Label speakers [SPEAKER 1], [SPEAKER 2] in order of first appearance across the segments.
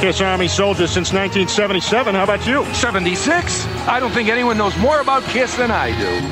[SPEAKER 1] Kiss Army soldier since 1977. How about you?
[SPEAKER 2] 76? I don't think anyone knows more about Kiss than I do.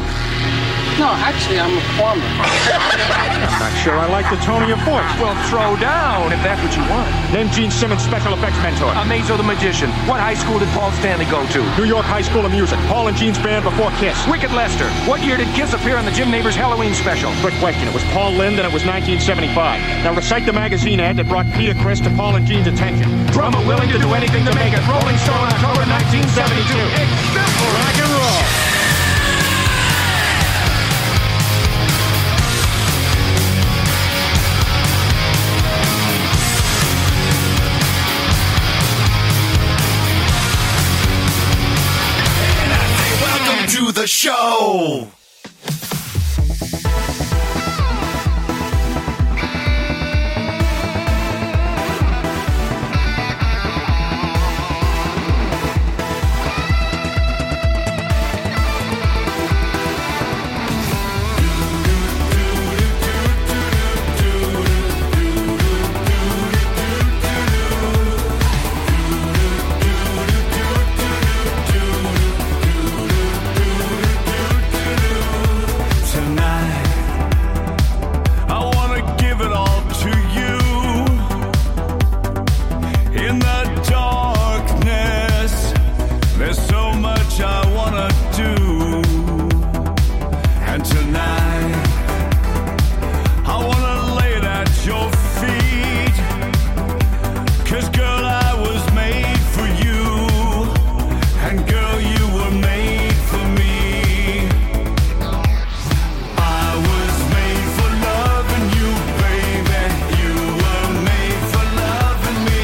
[SPEAKER 3] No, actually, I'm a farmer.
[SPEAKER 1] Not sure I like the tone of your voice.
[SPEAKER 2] Well, throw down if that's what you want.
[SPEAKER 1] Name Gene Simmons' special effects mentor.
[SPEAKER 2] Amazo the Magician. What high school did Paul Stanley go to?
[SPEAKER 1] New York High School of Music. Paul and Gene's band before Kiss.
[SPEAKER 2] Wicked Lester. What year did Kiss appear on the Jim Neighbors Halloween special?
[SPEAKER 1] Quick question. It was Paul Lynde and it was 1975. Now recite the magazine ad that brought Peter Chris to Paul and Gene's attention.
[SPEAKER 2] Drummer willing to do anything to make it. Rolling Stone, October 1972. It's simple.
[SPEAKER 1] Rock and roll.
[SPEAKER 4] Welcome to the show.
[SPEAKER 5] tonight. I wanna give it all to you. In the darkness, there's so much I wanna do. And tonight, I wanna lay it at your feet. Cause girl, I was made for you. And girl, you were made for me. I was made for loving you, baby. You were made for loving me,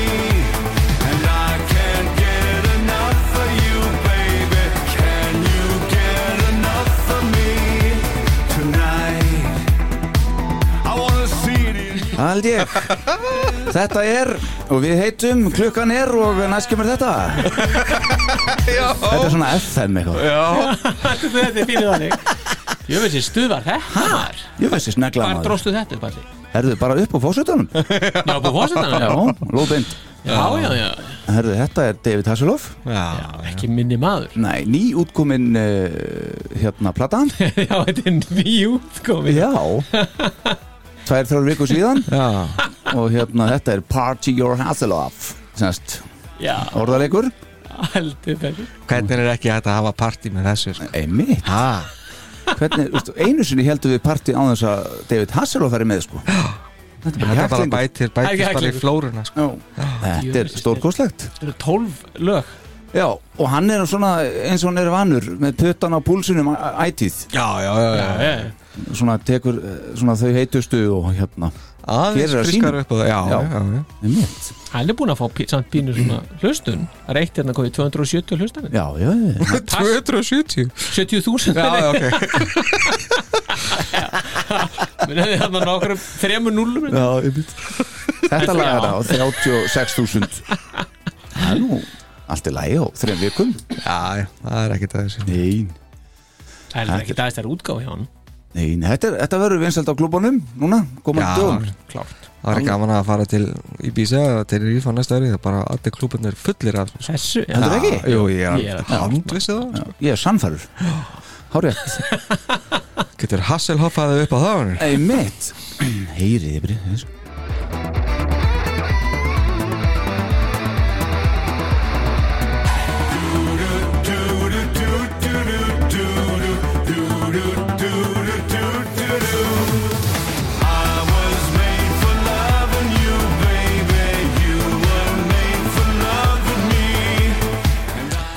[SPEAKER 5] and I can't get enough of you, baby. Can you get enough of me tonight? I wanna see it in.
[SPEAKER 6] Hald ég Þetta er, og við heitum Klukkan er og næst kemur þetta Þetta er svona FM eitthvað
[SPEAKER 3] Þetta er fyrir þannig. Ég veist, ég stuðvar þetta maður.
[SPEAKER 6] Ég veist ég snegla
[SPEAKER 3] Hvar
[SPEAKER 6] maður
[SPEAKER 3] dróstu þetta upp allir?
[SPEAKER 6] Herðu bara upp á fósutunum
[SPEAKER 3] Já, búið fórsetanum?
[SPEAKER 6] Já, lóðbind
[SPEAKER 3] Já, já, já.
[SPEAKER 6] Herðu, þetta er David Hasselhoff
[SPEAKER 7] Já,
[SPEAKER 3] Ekki minni maður.
[SPEAKER 6] Nei, nýútkomin uh, hérna platan
[SPEAKER 3] Já, þetta er nýjútkomið.
[SPEAKER 6] Já Tvær, þrjár viku síðan
[SPEAKER 7] já,
[SPEAKER 6] Og hérna, þetta er Party Your Hasselhoff Sennst,
[SPEAKER 3] Já,
[SPEAKER 6] orðalegur
[SPEAKER 3] heldur betur.
[SPEAKER 7] hvernig er ekki hægt að hafa partí með þessu sko?
[SPEAKER 6] Einmitt
[SPEAKER 7] Ha,
[SPEAKER 6] Hvernig, veistu, einu sinni heldum við partí á þess að David Hasselhoff er með sko Þetta er
[SPEAKER 7] þetta bara
[SPEAKER 6] kjaftalengur.
[SPEAKER 7] bætir,
[SPEAKER 3] Ekki
[SPEAKER 7] bætir bara í
[SPEAKER 3] hægt.
[SPEAKER 7] flóruna sko.
[SPEAKER 6] Já, þetta er
[SPEAKER 3] Jú,
[SPEAKER 6] stórkostlegt
[SPEAKER 3] Þetta eru tólf lög.
[SPEAKER 6] Já, og hann er svona eins og hann er vanur með puttan á púlsunum æ- ætíð
[SPEAKER 7] Já, já, já, já,
[SPEAKER 3] Já, já.
[SPEAKER 6] svona tekur eh, svona þau heitustu og hérna
[SPEAKER 7] aðeins
[SPEAKER 6] Gerir það
[SPEAKER 7] friskar
[SPEAKER 6] sýnum.
[SPEAKER 7] upp á það Já,
[SPEAKER 6] Já.
[SPEAKER 7] já, já, já.
[SPEAKER 6] Einmitt.
[SPEAKER 3] Hann er búinn að fá pí- samt pínu svona hlustun. Það er eitt hérna komið 270 hlustanir.
[SPEAKER 6] Já, já, já,
[SPEAKER 7] 270
[SPEAKER 3] 70.000.
[SPEAKER 7] Já, já, ok
[SPEAKER 3] Minn hefði þarna nokkrum þremur núllum
[SPEAKER 6] já einmitt. Þetta lagar það á 36.000 Það er nú allt er lægi á þrejum vikum
[SPEAKER 7] Já, já, það er ekkert aðeins
[SPEAKER 6] Nein,
[SPEAKER 3] Það er ekki dagist þær útgáfi hjá hann
[SPEAKER 6] nein, þetta, er- þetta verður vinsælt á klubunum núna, komandi dögum
[SPEAKER 7] Já, klárt Það er gaman að fara til Ibiza eða til Rífa næsta ári Það er bara allir klúbunir fullir af þessu.
[SPEAKER 3] Þessu
[SPEAKER 6] Heldur það ekki?
[SPEAKER 7] Jú, ég
[SPEAKER 3] Ég er
[SPEAKER 7] er
[SPEAKER 3] að
[SPEAKER 7] handvissi það
[SPEAKER 6] Já, Ég er sannfærur Hárétt
[SPEAKER 7] Getur Hasselhoff að upp á það honum
[SPEAKER 6] Einmitt Heyrið yfir þessu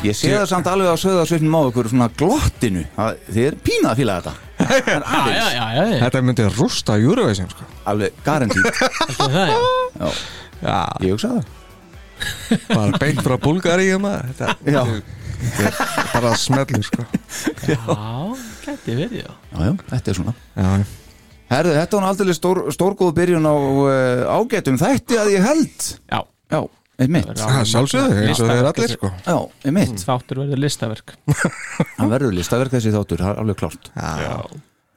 [SPEAKER 6] Ég sé það samt alveg á söðarsveitnum á okkur svona glottinu að þið er pínað að fíla þetta En
[SPEAKER 3] Já, já,
[SPEAKER 6] aðeins,
[SPEAKER 3] já, já, já,
[SPEAKER 7] Þetta myndi rústa Eurovision sko.
[SPEAKER 6] alveg garantít
[SPEAKER 3] heldur það já.
[SPEAKER 7] Já,
[SPEAKER 6] Ég hugsa það
[SPEAKER 7] bara beint frá Bulgari maður. Þetta
[SPEAKER 6] Já,
[SPEAKER 7] er bara smellur sko.
[SPEAKER 3] já, gæti verið já
[SPEAKER 6] já, já þetta er svona
[SPEAKER 7] Já,
[SPEAKER 6] Herðu, þetta var nú aldrei stór, stórgóð byrjun á uh, ágætum þætti að ég held
[SPEAKER 3] Já,
[SPEAKER 6] Já, einmitt
[SPEAKER 7] já sjálfsögðu eins og þeir allir sko.
[SPEAKER 6] Já, einmitt,
[SPEAKER 3] Þáttur verður listaverk
[SPEAKER 6] hann verður listaverk þessi þáttur, það er alveg klárt
[SPEAKER 7] Já,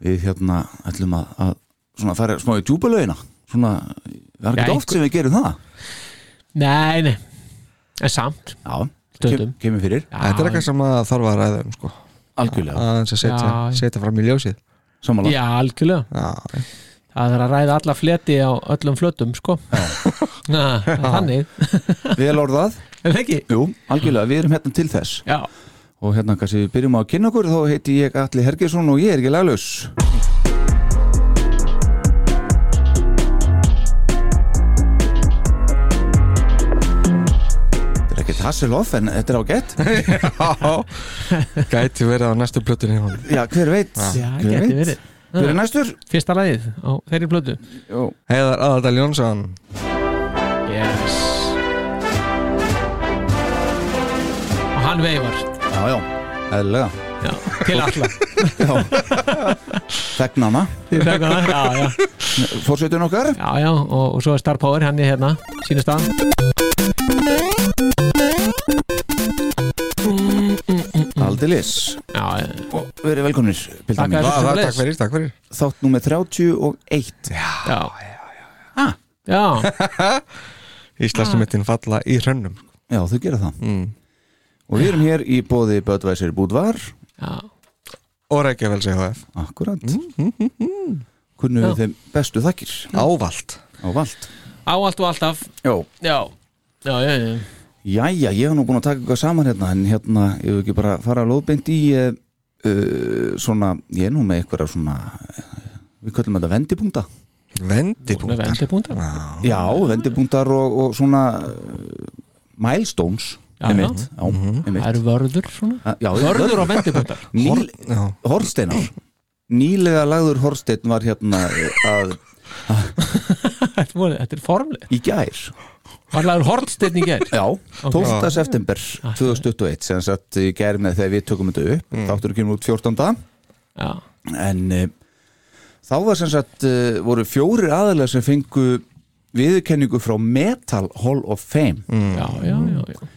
[SPEAKER 6] Við hérna ætlum að, að svona fara smá í djúpulaugina Svona, það er
[SPEAKER 3] Já,
[SPEAKER 6] ekki oft sem við gerum það
[SPEAKER 3] Nei, nei, en samt,
[SPEAKER 6] Já,
[SPEAKER 3] Stundum.
[SPEAKER 6] kem, kemur fyrir
[SPEAKER 5] Þetta er eitthvað sem að þarf að ræða um sko
[SPEAKER 6] Algjörlega,
[SPEAKER 5] aðeins að setja,
[SPEAKER 3] Já.
[SPEAKER 5] setja fram í ljósið
[SPEAKER 6] samanlega
[SPEAKER 3] já, algjörlega
[SPEAKER 5] Já,
[SPEAKER 3] það er að ræða alla fleti á öllum flötum sko Na, þannig,
[SPEAKER 6] Vel orðað,
[SPEAKER 3] en ekki
[SPEAKER 6] jú, algjörlega, við erum hérna til þess
[SPEAKER 3] já,
[SPEAKER 6] Og hérna kannski við byrjum á að kynna okkur Þá heiti ég Atli Hergesson og ég er ekki laglaus Þetta er ekkert Hasselhoff en þetta er á gett
[SPEAKER 5] gæti verið á næstu plötunni hjá honum.
[SPEAKER 6] Já, hver veit
[SPEAKER 3] já,
[SPEAKER 6] Hver
[SPEAKER 3] geti
[SPEAKER 6] veit
[SPEAKER 3] verið
[SPEAKER 6] Hver er næstur?
[SPEAKER 3] fyrsta lagið á þeirri plötu
[SPEAKER 6] Jú,
[SPEAKER 5] Heiðar Aðardal Jónsson
[SPEAKER 3] yes og hann veifar
[SPEAKER 6] já, já, eðlilega
[SPEAKER 3] já, til alla
[SPEAKER 6] Þegnana,
[SPEAKER 3] já, já,
[SPEAKER 6] fórsveitin okkar
[SPEAKER 3] já, já og, og svo er Star Power, hann er hérna sínu staðan
[SPEAKER 6] Aldilis
[SPEAKER 3] já,
[SPEAKER 6] Og verið velkomnir pilda
[SPEAKER 3] Takk
[SPEAKER 6] mín.
[SPEAKER 3] fyrir.
[SPEAKER 5] Það
[SPEAKER 3] Svoleiðis.
[SPEAKER 5] takk fyrir, takk fyrir
[SPEAKER 6] Þátt númer 31
[SPEAKER 3] já, já
[SPEAKER 6] Ah.
[SPEAKER 3] já,
[SPEAKER 5] Íslandsmettin falla í hrönnum
[SPEAKER 7] sko.
[SPEAKER 6] Já, þau gera það
[SPEAKER 3] Mm.
[SPEAKER 6] Og við erum hér í bóði Böðvæsir Búdvar
[SPEAKER 3] já,
[SPEAKER 5] og Reykjavíls EHF
[SPEAKER 6] Akkurat
[SPEAKER 3] Mm,
[SPEAKER 6] Kunnum við þeim bestu þakkir
[SPEAKER 5] Ávalt
[SPEAKER 6] á vald
[SPEAKER 3] á allt og alltaf
[SPEAKER 6] Já
[SPEAKER 3] já, já, já, já.
[SPEAKER 6] Jæja, ég hef nú búin að taka eitthvað saman hérna En hérna, ég hef ekki bara að fara að lóðbeint í uh, uh, Svona, ég er nú með eitthvað svona eh, Við köllum þetta vendipunkta
[SPEAKER 3] með
[SPEAKER 5] Vendipunktar
[SPEAKER 3] vendibúndar
[SPEAKER 6] Já, vendipunktar og, og svona uh, Milestones
[SPEAKER 3] Já,
[SPEAKER 6] einmitt, já, einmitt.
[SPEAKER 3] það eru vörður svona
[SPEAKER 6] Já,
[SPEAKER 3] vörður og vendibúndar
[SPEAKER 6] Níl,
[SPEAKER 5] Já.
[SPEAKER 6] Horsteinar Nýlega lagður Horstein var hérna að,
[SPEAKER 3] þetta er formlið,
[SPEAKER 6] í gær
[SPEAKER 3] var lagur hornsteinn í ger
[SPEAKER 6] Já, 12. september 2021 sem sagt í gær með þegar við tökum þetta upp mm. þáttur kemur út 14.
[SPEAKER 3] já,
[SPEAKER 6] en e, þá var sem sagt e, voru fjórir aðalega sem fengu viðurkenningu frá Metal Hall of Fame
[SPEAKER 3] já, já, já, já.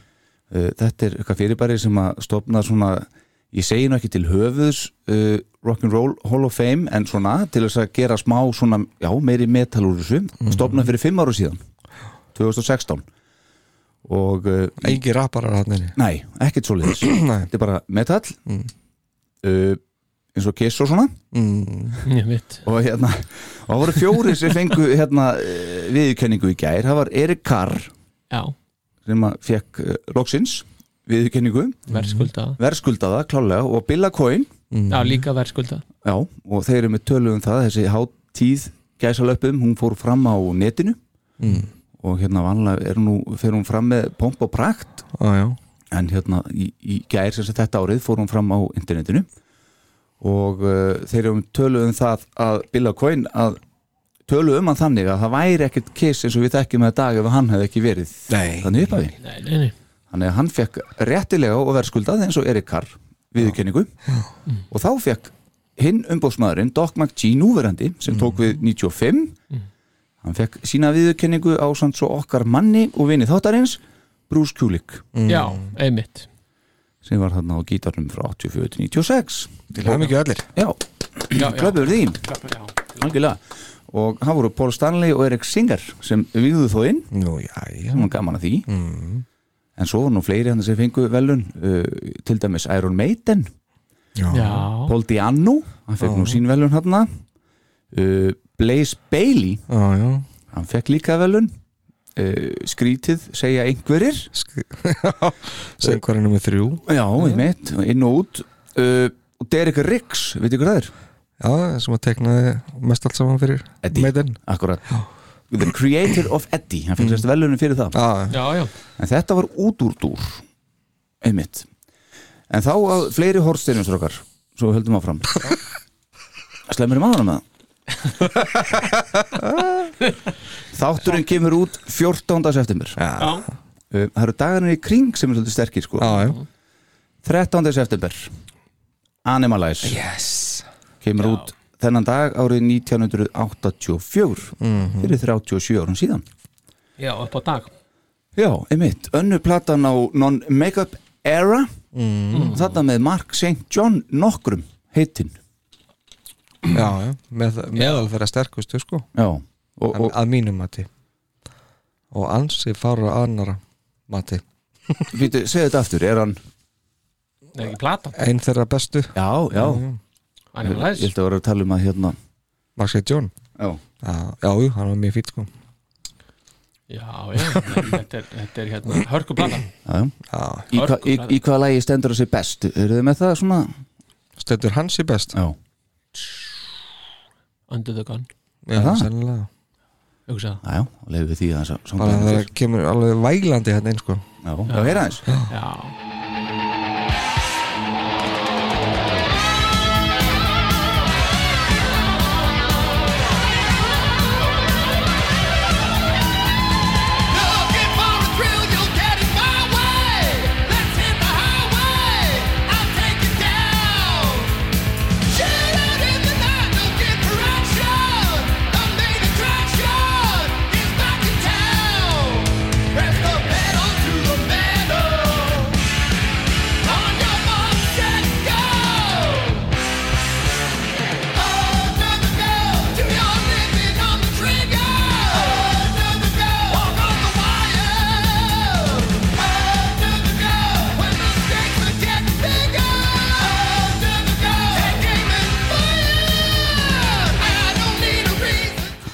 [SPEAKER 6] Eh, þetta er eitthvað fyrirbæri sem að stopna svona, ég segi nú ekki til höfuðs uh, Rock'n'Roll Hall of Fame en svona til þess að gera smá svona, já, meiri metal úr þessu stopna fyrir fimm ára síðan 2016 og, uh,
[SPEAKER 5] Engi rapparar hann inni
[SPEAKER 6] nei, ekkert svo liðis
[SPEAKER 5] Nei.
[SPEAKER 6] þetta er bara metal uh, eins og kiss og svona
[SPEAKER 3] Ég veit
[SPEAKER 6] og hérna, og það voru fjóri sem fengu hérna uh, viðurkenningu í gær, það var Erik Carr
[SPEAKER 3] Já,
[SPEAKER 6] sem að fekk uh, loksins viðurkenningu
[SPEAKER 3] verðskuldað
[SPEAKER 6] verðskuldaða klálega og Billa Coyne
[SPEAKER 3] Já, líka verðskuldað
[SPEAKER 6] já, og þeir eru með tölu um það þessi hátíð gæsalöpum hún fór fram á netinu og hérna vanlega er nú fer hún fram með pomp og prakt
[SPEAKER 5] Ájá
[SPEAKER 6] en hérna í, í gær sem sagt þetta árið fór hún fram á internetinu og uh, þeir eru með tölu um það að Billa Coyne að tölu um hann þannig að það væri ekkert kiss eins og við þekkjum að dag ef hann hefði ekki verið
[SPEAKER 5] Nei.
[SPEAKER 6] þannig uppaði
[SPEAKER 3] Nei, nei, nei
[SPEAKER 6] Þannig að hann fekk réttilega og verðskuldað eins og Erik Carr viðurkenningu og þá fekk hinn umbóðsmaðurinn Doc McGee núverandi
[SPEAKER 3] Mm.
[SPEAKER 6] sem tók við 95 hann fekk sína viðurkenningu á samt svo okkar manni og vinið þáttarins Bruce Kulick
[SPEAKER 3] Já, einmitt
[SPEAKER 6] sem var þarna á gítarnum frá 84 til 96
[SPEAKER 5] Til hann ekki öllir
[SPEAKER 6] Já,
[SPEAKER 3] Já, já,
[SPEAKER 6] klöpum við því Algjörlega og hann voru Paul Stanley og Erik Singer sem viðuðu þó inn
[SPEAKER 5] Nú, já, já
[SPEAKER 6] sem var gaman að því Mm. en svo var nú fleiri hann sem fengu velun uh, til dæmis Iron Maiden
[SPEAKER 3] já
[SPEAKER 6] Paul Diano, hann fekk nú sín velun hann uh, Blaze Bailey
[SPEAKER 5] Ájá
[SPEAKER 6] hann fekk líka velun uh, skrítið segja einhverjir
[SPEAKER 5] Söngvarinn nummer þrjú
[SPEAKER 6] já, einmitt, inn og út uh, og Derek Riggs, veitir hvað það er?
[SPEAKER 5] Já, sem að teknaði mest allt saman fyrir
[SPEAKER 6] Eddie.
[SPEAKER 5] Maiden
[SPEAKER 6] Akkurat The Creator of Eddie, hann fekk sérst velunum fyrir það
[SPEAKER 5] Já,
[SPEAKER 3] Já, já,
[SPEAKER 6] en þetta var út úr dúr einmitt en þá að fleiri horsteinum strókar svo við höldum áfram slemmir um aðra með það þátturinn kemur út 14. september
[SPEAKER 3] já,
[SPEAKER 6] Uh, það eru dagarnir í kring sem er svolítið sterkir sko
[SPEAKER 5] já, já
[SPEAKER 6] 13. september Animalize
[SPEAKER 5] Yes
[SPEAKER 6] kemur út þennan dag árið 1984
[SPEAKER 5] Mhm.
[SPEAKER 6] fyrir 37 árum síðan
[SPEAKER 3] já, upp á dag
[SPEAKER 6] Já, einmitt, önnu platan á Non-Makeup Era þetta með Mark St. John nokkrum heitinn
[SPEAKER 5] Já, já Með, Meðal þeirra sterkustu sko
[SPEAKER 6] Já, og,
[SPEAKER 5] en,
[SPEAKER 6] og
[SPEAKER 5] Að mínum mati Og ansi fara annara mati
[SPEAKER 6] Vítu, segðu þetta aftur, er hann
[SPEAKER 3] Það er ekki platan,
[SPEAKER 5] Einn þeirra bestu
[SPEAKER 6] Já, já,
[SPEAKER 3] hann er
[SPEAKER 6] ég
[SPEAKER 3] læs
[SPEAKER 6] held að vera að tala um að hérna
[SPEAKER 5] Max Ed John
[SPEAKER 6] Já,
[SPEAKER 5] Já, já, jú, hann var mjög fýtt sko
[SPEAKER 3] Já, já, nei, þetta er, þetta er hérna hörku platan
[SPEAKER 6] já, já
[SPEAKER 5] Já,
[SPEAKER 6] Í, hva, í, í hvaða lægi stendur það sig best? Eru þið með það svona?
[SPEAKER 5] stöður hans í best
[SPEAKER 6] Já
[SPEAKER 3] Under the Gun,
[SPEAKER 5] Já,
[SPEAKER 6] það?
[SPEAKER 5] sennilega
[SPEAKER 3] hugsa
[SPEAKER 6] Já, já, leifum við því að
[SPEAKER 5] Bara
[SPEAKER 6] það
[SPEAKER 5] það kemur alveg vælandi hérna einn sko
[SPEAKER 6] Já, já, heyra aðeins
[SPEAKER 3] það Já,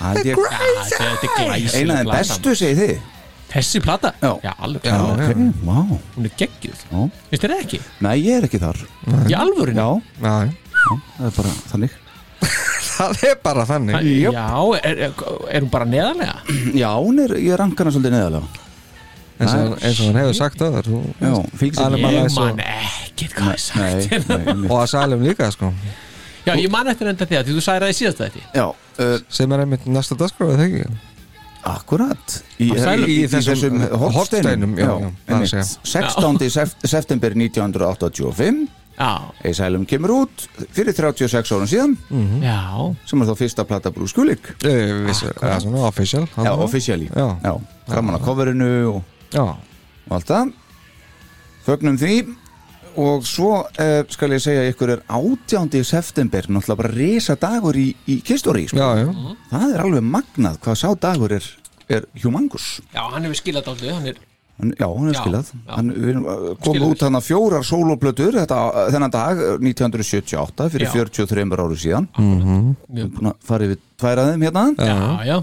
[SPEAKER 6] Það er ég-
[SPEAKER 3] Já, þetta er- þetta er glæsileg
[SPEAKER 6] Eina en
[SPEAKER 3] platan.
[SPEAKER 6] bestu, segið þið
[SPEAKER 3] Þessi plata?
[SPEAKER 6] Já.
[SPEAKER 3] alveg
[SPEAKER 6] Já,
[SPEAKER 3] klárlega.
[SPEAKER 6] ok, vá
[SPEAKER 3] Hún er geggjuð
[SPEAKER 6] Já.
[SPEAKER 3] Finnst þér það ekki?
[SPEAKER 6] Nei, ég er ekki þar
[SPEAKER 3] Í alvörinu?
[SPEAKER 6] Já,
[SPEAKER 5] Já, já.
[SPEAKER 6] það er bara þannig
[SPEAKER 5] það er bara þannig
[SPEAKER 3] Já, er, er, er hún bara neðarlega?
[SPEAKER 6] Já, hún er, ég ranka hana svolítið neðalega
[SPEAKER 5] eins og, eins og hann hefur sagt það
[SPEAKER 6] Já, fylgst
[SPEAKER 5] Alveg bara
[SPEAKER 3] Ég
[SPEAKER 5] eins og-
[SPEAKER 3] man ekkert hvað ég
[SPEAKER 6] Nei,
[SPEAKER 3] sagt
[SPEAKER 6] nei, einmitt.
[SPEAKER 5] og að Salem líka sko
[SPEAKER 3] Já, ég man eftir enda því að því þú sagði það í síðasta þetta
[SPEAKER 6] Já, uh,
[SPEAKER 5] sem er einmitt næsta dagskráð eða ekki
[SPEAKER 6] akkurat Í,
[SPEAKER 3] Á sælum.
[SPEAKER 6] í, í þessum uh,
[SPEAKER 5] þessum hornsteinum,
[SPEAKER 6] hortsteinum
[SPEAKER 5] já, já, það er að segja.
[SPEAKER 6] 16. sef- september 1985
[SPEAKER 3] Já,
[SPEAKER 6] Eisælum kemur út fyrir 36 árum síðan
[SPEAKER 3] já
[SPEAKER 6] sem er þá fyrsta plata Bruce Kulik
[SPEAKER 5] Eh,
[SPEAKER 6] Ah,
[SPEAKER 5] vissu, eða svona official
[SPEAKER 6] Já,
[SPEAKER 5] hann-
[SPEAKER 6] officially
[SPEAKER 5] Já.
[SPEAKER 6] Já, gaman að coverinu og,
[SPEAKER 5] já,
[SPEAKER 6] og allt það Fögnum því og svo uh, skal ég segja ykkur er 18. september náttúrulega bara risa dagur í, í kistóri sko.
[SPEAKER 5] já, já,
[SPEAKER 6] það er alveg magnað hvað sá dagur er, er humangus
[SPEAKER 3] Já, hann hefur skilað aldrei, hann er
[SPEAKER 6] Hann- Já, hún er
[SPEAKER 3] Já,
[SPEAKER 6] skilað
[SPEAKER 3] já.
[SPEAKER 6] Hann við erum, uh, kom
[SPEAKER 3] Skilað.
[SPEAKER 6] út hann að fjórar sóloplötur þetta, þennan dag uh, 1978 fyrir
[SPEAKER 3] Já.
[SPEAKER 6] 43 áru síðan
[SPEAKER 3] mjög
[SPEAKER 6] Búin að fara yfir tvær aðeim hérna
[SPEAKER 3] Já, já,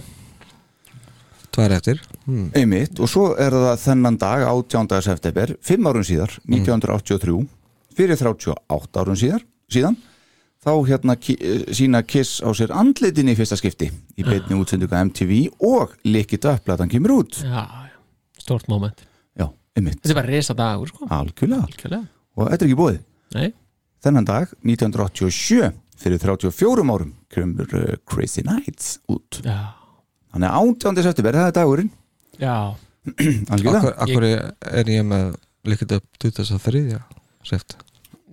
[SPEAKER 5] tvær eftir
[SPEAKER 6] Einmitt, og svo er það þennan dag 18. september, fimm árum síðar 1983, fyrir 38 árum síðar, síðan þá hérna ki- eh, sína Kiss á sér andlitin í fyrsta skipti í beinni útsendinga MTV og likið upp að hann kemur út
[SPEAKER 3] já, já. Stort moment
[SPEAKER 6] Já, einmitt,
[SPEAKER 3] Þetta er bara resa dagur, sko
[SPEAKER 6] algjörlega
[SPEAKER 3] Alkjörlega
[SPEAKER 6] og þetta er ekki búið,
[SPEAKER 3] Nei,
[SPEAKER 6] þennan dag 1987, fyrir 34 árum kemur uh, Crazy Nights út,
[SPEAKER 3] já,
[SPEAKER 6] hann er 18. september það er dagurinn,
[SPEAKER 3] já
[SPEAKER 6] algjörlega
[SPEAKER 5] akkur, akkur er Eh, ég með líkit upp 23. seft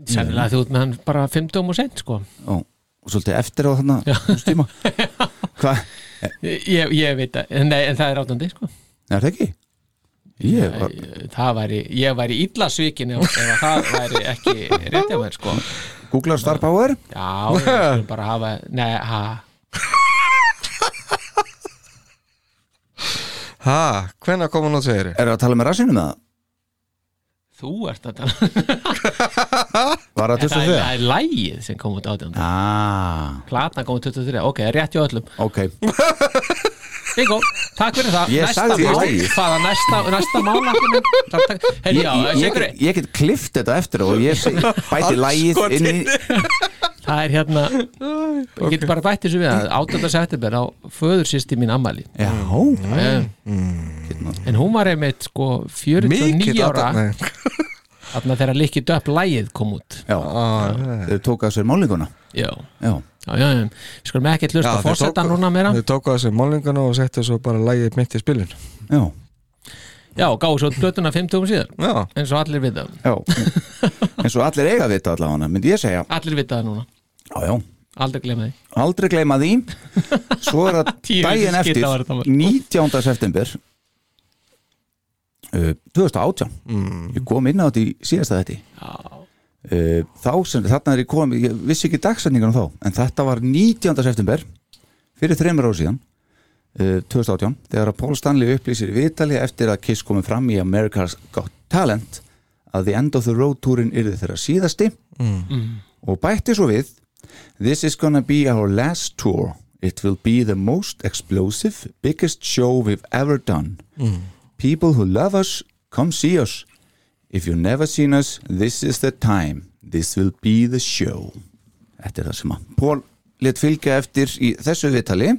[SPEAKER 3] Sennilega þú ert með hann bara 50 og sent, sko
[SPEAKER 6] og, og svolítið eftir á þannig stíma hvað
[SPEAKER 3] Ég, ég veit að, nei, en það er átandi, sko
[SPEAKER 6] Er það ekki? Ég var,
[SPEAKER 3] það væri, ég væri illa svikin ef, ef að það væri ekki rétt hjá mér sko
[SPEAKER 6] googlar Star Power
[SPEAKER 3] já, við skulum bara hafa nei, ha,
[SPEAKER 5] ha, Ah, hvenær kom hann út segir
[SPEAKER 6] Er það að tala með rassinu með það?
[SPEAKER 3] þú ert að tala
[SPEAKER 6] Var það
[SPEAKER 3] það, er-
[SPEAKER 6] 23?
[SPEAKER 3] það er lægið sem kom út átjönda
[SPEAKER 6] Ah,
[SPEAKER 3] platna kom út 23, ok, rétt hjá öllum
[SPEAKER 6] ok
[SPEAKER 3] Bingo, takk fyrir það
[SPEAKER 6] Ég sagði þér lagið.
[SPEAKER 3] hvaða næsta, næsta mál
[SPEAKER 6] Ég,
[SPEAKER 3] herri,
[SPEAKER 6] ég, ég,
[SPEAKER 3] já, segur
[SPEAKER 6] get- ég get klift þetta eftir og ég seg, bæti lægið inn í
[SPEAKER 3] það er hérna ég get bara bætt þessu við að 8. september á föður sýsti mín ammali
[SPEAKER 6] Já,
[SPEAKER 3] mm. en hún var einmitt sko 49 ára þarna þegar Likki Döpp lægið kom út
[SPEAKER 6] Ah, já Þau tók að sér málinguna
[SPEAKER 3] já,
[SPEAKER 6] Já,
[SPEAKER 3] já, já, já. við skulum ekki hlusta fórsetan núna meira
[SPEAKER 5] þau tóku að þessi málingana og settu svo bara lægið mitt í spilin
[SPEAKER 6] já,
[SPEAKER 3] já, gáðu svo út plötuna 50 síðar
[SPEAKER 5] já,
[SPEAKER 3] eins og allir vita
[SPEAKER 6] já eins og allir eiga vita allavega myndi ég segja
[SPEAKER 3] allir vita það núna,
[SPEAKER 6] Já, já
[SPEAKER 3] aldrei glemma því
[SPEAKER 6] aldrei gleyma því svo er það
[SPEAKER 3] Tíu
[SPEAKER 6] daginn
[SPEAKER 3] skita
[SPEAKER 6] eftir
[SPEAKER 3] var þetta maður.
[SPEAKER 6] 19. september uh, 2018 ég kom inn á þetta í síðasta þetta uh, þá sem þarna er ég kom ég vissi ekki dagsetningan þá en þetta var 19. september fyrir þreymur ára síðan uh, 2018 þegar að Paul Stanley upplýsir í viðtali eftir að Kiss komið fram í America's Got talent að The End of the Road túrin yrði þeirra síðasti og bætti svo við This is gonna be our last tour It will be the most explosive biggest show we've ever done People who love us come see us If you've never seen us this is the time This will be the show Þetta er það sem að Paul let fylgja eftir í þessu viðtali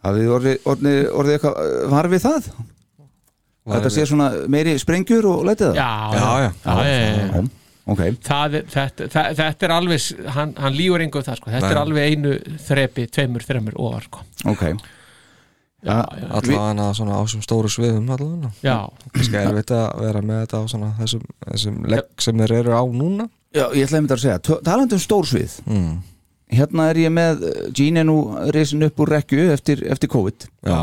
[SPEAKER 6] Hafið orðið orði, orði eitthvað eh, var við það? Þetta sé svona meiri sprengjur og letið það?
[SPEAKER 3] já,
[SPEAKER 5] Já, já.
[SPEAKER 3] já, já, já, já.
[SPEAKER 6] Ok,
[SPEAKER 3] Það, er- þetta, það, þetta er alveg s- hann, hann lígur engu um það sko. þetta
[SPEAKER 5] Nei.
[SPEAKER 3] er alveg einu þrepi, tveimur, þreimur ofar sko.
[SPEAKER 6] ok Já,
[SPEAKER 5] Alla hana svona á þessum stóru sviðum alla hana
[SPEAKER 3] já,
[SPEAKER 5] Kannski er veit að vera með þetta á svona þessum, þessum legg sem þeir eru á núna
[SPEAKER 6] Já, ég ætlaði mér að segja, tö- talandi um stórsvið
[SPEAKER 5] mm.
[SPEAKER 6] Hérna er ég með eh, Gene er nú reisin upp úr rekju eftir, eftir COVID
[SPEAKER 5] Já,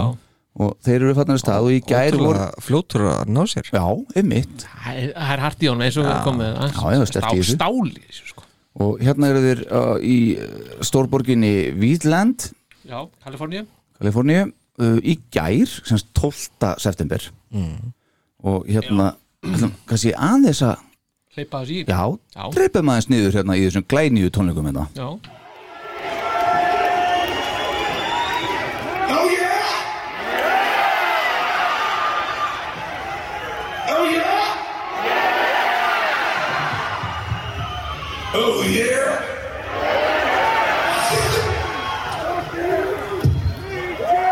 [SPEAKER 6] og þeir eru farnar að stað og í gær voru
[SPEAKER 5] ótrúlega fljótur að ná sér
[SPEAKER 6] Já, einmitt
[SPEAKER 3] það er- það er hart í honum eins og við komum með það.
[SPEAKER 6] Já, já, sterkt í
[SPEAKER 3] Stál-
[SPEAKER 6] þessu.
[SPEAKER 3] stáli í þessu, sko.
[SPEAKER 6] og hérna eru þeir uh, í eh, stórborginni Vítland,
[SPEAKER 3] já, Kaliforníu
[SPEAKER 6] Kaliforníu uh, í gær, sem sagt 12. september og hérna ætlum, kannski aðeins að
[SPEAKER 3] hleypa þessu í
[SPEAKER 6] já,
[SPEAKER 3] Já.
[SPEAKER 6] dreipum aðeins niður hérna í þessum glænýju tónleikum hérna
[SPEAKER 3] já.
[SPEAKER 8] Oh yeah! Oh yeah! Oh yeah!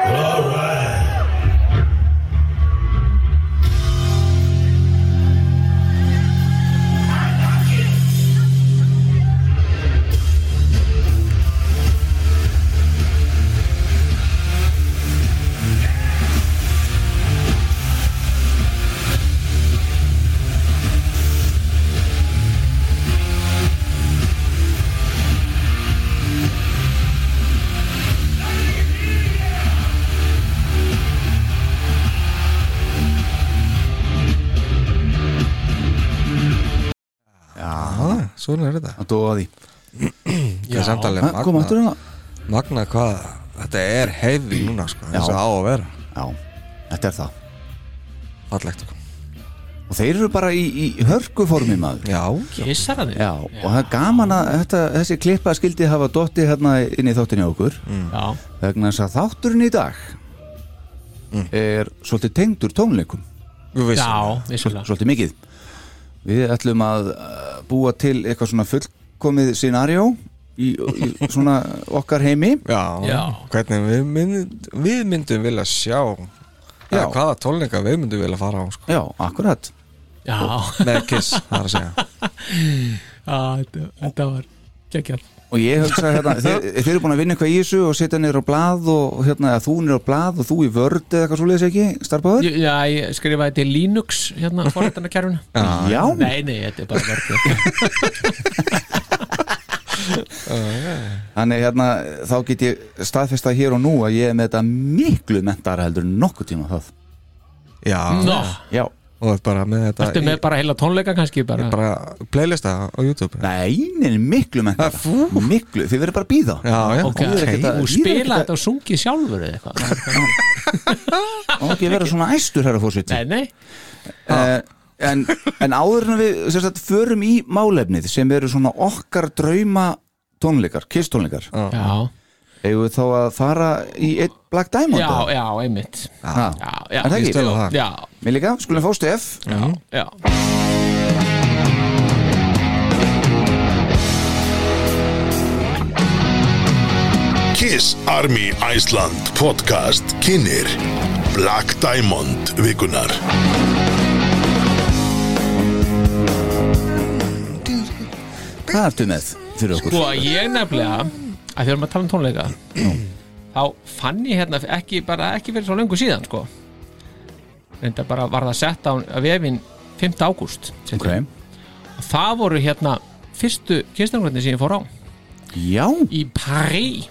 [SPEAKER 8] All right.
[SPEAKER 5] ah, Svona er þetta
[SPEAKER 6] að dóa því,
[SPEAKER 5] Það er samtalið
[SPEAKER 6] Ha, kom aftur
[SPEAKER 5] magna,
[SPEAKER 6] hérna
[SPEAKER 5] magna hvað Þetta er hefi núna sko
[SPEAKER 6] Já.
[SPEAKER 5] þess að á að vera
[SPEAKER 6] Já, þetta er það
[SPEAKER 5] Fallegt sko
[SPEAKER 6] og þeir eru bara í, í hörkuformi maður
[SPEAKER 5] Já,
[SPEAKER 3] kissar hann þig
[SPEAKER 6] Já, og það er gaman að þetta, þessi klippa skildi hafa dotti hérna inn í þáttinni okkur
[SPEAKER 3] já,
[SPEAKER 6] vegna þess að þátturinn í dag er svolítið tengdur tónleikum
[SPEAKER 5] við
[SPEAKER 3] já,
[SPEAKER 5] vissum
[SPEAKER 3] vissulega
[SPEAKER 6] svol, svolítið mikið Við ætlum að uh, búa til eitthvað svona fullkomið scenario í, í svona okkar heimi
[SPEAKER 5] Já,
[SPEAKER 3] Já.
[SPEAKER 5] hvernig við, mynd, við myndum vilja sjá
[SPEAKER 6] Já.
[SPEAKER 5] eða hvaða tólninga við myndum vilja fara á sko.
[SPEAKER 6] Já, akkurat
[SPEAKER 3] já,
[SPEAKER 5] með Kiss, það er að segja
[SPEAKER 3] já, þetta- þetta var geggjart
[SPEAKER 6] Og ég hugsa hérna, þeir, þeir eru búin að vinna eitthvað í þessu og setja niður á blað og hérna, eða þú niður á blað og þú í vörd eða eitthvað svoleiðis ekki, starfbáður?
[SPEAKER 3] já, ég skrifaði þetta í Linux hérna, forrættanarkerfinu
[SPEAKER 6] Já,
[SPEAKER 3] nei, nei, þetta er bara verður
[SPEAKER 6] Þannig hérna, þá get ég staðfesta hér og nú að ég er með þetta miklu mentara heldur en nokkuð tíma það
[SPEAKER 5] Já,
[SPEAKER 3] Nó,
[SPEAKER 6] Já
[SPEAKER 5] og þetta bara með þetta
[SPEAKER 3] ertu með bara heila tónleika kannski bara,
[SPEAKER 5] í, bara playlista á YouTube
[SPEAKER 6] Nei, nein, miklu
[SPEAKER 3] Ah,
[SPEAKER 6] mentara Miklu, þið verður bara að býða
[SPEAKER 5] Já, já,
[SPEAKER 3] ok,
[SPEAKER 6] Ég er ekkert að-
[SPEAKER 3] og
[SPEAKER 6] ég er ekkert
[SPEAKER 3] spila
[SPEAKER 6] að-
[SPEAKER 3] þetta og sungið sjálfur eða eitthvað,
[SPEAKER 6] Og ekki vera svona æstur herra fórsett
[SPEAKER 3] nei, ah. nei
[SPEAKER 6] uh, en, en áður en við sem sagt, förum í málefnið sem eru svona okkar drauma tónleikar, kisstónleikar
[SPEAKER 3] já,
[SPEAKER 6] Eigum við þá að fara í eitt Black Diamond
[SPEAKER 3] já,
[SPEAKER 6] eða?
[SPEAKER 3] já, einmitt
[SPEAKER 6] Ha,
[SPEAKER 3] já, já,
[SPEAKER 6] Er það
[SPEAKER 5] ég
[SPEAKER 6] ekki?
[SPEAKER 5] stöðla það
[SPEAKER 3] já,
[SPEAKER 6] Mér líka, skulum fá stef
[SPEAKER 3] já, já
[SPEAKER 8] Kiss Army Iceland podcast kynir Black Diamond vikunar
[SPEAKER 6] Hvað ertu með fyrir okkur?
[SPEAKER 3] Sko, ég nefnilega að þegar maður tala um tónleika þá fann ég hérna ekki, bara, ekki fyrir svo lengu síðan sko. reynda bara var það sett á, á vefin 5. ágúst
[SPEAKER 6] Ok,
[SPEAKER 3] og það voru hérna fyrstu kynstangrætni sem ég fór á
[SPEAKER 6] já,
[SPEAKER 3] í Paris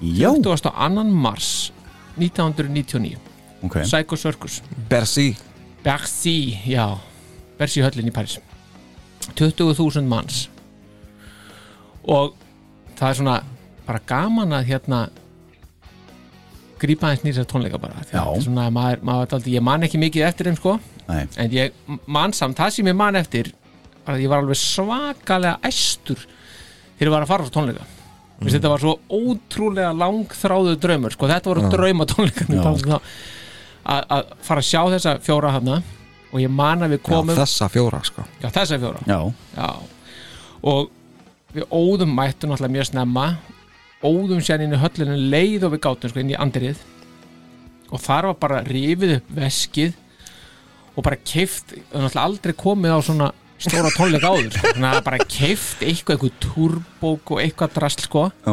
[SPEAKER 6] já
[SPEAKER 3] 22. mars 1999
[SPEAKER 6] Ok,
[SPEAKER 3] Psycho Circus
[SPEAKER 5] Bersi
[SPEAKER 3] Bercy, já Bercy höllin í Paris 20.000 manns og það er svona bara gaman að hérna grípa aðeins nýra tónleika bara Því að
[SPEAKER 6] Já.
[SPEAKER 3] svona, maður, maður, maður, ég man ekki mikið eftir þeim sko
[SPEAKER 6] Nei.
[SPEAKER 3] en ég mann samt, það sem ég mann eftir var að ég var alveg svakalega æstur þegar ég var að fara á tónleika mm. þetta var svo ótrúlega langþráðu draumur, sko, þetta voru draumatónleikarnir bara að að fara að sjá þessa fjóra hafna og ég man að við komum
[SPEAKER 5] Já, þessa fjóra sko
[SPEAKER 3] já, þessa fjóra
[SPEAKER 6] Já,
[SPEAKER 3] Já. og við óðum mættum náttúrulega mjög snemma óðum sér inn í höllinu leið og við gátum sko inn í andrið og þar var bara rifið upp veskið og bara keift náttúrulega aldrei komið á svona stóra tónleika áður sko. þannig að bara keift eitthvað, eitthvað turbók og eitthvað drasl sko
[SPEAKER 6] já,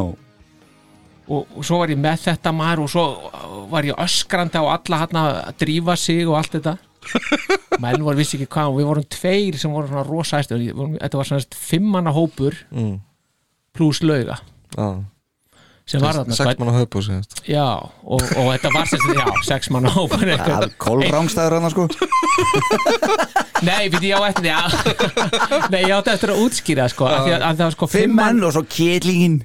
[SPEAKER 3] og, og svo var ég með þetta maður og svo uh, var ég öskrandi á alla hann að drífa sig og allt þetta menn voru vissi ekki hvað og við vorum tveir sem voru svona rosa æstu þetta var svona fimmanna hópur mm. pluss lauga
[SPEAKER 5] Já
[SPEAKER 3] sem var þarna
[SPEAKER 5] Sex
[SPEAKER 3] sko.
[SPEAKER 5] mann á höfbú sérst
[SPEAKER 3] já, og, og þetta var sem sagt, já, sex manna hópur
[SPEAKER 6] það
[SPEAKER 3] eitthvað.
[SPEAKER 6] er kólrángstæður hann sko
[SPEAKER 3] nei, við ég á eftir já. nei, ég átti eftir að útskýra sko, af því að, að það var sko
[SPEAKER 6] Fimm
[SPEAKER 3] fimm
[SPEAKER 6] menn og svo kjellingin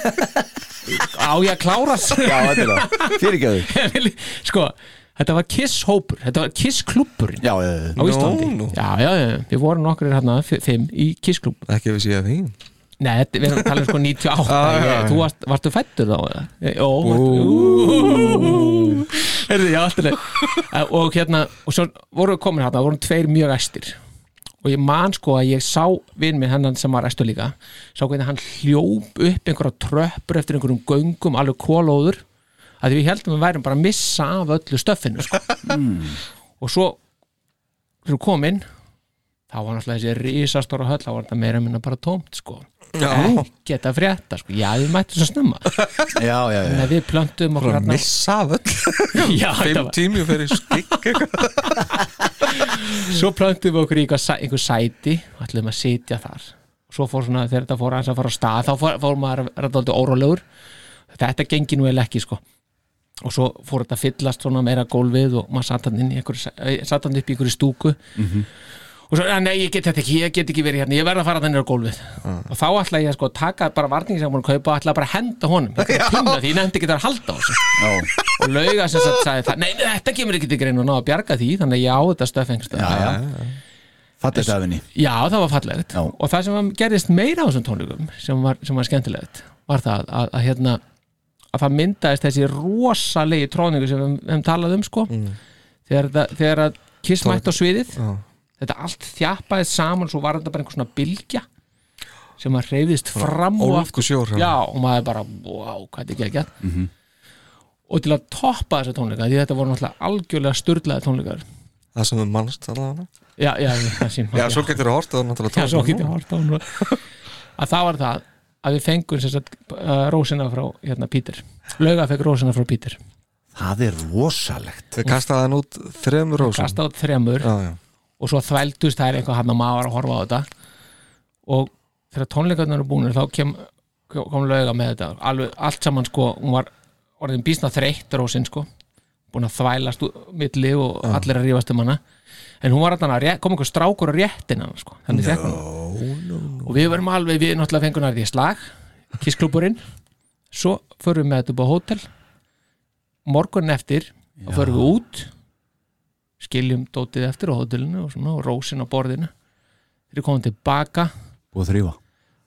[SPEAKER 3] á ég að klárast
[SPEAKER 6] Já, þetta er það, fyrirgjöðu
[SPEAKER 3] sko, þetta var kiss hópur þetta var kiss klubburinn
[SPEAKER 6] Já, já, já,
[SPEAKER 3] á Íslandi
[SPEAKER 5] nú.
[SPEAKER 3] Já, já, já, við vorum nokkur hérna f- fimm í Kísklub
[SPEAKER 5] Ekki við síðan þín
[SPEAKER 3] Nei, þetta- við erum að tala um sko 98
[SPEAKER 5] Ah, Já, já, já.
[SPEAKER 3] Þú varst, varstu fættur þá? eða? Jó, varstu Herðu, já, alltaf leið. Og hérna, og svo vorum við komin hérna vorum tveir mjög æstir og ég man sko að ég sá vinn minn hennan sem var æstur líka sá hvernig hann hljóp upp einhverja tröppur eftir einhverjum göngum alveg kólóður að við heldum að við værum bara að missa af öllu stöffinu sko.
[SPEAKER 5] Hmm.
[SPEAKER 3] og svo þegar við komin þá var náttúrulega þessi risastóra höll þá var þetta meira minna bara tómt sko ekkert að frétta sko, já við mættum svo snemma
[SPEAKER 6] já, já, já.
[SPEAKER 3] þannig að við plöntum okkur hérna
[SPEAKER 5] Missa af öll
[SPEAKER 3] já, þetta
[SPEAKER 5] Fimm
[SPEAKER 3] var,
[SPEAKER 5] tími og fer í skikk
[SPEAKER 3] svo plöntum við okkur í eitthvað sæ- einhver sæti og ætlum að sitja þar svo fór svona þegar þetta fór aðeins að fara á stað þá fór, fór maður að vera alltaf órólegur þetta gengi nú eða ekki sko og svo fór þetta að fyllast svona meira gólfið og maður satt hann, inn í einhverju, eh, satt hann upp í einhverju stúku og svo, "Ah, nei, ég get þetta ekki, ég get ekki verið hérna ég verð að fara þannig á gólfið
[SPEAKER 6] Mm.
[SPEAKER 3] og þá ætla ég að sko taka bara varningi sem hún kaupa og ætla bara að henda honum, Ég ætla að pinna því ég nefndi ekki að halda á þessu og lauga sem sagt sagði það, nei, þetta kemur ekki til grein og ná að bjarga því, þannig að ég á þetta stöfengst
[SPEAKER 6] já, já. Fattir þetta afinni
[SPEAKER 3] Já, það var fallegt
[SPEAKER 6] Já.
[SPEAKER 3] og það sem var- gerðist meira á þessum tónleikum sem var, sem var skemmtilegt var það að, að, hérna, að það myndaðist þessi rosalegi tróningu sem við við höfum talað um sko.
[SPEAKER 5] Mm.
[SPEAKER 3] þegar, þetta- þegar að kiss mætt á sviðið þetta allt þjappaðist saman svo var þetta bara einhver svona bylgja sem að reyðist fram og aftur
[SPEAKER 5] ólgusjór, já. Mhm.
[SPEAKER 3] Já, og maður bara, wow, hvað þetta ekki að geta og til að toppa þessa tónleika því þetta voru náttúrulega algjörlega styrlaði tónleikar
[SPEAKER 5] Það sem við mannst allavega
[SPEAKER 3] Já, já, það sín
[SPEAKER 5] Já, svo getur þú hort og náttúrulega
[SPEAKER 3] Já, svo
[SPEAKER 5] tónum.
[SPEAKER 3] get ég hort á hún um að það var það að við fengum sem sagt uh, rósina frá hérna Pítur lauga fekk rósina frá Pítur
[SPEAKER 6] Það er rosalegt
[SPEAKER 5] Þau kastaði hann út þrem rósum
[SPEAKER 3] kasta át þremur
[SPEAKER 5] Já, já
[SPEAKER 3] og svo þvældust það er eitthvað hann að maður var að horfa á þetta og þegar tónleikarnar eru búinir þá kem, kom lauga með þetta Alveg, allt saman sko, hún var orðin býsna þreytt rósin sko búin að þvælast úr milli og allir að rífast um hana en hún var alltaf kom einhver strákur á réttin hana sko, þannig fekk hún og við verðum alveg, við náttúrulega fengum nærði í slag kísklúburinn svo förum við með þetta upp á hótel morgun eftir þá förum við út skiljum dótið eftir á hótelinu og svona og rósin á borðinu þeir komum tilbaka
[SPEAKER 6] Búið að þrýfa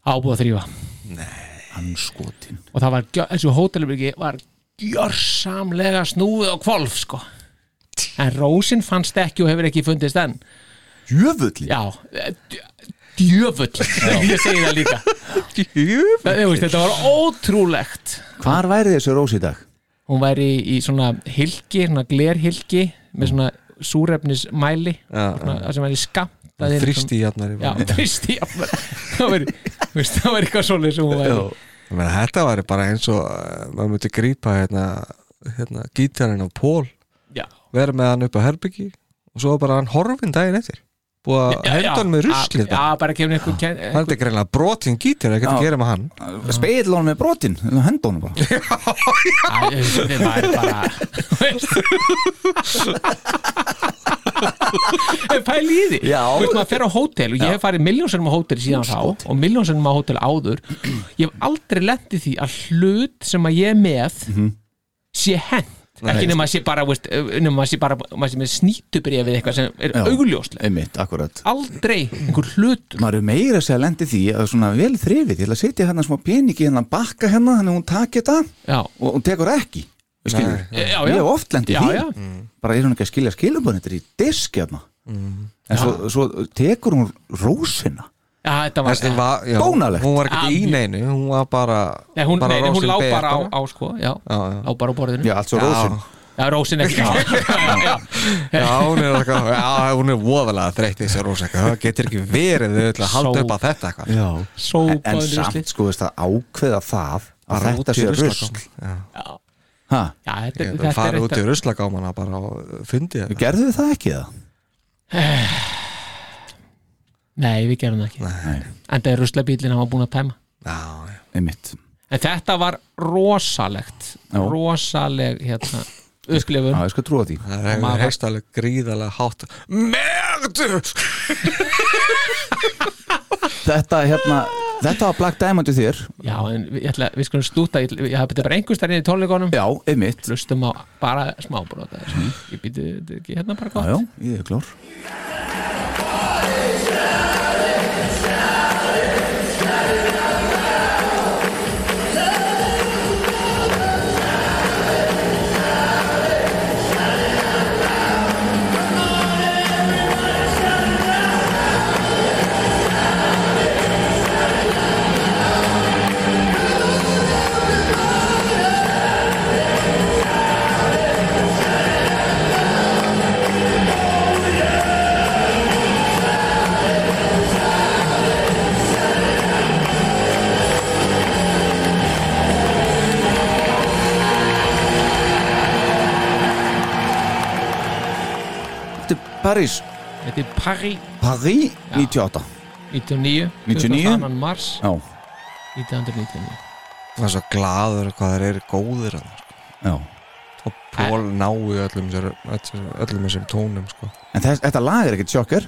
[SPEAKER 3] ábúið að þrýfa
[SPEAKER 6] Hann skotin
[SPEAKER 3] og það var, gjör- þessu hótelbyrgi var gjörsamlega snúið og kvolf sko en rósin fannst ekki og hefur ekki fundist enn
[SPEAKER 6] Jöfulli
[SPEAKER 3] já, eh, djöfull ég segi það líka
[SPEAKER 5] Jú,
[SPEAKER 3] það, þú veist, þetta var ótrúlegt
[SPEAKER 6] Hvar væri þessi rós í dag?
[SPEAKER 3] hún væri í svona hilki, svona glerhilki með svona súrefnismæli
[SPEAKER 5] Já,
[SPEAKER 3] svona, það sem væri skamtað inn
[SPEAKER 5] Þrýsti í hjarnar
[SPEAKER 3] Já, þrýsti jafnvel Það væri, þú veist, það væri eitthvað svoleið sem hún væri
[SPEAKER 5] Ég meina, þetta væri bara eins og eh, maður myndi grípa hérna, hérna gítarinn á pól
[SPEAKER 3] Já,
[SPEAKER 5] vera með hann upp á herbyggi og svo bara hann horfinn daginn eftir búið að
[SPEAKER 3] já,
[SPEAKER 5] henda hann með ruslið
[SPEAKER 3] Já,
[SPEAKER 5] bara.
[SPEAKER 3] bara kemur einhver ken-
[SPEAKER 5] hann er greinlega brotinn gítar ekkert að
[SPEAKER 6] Já.
[SPEAKER 5] gera með hann
[SPEAKER 6] Speil honum með brotin Henda honum hérna bara
[SPEAKER 3] Æ, Þetta væri bara þú veist. En Pæli í því
[SPEAKER 6] Já.
[SPEAKER 3] Þú veist, maður fer á hótel og ég hef farið miljónsennum á hótel síðan þá og miljónsennum á hótel áður
[SPEAKER 5] Mhm.
[SPEAKER 3] Ég hef aldrei lent í því að hlut sem að ég er með sé hent ekki nema að sé bara, veist, nema að sé bara maður sé með snýtubrið við eitthvað sem er
[SPEAKER 6] Já.
[SPEAKER 3] augljóslega
[SPEAKER 6] einmitt, akkurat
[SPEAKER 3] aldrei einhver hlutur
[SPEAKER 6] maður er meira að segja lendi því að svona vel þrifið, ég ætla að setja hérna smá peningi hérna bakka hérna, þannig að hún taki þetta
[SPEAKER 3] já,
[SPEAKER 6] og hún tekur ekki skilur,
[SPEAKER 3] já, já,
[SPEAKER 6] ég hef oft lendi
[SPEAKER 3] já,
[SPEAKER 6] því
[SPEAKER 3] já.
[SPEAKER 6] bara er hún ekki að skilja skilubun þetta er í disk hérna en svo, svo tekur hún rósina
[SPEAKER 3] já þetta var
[SPEAKER 5] Þessi var, já,
[SPEAKER 6] Bónalegt.
[SPEAKER 5] hún var ekki
[SPEAKER 3] Ah,
[SPEAKER 5] í neinu, hún var bara
[SPEAKER 3] Nei, hún,
[SPEAKER 5] bara
[SPEAKER 3] nei, nei, hún
[SPEAKER 5] rósin
[SPEAKER 3] lá
[SPEAKER 5] ber,
[SPEAKER 3] bara á, á sko, já,
[SPEAKER 5] Já, já.
[SPEAKER 3] lá bara á borðinu
[SPEAKER 6] já, allt svo
[SPEAKER 5] Já.
[SPEAKER 6] rósin
[SPEAKER 3] Já, rósin ekki já,
[SPEAKER 5] Já, hún er, eitthvað, já, hún er voðalega þreytt í þessi rósa eitthvað. það getur ekki verið þau ætla að halda
[SPEAKER 3] Só.
[SPEAKER 5] upp að þetta eitthvað
[SPEAKER 6] já. en,
[SPEAKER 3] Sópa
[SPEAKER 6] en
[SPEAKER 3] undir ruslið.
[SPEAKER 6] samt sko veist að ákveða það að
[SPEAKER 5] Bara
[SPEAKER 6] þetta
[SPEAKER 5] út í
[SPEAKER 6] sé rusl
[SPEAKER 5] ruslakomuna. Já.
[SPEAKER 3] Já,
[SPEAKER 6] ha,
[SPEAKER 3] já, þetta,
[SPEAKER 5] Ég
[SPEAKER 3] þetta
[SPEAKER 5] bara
[SPEAKER 3] er
[SPEAKER 5] farið út í
[SPEAKER 3] þetta
[SPEAKER 5] ruslagámana bara og fundið þetta
[SPEAKER 6] gerðu þið það ekki það?
[SPEAKER 3] Nei, við gerum það ekki En það er ruslabílinn hann var búin að tæma
[SPEAKER 5] Já, já.
[SPEAKER 6] einmitt
[SPEAKER 3] En þetta var rosalegt
[SPEAKER 6] Já.
[SPEAKER 3] Rosaleg, hérna Öskulefun
[SPEAKER 6] Já, ég skal trúa því
[SPEAKER 5] það hefur
[SPEAKER 3] maður-
[SPEAKER 5] heist alveg gríðalega hátt Merdu!
[SPEAKER 6] Þetta, hérna, þetta var Black Diamond í þér
[SPEAKER 3] Já, en við, ég ætla, við skulum stúta Ég, ætla- ég hafði bara einhvers þar inn í tónleikonum
[SPEAKER 6] Já, einmitt Já,
[SPEAKER 3] Hlustum á bara smábrota mm. Ég býti þetta er ekki hérna bara gott
[SPEAKER 6] já, ég er klár Þetta er Paris,
[SPEAKER 3] Þetta er Paris
[SPEAKER 6] Paris
[SPEAKER 3] Já.
[SPEAKER 6] 98
[SPEAKER 3] 99
[SPEAKER 6] 99.
[SPEAKER 3] 22. mars
[SPEAKER 6] Já,
[SPEAKER 3] 1999
[SPEAKER 5] Það er svo gladur hvað þeir eru góðir hann
[SPEAKER 6] já
[SPEAKER 5] og Pól náu öllum, sér, öllum, öllum þessum tónum sko.
[SPEAKER 6] En þess, þetta lag er ekkert sjokker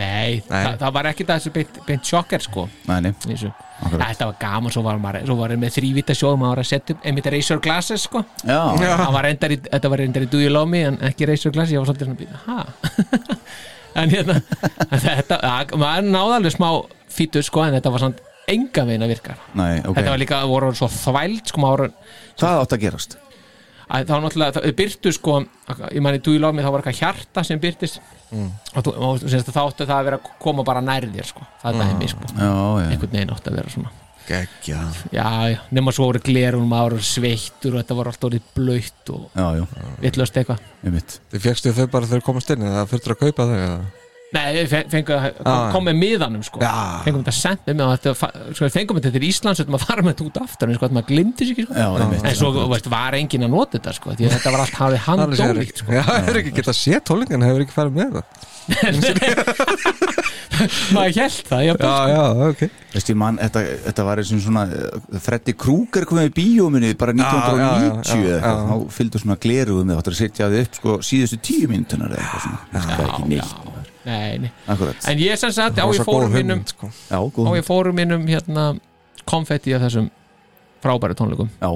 [SPEAKER 3] Nei, Það, það var ekki þessi beint, beint sjokker sko
[SPEAKER 6] Nei, nei,
[SPEAKER 3] í þessu.
[SPEAKER 6] akkurat
[SPEAKER 3] Þetta var gaman, svo var maður svo var hann með þrývita sjóð, maður var að setja upp einmitt Razor Glasses sko
[SPEAKER 6] Já, já,
[SPEAKER 3] Það var reyndar í, þetta var reyndar í Do You Love Me en ekki Razor Glass, ég var svolítið svona býta, ha? en hérna en þetta, að, maður náði alveg smá fítur sko, en þetta var samt enga veginn að virkar
[SPEAKER 6] nei, ok
[SPEAKER 3] þetta var líka, voru svo þvæld sko, maður,
[SPEAKER 6] Hvað átt að gerast?
[SPEAKER 3] að, þá náttúrulega, það byrtu sko ég mani, Do You Love Me, þá var eitthvað hjarta sem byrtist og þú, og, þú sérst, þá áttu það að vera að koma bara nærið þér sko, það er dæmi sko
[SPEAKER 6] Já, já
[SPEAKER 3] einhvern veginn átti að vera svona
[SPEAKER 5] Gekkja
[SPEAKER 3] já, já, nema svo voru glerun maður var sveittur og þetta var allt orðið blöytt og
[SPEAKER 6] Já, já,
[SPEAKER 3] villast eitthvað
[SPEAKER 6] einmitt
[SPEAKER 5] Þið fjöxtu þau bara þegar þau komast inn eða þurftur að kaupa þau eða?
[SPEAKER 3] Nei, við fe- fengum að
[SPEAKER 5] Já.
[SPEAKER 3] kom með miðanum sko
[SPEAKER 5] Já.
[SPEAKER 3] fengum þetta sent með mig og þetta fa- sko, við fengum þetta til Íslands þetta maður fara með þetta út aftur en sko, þetta maður glimti sér ekki sko
[SPEAKER 6] Já, einmitt
[SPEAKER 3] en svo veist, var enginn að nota þetta sko því að þetta var allt hafið
[SPEAKER 5] Annars hefur
[SPEAKER 3] handólíkt
[SPEAKER 5] ekki,
[SPEAKER 3] sko.
[SPEAKER 5] já, hefur ekki getað séð tólingin hefur ekki farið með það
[SPEAKER 3] maður held það já, sko. já.
[SPEAKER 5] já, ok
[SPEAKER 6] Veist ég mann, þetta, þetta var eins og svona eh, Freddy Krueger komið í bíóminni bara
[SPEAKER 5] Já, já, já,
[SPEAKER 6] 1990 eða eitthvað,
[SPEAKER 5] já.
[SPEAKER 6] þá fylgdu svona gleruðum eða áttur að setja þið upp sko síðustu tíu mínútunar eða eitthvað svona Veist, það er ekki neitt
[SPEAKER 3] Nei, nei.
[SPEAKER 6] Akkurat,
[SPEAKER 3] en ég sem sagt á
[SPEAKER 5] var
[SPEAKER 3] ég
[SPEAKER 5] svo
[SPEAKER 3] fórum
[SPEAKER 5] góð
[SPEAKER 3] mínum
[SPEAKER 5] hugmynd, sko.
[SPEAKER 6] já,
[SPEAKER 3] á
[SPEAKER 6] góð
[SPEAKER 3] ég fórum mínum hérna konfetti af þessum frábæri tónleikum
[SPEAKER 6] Já,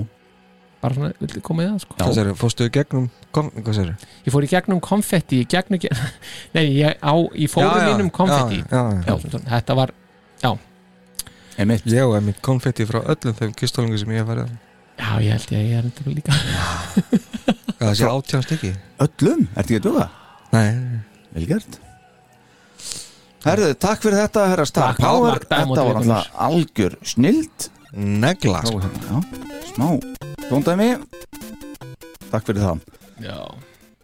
[SPEAKER 3] bara svona, vildi koma í það sko
[SPEAKER 6] Já.
[SPEAKER 5] Hvað séru, fórstu í gegnum kom, Hvað séru?
[SPEAKER 3] ég fór í gegnum konfetti í gegnum, nei, ég, á, ég fórum mínum konfetti
[SPEAKER 5] já, já, já.
[SPEAKER 3] þetta var
[SPEAKER 6] einmitt
[SPEAKER 5] Ég og einmitt konfetti frá öllum þeim kistólingu sem ég hef farið á.
[SPEAKER 3] Já, ég held ég að ég er þetta líka
[SPEAKER 5] Hvað það sé átján stykki?
[SPEAKER 6] Öllum, ertu ekki að duga?
[SPEAKER 5] Nei,
[SPEAKER 6] Vel gert Herðu, takk fyrir þetta, herra Star
[SPEAKER 3] Takk,
[SPEAKER 6] Power
[SPEAKER 3] takk, Diamond
[SPEAKER 6] Þetta var
[SPEAKER 3] Vikunnar.
[SPEAKER 6] alltaf algjör snild
[SPEAKER 5] negla sko.
[SPEAKER 3] hérna.
[SPEAKER 6] Já, smá Tóndæmi Takk fyrir það
[SPEAKER 3] Já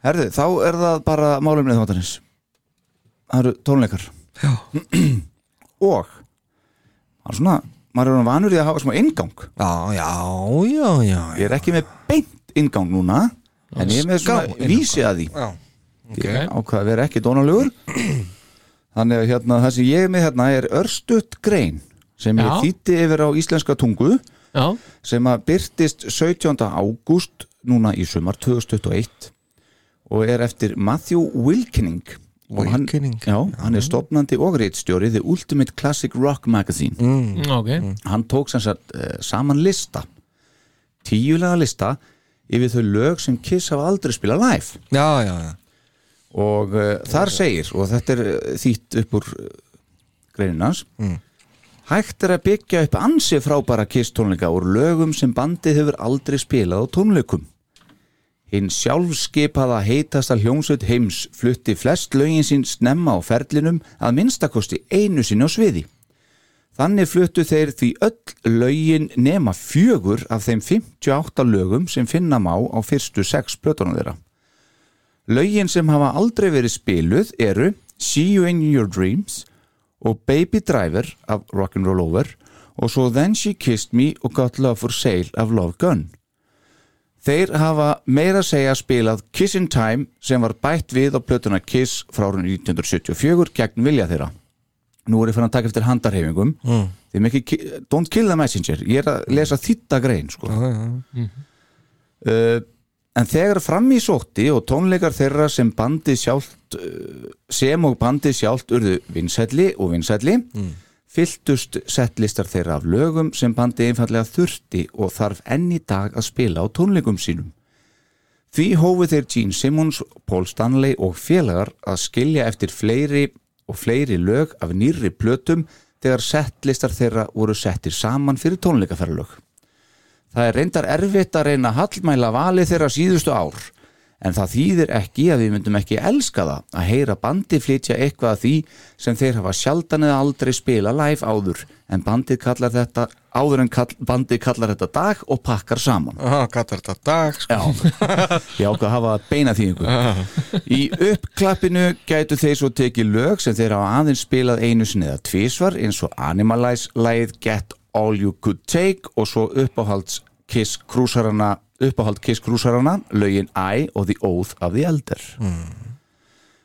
[SPEAKER 6] Herðu, þá er það bara málumnið þáttanins Það eru tónleikar
[SPEAKER 5] Já.
[SPEAKER 6] Og Það er svona, maður er orðinn vanur í að hafa smá inngang
[SPEAKER 5] Já, já, já, já,
[SPEAKER 6] Ég er ekki með beint inngang núna En ég er með
[SPEAKER 5] Ská
[SPEAKER 6] svona
[SPEAKER 5] inngang.
[SPEAKER 6] vísi að því
[SPEAKER 5] já.
[SPEAKER 6] okay. ákvað að vera ekki dónalugur þannig að hérna, það sem ég er með hérna er örstutt grein sem
[SPEAKER 3] Já.
[SPEAKER 6] ég þýtti yfir á íslenska tungu
[SPEAKER 3] Já,
[SPEAKER 6] sem að byrtist 17. ágúst núna í sumar 2021 og er eftir Matthew Wilkening Og hann-
[SPEAKER 5] Wilkening.
[SPEAKER 6] Já, hann er stopnandi og reitstjóri The Ultimate Classic Rock Magazine
[SPEAKER 3] Mm, ok
[SPEAKER 5] Hmm.
[SPEAKER 6] hann tók sem sagt eh, saman lista tíulega lista yfir þau lög sem Kiss hafa aldrei spilað live
[SPEAKER 5] já, já, já
[SPEAKER 6] og uh, þar segir og þetta er uh, þýtt upp úr uh, greinunans mm. hægt er að byggja upp ansi frábæra Kiss tónleika úr lögum sem bandið hefur aldrei spilað á tónleikum hinn sjálfskipaða heitasta hljómsveit heims flutti flest lögin sín snemma á ferlinum að minnstakosti einu sinni á sviði Þannig fluttu þeir því öll lögin nema fjögur af þeim 58 lögum sem finna má á fyrstu sex plötunum þeirra. Lögin sem hafa aldrei verið spiluð eru See You In Your Dreams og Baby Driver af Rock'n'Roll Over og svo Then She Kissed Me og Got Love For Sale af Love Gun. Þeir hafa meira að segja spilað Kiss in Time sem var bætt við á plötuna Kiss frá árun 1974 gegn vilja þeirra. Nú er ég fann að taka eftir handarhefingum mm. þeim ekki, ki- don't kill the messenger ég er að lesa þýtta grein sko.
[SPEAKER 5] já, já. Mhm.
[SPEAKER 6] uh, en þegar fram í sótti og tónleikar þeirra sem bandið sjálft uh, sem og bandið sjálft urðu vinsælli og vinsælli fylltust settlistar þeirra af lögum sem bandið einfallega þurfti og þarf enn í dag að spila á tónleikum sínum Því hófu þeir Gene Simmons, Paul Stanley og félagar að skilja eftir fleiri og fleiri lög af nýrri plötum þegar settlistar þeirra voru settir saman fyrir tónleikaferðalög. Það er reyndar erfitt að reyna að hallmæla valið þeirra síðustu ár en það þýðir ekki að við myndum ekki elska það að heyra bandi flytja eitthvað að því sem þeir hafa sjaldan eða aldrei spila live áður en bandið kallar þetta áður en kall, bandið kallar þetta dag og pakkar saman
[SPEAKER 5] Aha, Katar þetta dag sko.
[SPEAKER 6] Já, ég ákvað að hafa beina þýðingu Í uppklappinu gætu þeir svo tekið lög sem þeir hafa aðeins spilað einu sinni eða tvísvar eins og Animalize, lagið Get All You Could Take og svo uppáhalds Kiss Krúsarana uppáhald Kiss Krúsarana, lögin I og The Oath of the Elder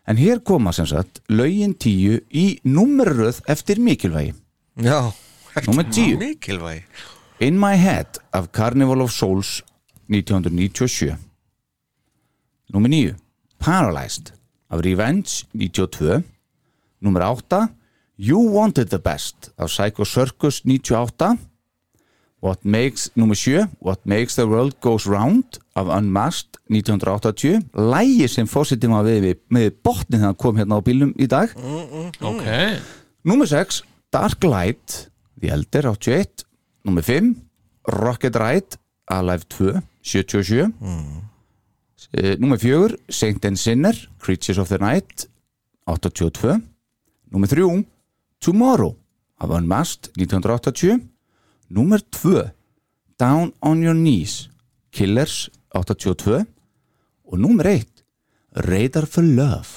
[SPEAKER 6] En hér koma sem sagt lögin 10 í nummerröð eftir mikilvægi
[SPEAKER 5] já.
[SPEAKER 6] Númer 10
[SPEAKER 5] mikilvæg
[SPEAKER 6] In My Head af Carnival of Souls 1997 Númer 9 Paralyzed af Revenge 92 Númer 8 You Wanted the Best af Psycho Circus 98 What Makes Númer 7 What Makes the World Goes Round af Unmasked 1980 Lægi sem fórsettum að við með botni þegar hann kom hérna á bílum í dag
[SPEAKER 3] ok,
[SPEAKER 6] Númer 6, Dark Light The Elder 81 Númer 5, Rocket Ride Alive 2, 77 mm. Eh, Númer 4 Saint and Sinner, Creatures of the Night 82 Númer 3, Tomorrow af Unmasked, 1980 Númer 2 Down on Your Knees Killers, 82 og númer 1 Radar for Love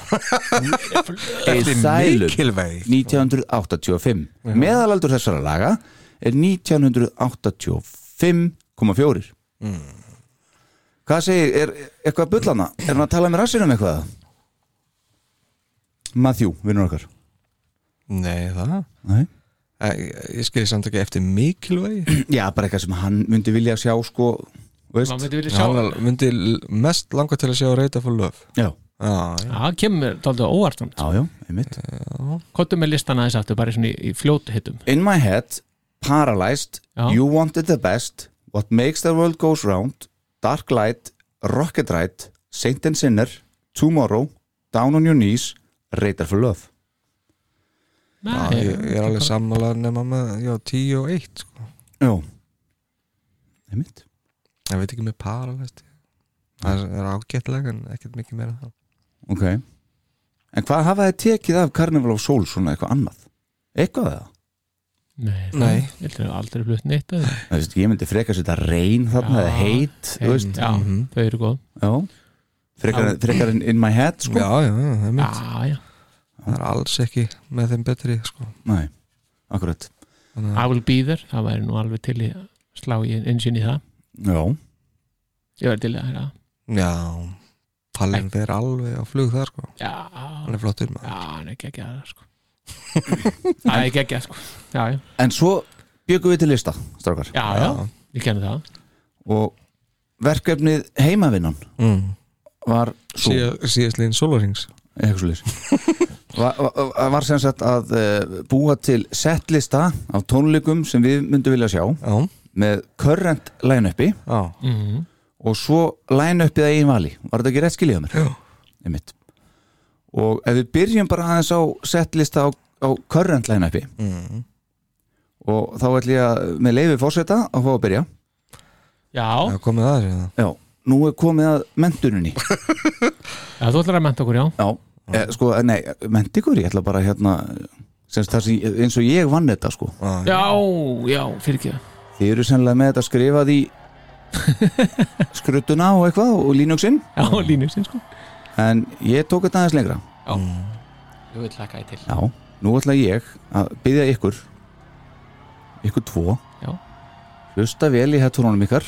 [SPEAKER 6] A Silent
[SPEAKER 5] mikilvæg
[SPEAKER 6] 1985 meðalaldur þessara laga er 1985,4 hvað segir, er eitthvað bullana er hann að tala með rassinum eitthvað Matthew, vinnur okkar
[SPEAKER 5] nei það
[SPEAKER 6] Nei.
[SPEAKER 5] Æ, ég- ég skilji samt ekki eftir mikilvæg
[SPEAKER 6] já, bara eitthvað sem hann myndi vilja sjá sko, veist
[SPEAKER 3] maður myndi vilja sjá
[SPEAKER 5] hann myndi l- mest langa til að sjá reyta for love
[SPEAKER 6] já,
[SPEAKER 5] já, já.
[SPEAKER 3] það kemur dálítið á óvart samt.
[SPEAKER 6] já, já, einmitt
[SPEAKER 3] kottum með listan aðeins aftur, bara svona í, í fljót hittum
[SPEAKER 6] In My Head, Paralyzed
[SPEAKER 3] Já.
[SPEAKER 6] You Wanted the Best What Makes the World Goes Round Dark Light, Rocket Ride Saint and Sinner, Tomorrow Down on Your Knees, Radar for Love
[SPEAKER 5] Já, ég, ég er alveg sammála nema með já, 10 og 1 sko.
[SPEAKER 6] Já Einmitt
[SPEAKER 5] ég veit ekki með para það er- er ágætlega en ekkert mikið meira en það.
[SPEAKER 6] Ok En hvað hafa þið tekið af Carnival of Souls svona eitthvað annað? Eitthvað það?
[SPEAKER 3] Nei,
[SPEAKER 5] Nei.
[SPEAKER 3] það- ég held að aldrei flutt neitt að þeim.
[SPEAKER 6] Þú veist, ég myndi frekar setja reyn þarna
[SPEAKER 3] Já,
[SPEAKER 6] eða heit, þú
[SPEAKER 5] Mm-hmm.
[SPEAKER 6] veist
[SPEAKER 3] Já,
[SPEAKER 5] Mhm.
[SPEAKER 3] þau eru góð
[SPEAKER 6] Já Frekar, frekar in, in my head, sko
[SPEAKER 5] já, já, já, það er mitt
[SPEAKER 3] Já, já,
[SPEAKER 5] það er alls ekki með þeim betri sko.
[SPEAKER 6] Nei, akkurat Mm.
[SPEAKER 3] I will be there það væri nú alveg til í að slá í einsinn í það
[SPEAKER 6] Já,
[SPEAKER 3] ég væri til í að hérna
[SPEAKER 5] já, Pallin fer alveg á flug þar sko.
[SPEAKER 3] Já,
[SPEAKER 5] hann er flottur maður
[SPEAKER 3] já, hann er geggjað það sko Það er geggjað sko Já, já,
[SPEAKER 6] en svo bjögum við til lista, strákar
[SPEAKER 3] já, já, ég kenni það
[SPEAKER 6] og verkefnið heimavinnan
[SPEAKER 5] mm.
[SPEAKER 6] var svo,
[SPEAKER 5] síðast líðin Solarings
[SPEAKER 6] eitthvað svo var, var, var sem sagt að eh, búa til settlista af tónleikum sem við myndum vilja sjá
[SPEAKER 5] já,
[SPEAKER 6] með current line-upi
[SPEAKER 5] já,
[SPEAKER 3] mm -hmm.
[SPEAKER 6] og svo læna uppið að einn vali var þetta ekki rétt skiljað mér? Einmitt. og ef við byrjum bara aðeins á settlista á, á current læna uppi og þá ætlum ég að með leifi fórseta að fá að byrja
[SPEAKER 3] Já,
[SPEAKER 5] Já, komið að þessu hérna.
[SPEAKER 6] já, nú er komið að mentuninni
[SPEAKER 3] já, þú ætlar að menta okkur, já
[SPEAKER 6] Já, e, sko, nei, menti ykkur, ég ætla bara hérna semst það sem, eins og ég vann þetta sko
[SPEAKER 5] Já,
[SPEAKER 3] Já, já, fyrir ekki
[SPEAKER 6] Þið eru sennilega með þetta skrifað í skrutuna og eitthvað og Linuxinn,
[SPEAKER 3] Já, línusinn, sko
[SPEAKER 6] en ég tók þetta aðeins lengra
[SPEAKER 3] Mm. Ég vil laka þið til
[SPEAKER 6] Já, nú ætla ég að byggja ykkur ykkur tvo
[SPEAKER 3] Já.
[SPEAKER 6] hlusta vel í hættunum ykkar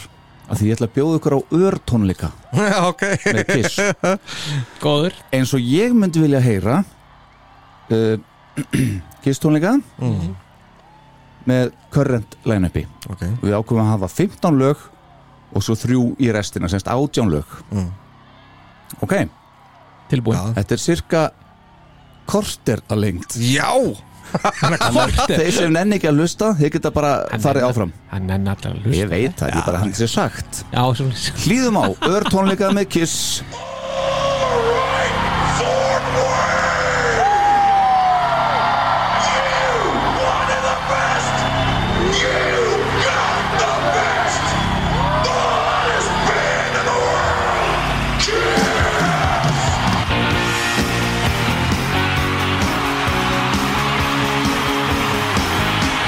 [SPEAKER 6] að því ég ætla að bjóða ykkur á örtónleika
[SPEAKER 5] Já, ok
[SPEAKER 6] með kiss
[SPEAKER 3] Góður
[SPEAKER 6] eins og ég myndi vilja heyra uh, kisstónleika
[SPEAKER 3] Mhm.
[SPEAKER 5] mm.
[SPEAKER 6] með current line-upi
[SPEAKER 5] Ok,
[SPEAKER 6] við ákveðum að hafa 15 lög og svo þrjú í restina, semst 18 lög
[SPEAKER 5] Mm.
[SPEAKER 6] ok,
[SPEAKER 3] Tilbúin
[SPEAKER 5] já
[SPEAKER 6] þetta er cirka korter að lengt
[SPEAKER 5] Já,
[SPEAKER 3] Korter
[SPEAKER 6] þeir sem nenni ekki að lusta, þeir geta bara
[SPEAKER 3] Hann
[SPEAKER 6] farið
[SPEAKER 3] nennir-
[SPEAKER 6] áfram
[SPEAKER 3] Hann nenni allar
[SPEAKER 6] ég
[SPEAKER 3] að hlusta
[SPEAKER 6] veit það, ég bara hann sér sagt
[SPEAKER 3] Já, svona
[SPEAKER 6] hlýðum á, ör tónleika með Kiss
[SPEAKER 7] Kiss.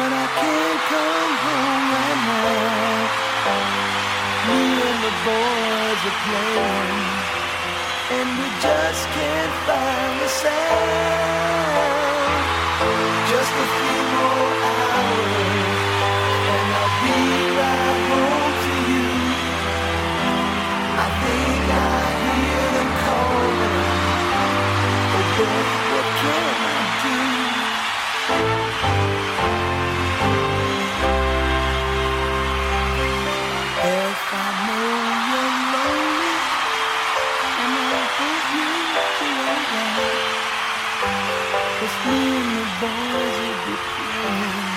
[SPEAKER 7] come home at night. Me and the boys are playing, and we just can't find the sound. Just a few more hours, and I'll be right home to you. I think I hear them calling, but what, what can I do? If I know you're lonely, and I hope you'll be alright. 'Cause me and the boys will be playing.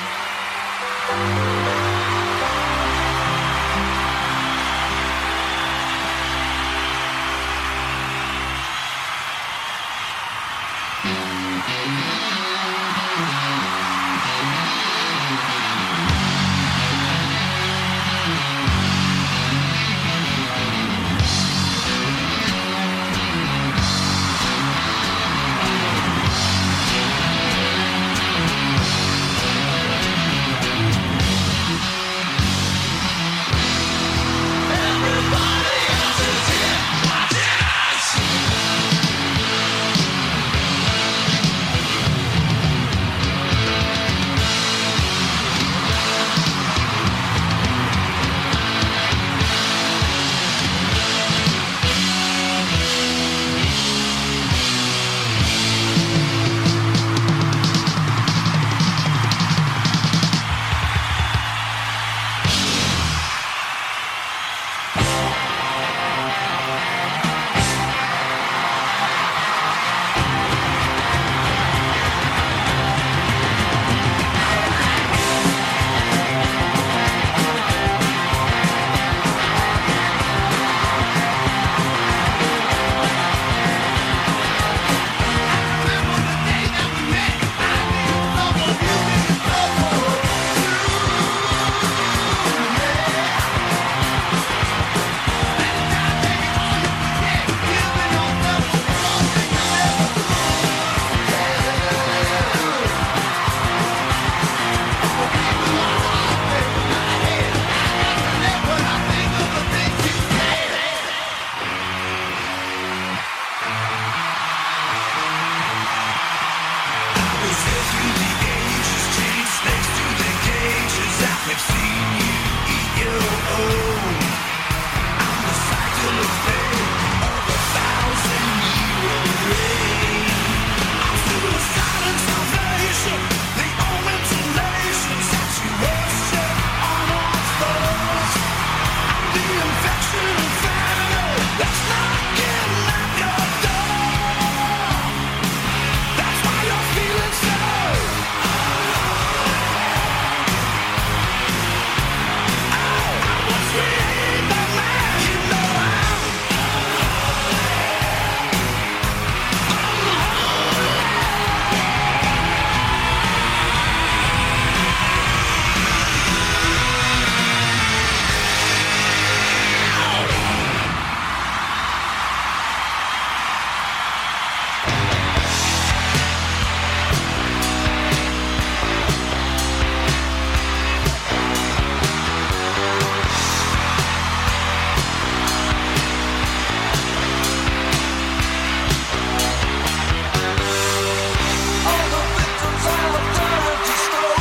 [SPEAKER 7] All the victims are returning to school.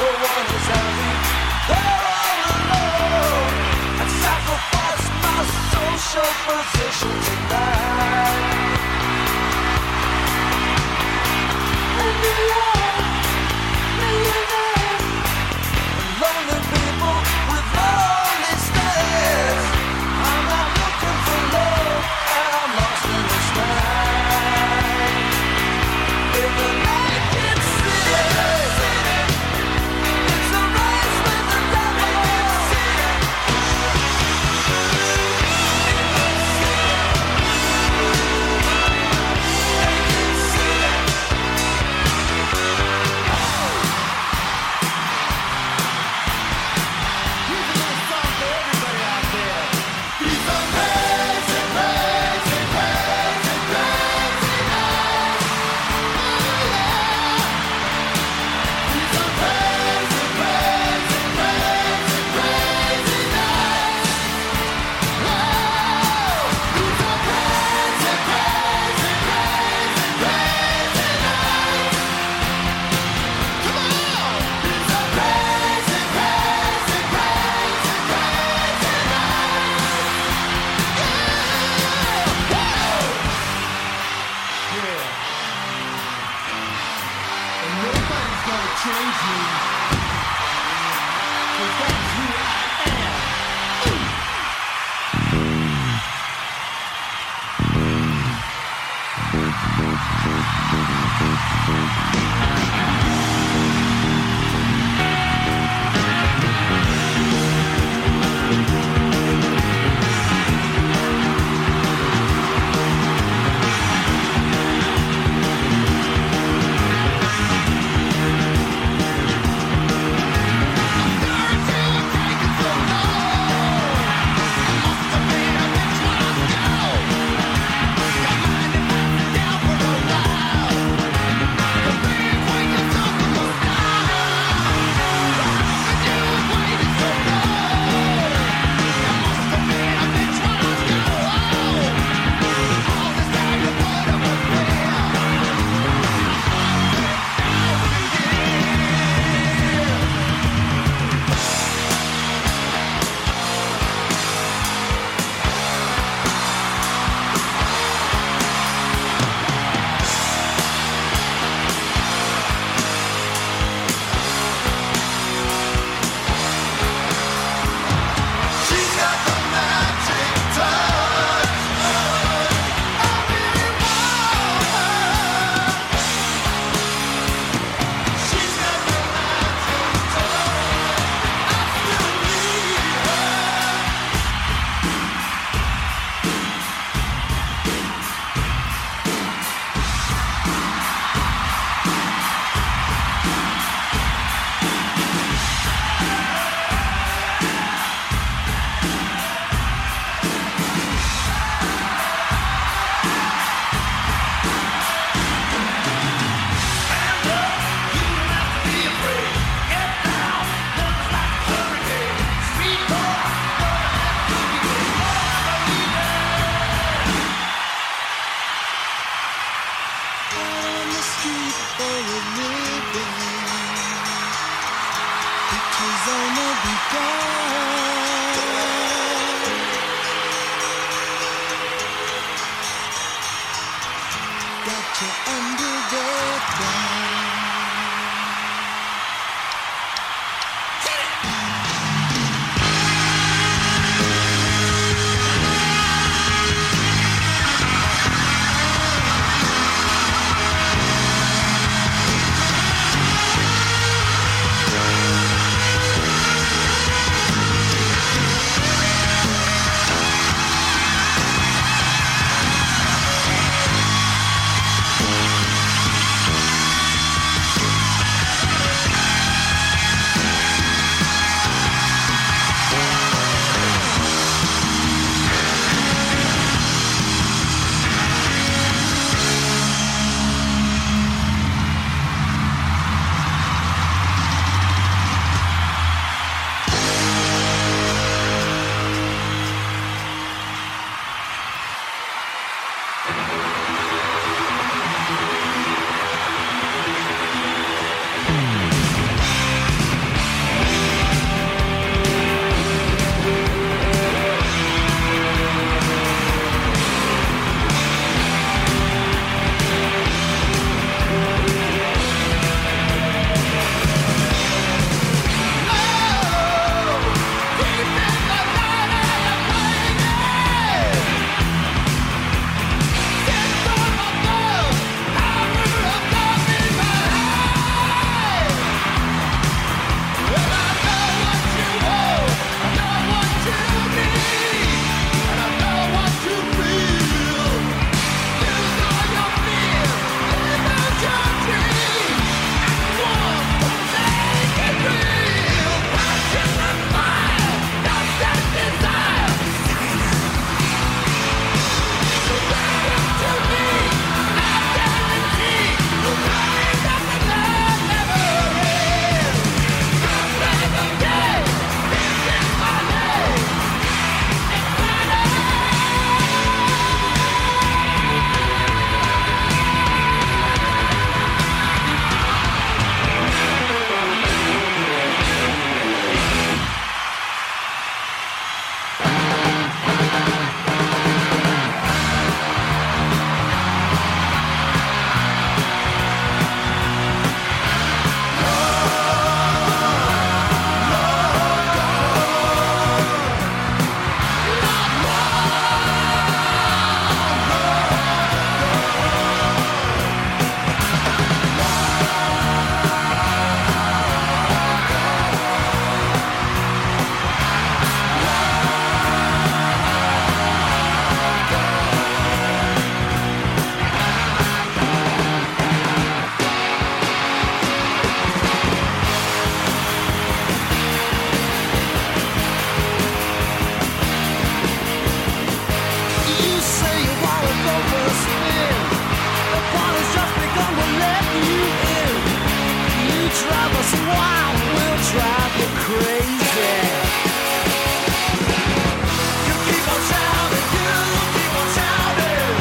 [SPEAKER 7] No one is happy. They're all alone. I sacrifice my social position tonight. And millions, millionaires, and lonely people with lonely stares. I'm not looking for love, and I'm lost in the sky. Thank of me for you. Pictures only begun. Got you under the thumb. You say you want to go for a spin. The party's just begun. We'll let you in. You drive us wild. We'll drive you crazy. You keep on shouting. You keep on shouting.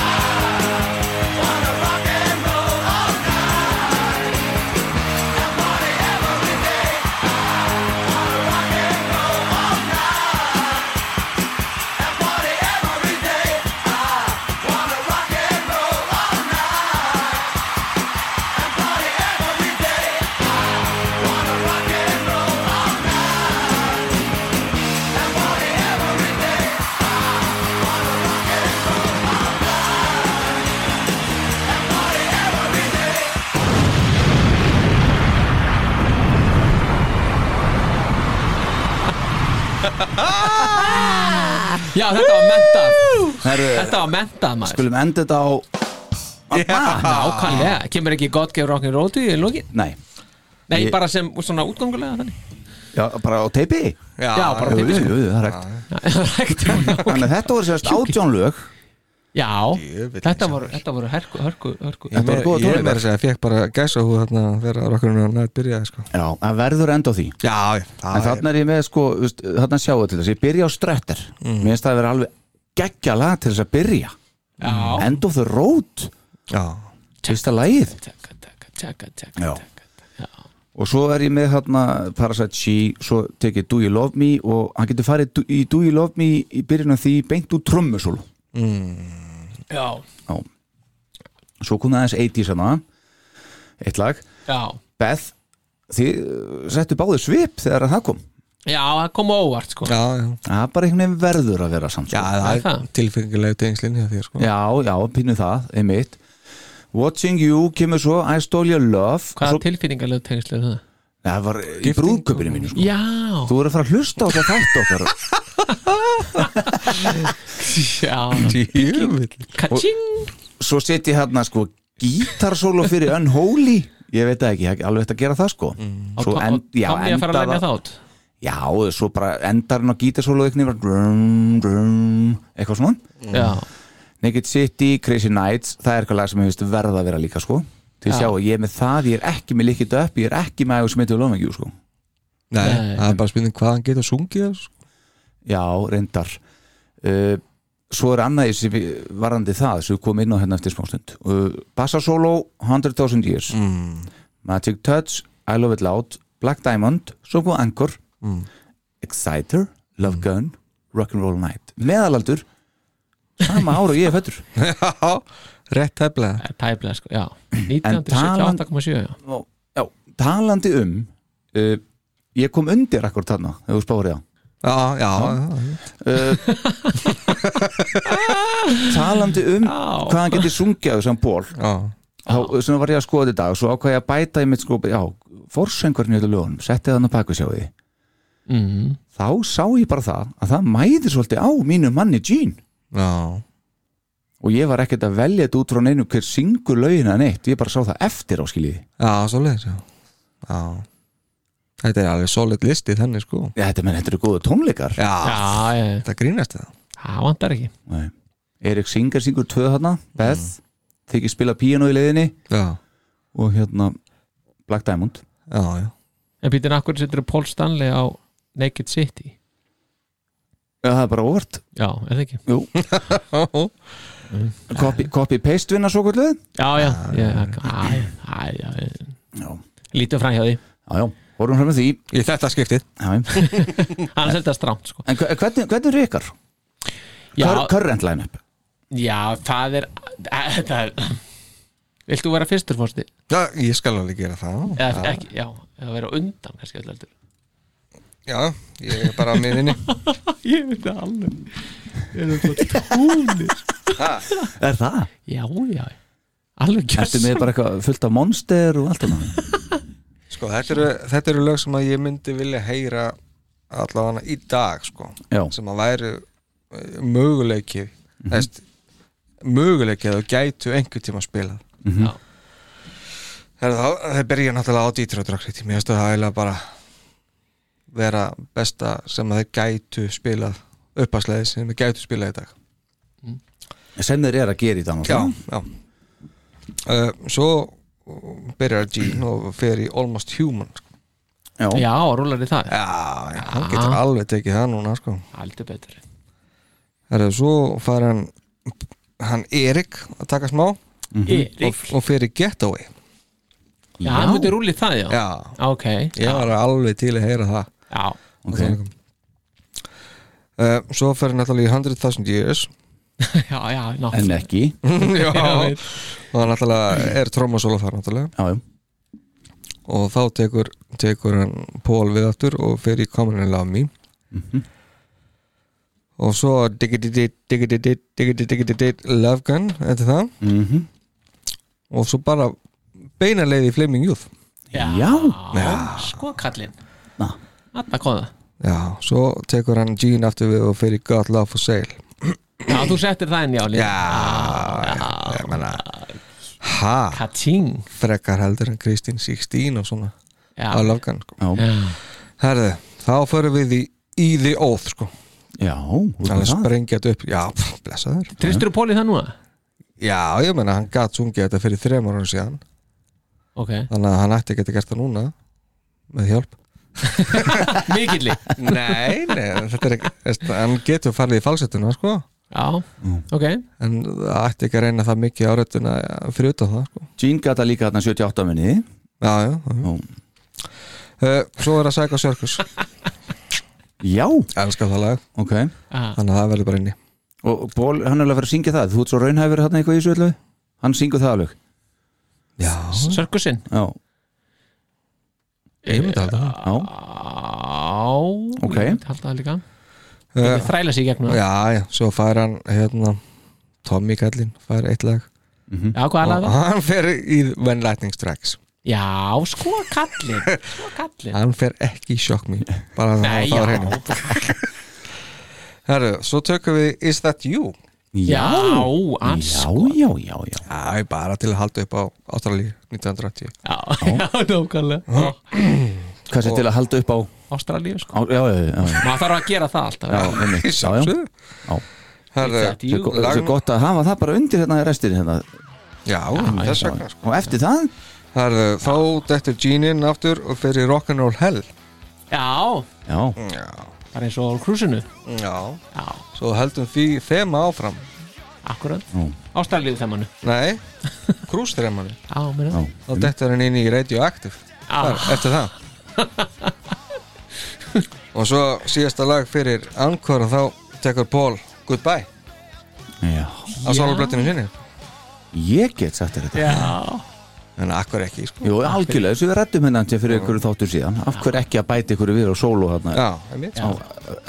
[SPEAKER 7] I wanna rock and roll all night and party every day. I wanna rock and roll all night. I party every day. I wanna rock and roll all night. I party every day. I wanna rock and roll all night. I party every day. I wanna rock and roll all night. I party every day.
[SPEAKER 3] Já, þetta var mentað
[SPEAKER 6] Herru,
[SPEAKER 3] Þetta var mentað maður
[SPEAKER 6] skulum enda þetta á Mamma
[SPEAKER 3] Nákvæmlega, kemur ekki God Gave Rock and Roll til því í lokin?
[SPEAKER 6] Nei,
[SPEAKER 3] Nei,
[SPEAKER 6] Ég-
[SPEAKER 3] bara sem svona útgangulega þannig
[SPEAKER 6] já, bara á teipi
[SPEAKER 5] Já,
[SPEAKER 3] Já, bara
[SPEAKER 6] Jú, jú,
[SPEAKER 3] typisk.
[SPEAKER 6] jú, það er hægt
[SPEAKER 3] Hægt.
[SPEAKER 6] Þannig að þetta voru sérst átjónlög
[SPEAKER 3] Já,
[SPEAKER 5] Djöfullinn
[SPEAKER 3] þetta
[SPEAKER 5] sjálfur.
[SPEAKER 3] voru, þetta voru herku, hörku, hörku
[SPEAKER 5] Ég,
[SPEAKER 6] Þetta
[SPEAKER 5] meira-
[SPEAKER 6] voru góða
[SPEAKER 5] ég
[SPEAKER 6] tónleikar.
[SPEAKER 5] meira að segja, ég fekk bara gæsa hú þarna vera rockurinn að nætt byrjaði sko.
[SPEAKER 6] Já, það verður enda á því
[SPEAKER 5] Já,
[SPEAKER 6] En þarna er ég með sko, þú veist, þarna sjáu til þess Ég byrja á strettir Mér finnst það að vera alveg geggjala til þess að byrja
[SPEAKER 3] Já.
[SPEAKER 6] End of the Road,
[SPEAKER 5] Já,
[SPEAKER 6] fyrsta lagið
[SPEAKER 3] Tjaka, tjaka, tjaka,
[SPEAKER 6] Já.
[SPEAKER 3] tjaka, tjaka. Já.
[SPEAKER 6] og svo er ég með hérna Parasite She, svo tekið Do You Love Me og hann getur farið do, í Do You Love Me í byrjun af því beint úr trömmusól
[SPEAKER 3] Já.
[SPEAKER 6] svo kom það aðeins 80s hana eitt lag,
[SPEAKER 3] Já.
[SPEAKER 6] Beth þið uh, settu báðið svip þegar það kom
[SPEAKER 3] Já, það kom á óvart sko
[SPEAKER 5] já, já,
[SPEAKER 6] það er bara einhvern veginn verður að vera samt
[SPEAKER 5] já
[SPEAKER 6] sko.
[SPEAKER 5] það
[SPEAKER 3] er það.
[SPEAKER 5] er tilfengilega tengslinn hjá þér sko
[SPEAKER 6] já, já, pínu það, einmitt Watching You kemur svo I Stole Your Love
[SPEAKER 3] Hvaða
[SPEAKER 6] svo,
[SPEAKER 3] tilfinningarlega tengsl er það?
[SPEAKER 6] það var í
[SPEAKER 5] Gifting
[SPEAKER 6] brúðköpinu mínu sko.
[SPEAKER 3] Já,
[SPEAKER 6] þú voru að fara að hlusta á það þátt okkar
[SPEAKER 3] já
[SPEAKER 5] Jöfull.
[SPEAKER 3] Kaching
[SPEAKER 6] svo setji hérna sko gítarsólu fyrir Unholy ég veit það ekki, það er alveg þetta að gera það sko
[SPEAKER 3] Mm.
[SPEAKER 6] svo en, já,
[SPEAKER 3] Kom ég að fara að lemja
[SPEAKER 6] það
[SPEAKER 3] þátt
[SPEAKER 6] já, svo bara endar hann á gítarsólu eitthvað drum, drum, eitthvað svona
[SPEAKER 3] Já,
[SPEAKER 6] Naked City, Crazy Nights það er eitthvað lag sem ég veist verða að vera líka sko til
[SPEAKER 3] Já.
[SPEAKER 6] sjá, ég er með það, ég er ekki með líkit upp ég er ekki með að smita við lofengjum sko
[SPEAKER 5] Nei,
[SPEAKER 3] Nei.
[SPEAKER 5] það er bara spurning hvað hann getur sungið það, sko.
[SPEAKER 6] já, reyndar uh, svo er annað í sem við- varðandi það sem við komum inn á hérna eftir smástund uh, Bassasóló, 100.000 years
[SPEAKER 5] mm.
[SPEAKER 6] Magic Touch, I Love It Loud Black Diamond, svo kom Anchor
[SPEAKER 5] Mm.
[SPEAKER 6] Exciter, Love Gun Rock'n'Roll Night, meðalaldur sama ára ég er fættur
[SPEAKER 5] Já, rétt teflega
[SPEAKER 3] það er tæplega sko Já,
[SPEAKER 6] En talan-
[SPEAKER 3] 1978,7 já.
[SPEAKER 6] Og, já, talandi um uh, ég kom undir akkur þarna, ef þú spárið á
[SPEAKER 5] Já, já, já,
[SPEAKER 6] uh, talandi um
[SPEAKER 3] Já.
[SPEAKER 6] hvað hann geti sungið á þessum ból
[SPEAKER 5] já.
[SPEAKER 6] þá svona var ég að skoða þetta og svo ákvað ég að bæta í mitt sko já, forsöngurinn í þetta lögunum, setti þannig að baku sjá því
[SPEAKER 3] Mhm.
[SPEAKER 6] þá sá ég bara það að það mæðir svolítið á mínu manni Jean
[SPEAKER 5] já.
[SPEAKER 6] og ég var ekkert að velja þetta út frá neinu hver syngur lögin að neitt, ég bara sá það eftir á skiljiði
[SPEAKER 5] já svo leir já. já Þetta er alveg solid listi þannig sko
[SPEAKER 6] Já, þetta menn, þetta eru góðu tónleikar
[SPEAKER 5] Já,
[SPEAKER 3] Já, já, já.
[SPEAKER 5] þetta grínast það
[SPEAKER 3] það vantar ekki
[SPEAKER 6] Nei. Erik Singer syngur tvö hana Beth, þykir spila píano í leiðinni
[SPEAKER 5] Já,
[SPEAKER 6] og hérna Black Diamond
[SPEAKER 5] já, já
[SPEAKER 3] En býtin akkur setur Paul Stanley á Naked City
[SPEAKER 6] Já, það er bara óvart
[SPEAKER 3] Já, er það ekki?
[SPEAKER 6] Jú. Copy- Copy-paste vinna svo kvöldið
[SPEAKER 3] Já, já, já, já, já, já, já.
[SPEAKER 6] Já,
[SPEAKER 3] Lítið fram hjá því
[SPEAKER 6] já, já, vorum hræmið því
[SPEAKER 5] Í þetta skiptið
[SPEAKER 6] Já, já.
[SPEAKER 3] Annars er þetta strámt sko
[SPEAKER 6] En hve- hvernig, hvernig er ykkar?
[SPEAKER 3] Já,
[SPEAKER 6] Current line-up
[SPEAKER 3] já það er Þetta er Vilt þú vera fyrstur fórsti?
[SPEAKER 5] Já, ég skal alveg gera það
[SPEAKER 3] Eða ekki, já, eða vera á undan kannski öll heldur
[SPEAKER 5] Já, ég er bara á miðinni
[SPEAKER 3] Ég veit það alveg Ég er bara tónir
[SPEAKER 6] Er það?
[SPEAKER 3] Já, já, alveg
[SPEAKER 6] Ertu með
[SPEAKER 3] kjöss
[SPEAKER 6] bara eitthvað fullt af monster og allt annað?
[SPEAKER 5] Sko, þetta eru, þetta eru lög sem að ég myndi vilja heyra allavega í dag sko
[SPEAKER 6] Já,
[SPEAKER 5] sem að væri eh, möguleiki mm
[SPEAKER 3] Mhm.
[SPEAKER 5] -hmm. möguleiki að þú gætu einhvern tíma að spila
[SPEAKER 3] Já.
[SPEAKER 5] það byrja náttúrulega á dítröðdrakriti mér finnst það eiginlega bara vera besta sem að þeir gætu spilað uppasleði sem þeir gætu spilað í dag
[SPEAKER 6] sem þeir eru að gera í dag sko. náttúrulega.
[SPEAKER 5] já. Uh, svo byrjar Gene og fer í Almost Human sko.
[SPEAKER 6] já.
[SPEAKER 3] Já, rúlar í það
[SPEAKER 5] já, já, hann getur alveg tekið það núna sko.
[SPEAKER 3] Aldrei betur
[SPEAKER 5] Það er svo fær hann hann Erik að taka smá og,
[SPEAKER 3] Erik
[SPEAKER 5] og fyrir Getaway
[SPEAKER 3] Já, hann myndi rúli það, já
[SPEAKER 5] Já,
[SPEAKER 3] Ok,
[SPEAKER 5] ég var alveg til að heyra það
[SPEAKER 3] já,
[SPEAKER 6] ok
[SPEAKER 5] uh, Svo fer náttúrulega í 100.000 years
[SPEAKER 3] já, já, ná
[SPEAKER 6] En ekki,
[SPEAKER 5] Já,
[SPEAKER 3] Já, veit.
[SPEAKER 5] og það náttúrulega er trómasóla þar náttúrulega
[SPEAKER 6] já, já
[SPEAKER 5] og þá tekur, tekur hann Pól við aftur og fer í Common and Love Me og svo diggididid, diggididid, diggididid Love Gun, eftir það
[SPEAKER 6] mm
[SPEAKER 5] og svo bara beina leið í Flaming Youth
[SPEAKER 6] Já.
[SPEAKER 3] Sko kallinn
[SPEAKER 6] Na.
[SPEAKER 3] Þarna kom það
[SPEAKER 5] Já, svo tekur hann Gene aftur við og fer í God Love for Sale
[SPEAKER 3] Já, þú settir það inn, já,
[SPEAKER 5] Já,
[SPEAKER 3] líka
[SPEAKER 5] ég meina Ha,
[SPEAKER 3] Kating
[SPEAKER 5] frekar heldur en Kristín 16 og svona
[SPEAKER 3] Já,
[SPEAKER 5] á lafgan sko.
[SPEAKER 6] Já,
[SPEAKER 5] Herðu, þá förum við í, í The Oath sko.
[SPEAKER 6] já, út með
[SPEAKER 5] Þannig að
[SPEAKER 6] það
[SPEAKER 5] sprengja þetta upp Já, pff, blessa þær
[SPEAKER 3] Tristur og Póli það núna?
[SPEAKER 5] Já, ég meina, hann gat sungið þetta fyrir þrem ára síðan
[SPEAKER 3] Ok,
[SPEAKER 5] Þannig að hann ætti ekki að gert það núna með hjálp
[SPEAKER 3] mikilli
[SPEAKER 5] Nei, nei, þetta er ekki veist, Hann getur farið í falsettuna sko.
[SPEAKER 3] Já,
[SPEAKER 6] Mm.
[SPEAKER 3] ok
[SPEAKER 5] en það ætti ekki að reyna það mikið áreituna fyrir utan það sko.
[SPEAKER 6] Gene gata líka þarna 78 minni
[SPEAKER 5] já, já, já.
[SPEAKER 6] Ó.
[SPEAKER 5] Uh, svo er að Psycho Circus
[SPEAKER 6] Já,
[SPEAKER 5] elskar það lag,
[SPEAKER 6] ok
[SPEAKER 3] ah,
[SPEAKER 5] þannig að það verður bara inni
[SPEAKER 6] Og Ból, hann er alveg að fara að syngja það Þú ert svo raunhæfur þarna eitthvað í þessu öllu Hann syngur það alveg
[SPEAKER 5] já,
[SPEAKER 3] Sörkusinn
[SPEAKER 6] Já,
[SPEAKER 5] ég myndi að það
[SPEAKER 6] já,
[SPEAKER 3] Á,
[SPEAKER 6] Ok.
[SPEAKER 3] ég myndi halda það líka
[SPEAKER 5] uh,
[SPEAKER 3] Ég þræla sig í gegnum það Já,
[SPEAKER 5] já, já, svo fær hann hérna, Tommy Kallin fær eitt lag
[SPEAKER 3] hvað er
[SPEAKER 5] og
[SPEAKER 3] það?
[SPEAKER 5] hann fer í When Lightning Strikes
[SPEAKER 3] Já, sko kallin Sko kallin
[SPEAKER 5] hann fer ekki í sjokk mér bara að hafa
[SPEAKER 3] Nei,
[SPEAKER 5] það
[SPEAKER 3] já.
[SPEAKER 5] var hreinu Herru, svo tökum við Is That You
[SPEAKER 3] Já, ans
[SPEAKER 6] já, já, já, já.
[SPEAKER 5] Já, bara til að halda upp á Ástralíu 1980
[SPEAKER 3] Já, já, nákvæmlega
[SPEAKER 6] Hvað sér til að halda upp á,
[SPEAKER 3] Ástralíu,
[SPEAKER 6] á
[SPEAKER 3] sko
[SPEAKER 6] Já, já, já, já,
[SPEAKER 3] Maður þarf að gera það
[SPEAKER 6] já,
[SPEAKER 3] alltaf
[SPEAKER 6] einmitt. já, já.
[SPEAKER 5] Herru,
[SPEAKER 3] Is That You?
[SPEAKER 6] Svo go- Svo gott að hafa það bara undir hérna í restir hérna.
[SPEAKER 5] já, þess vegna sko.
[SPEAKER 6] Og eftir það
[SPEAKER 5] Herru, þá dettur Gene inn aftur og fer í Rock'n'Roll Hell
[SPEAKER 3] Já,
[SPEAKER 6] Já,
[SPEAKER 5] Já,
[SPEAKER 3] bara eins og á krúsinu
[SPEAKER 5] já
[SPEAKER 3] Já,
[SPEAKER 5] Svo heldum því fema áfram
[SPEAKER 3] akkurat
[SPEAKER 6] Nú.
[SPEAKER 3] Ástralíu þemannu
[SPEAKER 5] Nei, krústremanni
[SPEAKER 3] Já, meina
[SPEAKER 6] já,
[SPEAKER 5] Þá dettur hann inn í Radioactive
[SPEAKER 3] Já,
[SPEAKER 5] þar, eftir það og svo síðasta lag fyrir Ankor þá tekur Paul Goodbye
[SPEAKER 6] já
[SPEAKER 5] á soloblöttinu sinni
[SPEAKER 6] Ég get sagt þér þetta
[SPEAKER 3] já
[SPEAKER 5] en akkur ekki sko.
[SPEAKER 6] Jú, algjörlega, þessu við rættum hérna til fyrir ykkur þáttur síðan Af hverju ekki að bæta ykkur við á sólu hérna
[SPEAKER 5] já, einmitt
[SPEAKER 6] á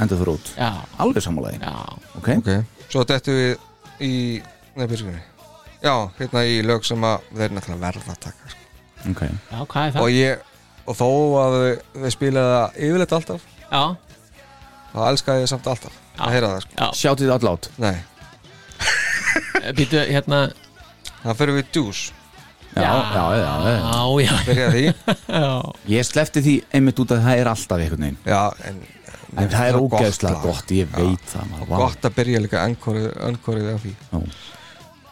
[SPEAKER 6] enda þú út
[SPEAKER 3] Já,
[SPEAKER 6] Alveg sammálaði,
[SPEAKER 3] já
[SPEAKER 6] ok?
[SPEAKER 5] ok, svo dettu við í nefnbyrgunni já, hérna í lög sem að þeir náttúrulega verða að taka sko.
[SPEAKER 6] Ok,
[SPEAKER 3] Já, hvað er
[SPEAKER 5] og
[SPEAKER 3] það?
[SPEAKER 5] ég, og þó að þau- þau spilaði það yfirleitt alltaf
[SPEAKER 3] Já,
[SPEAKER 5] þá elskaði ég samt alltaf að heyra það sko.
[SPEAKER 3] já,
[SPEAKER 6] sjátið allátt
[SPEAKER 5] nei,
[SPEAKER 3] býtu, hérna
[SPEAKER 5] það fyrir við dús
[SPEAKER 6] já, já, já, já,
[SPEAKER 3] Já, já,
[SPEAKER 5] byrja því,
[SPEAKER 3] já
[SPEAKER 6] Ég slefti því einmitt út að það er alltaf einhvern veginn
[SPEAKER 5] já, en
[SPEAKER 6] En það er
[SPEAKER 5] gott
[SPEAKER 6] ógeðslega
[SPEAKER 5] lag.
[SPEAKER 6] gott, ég veit það maður, vá.
[SPEAKER 5] gott að byrja líka önkorið, önkorið af því
[SPEAKER 6] Já.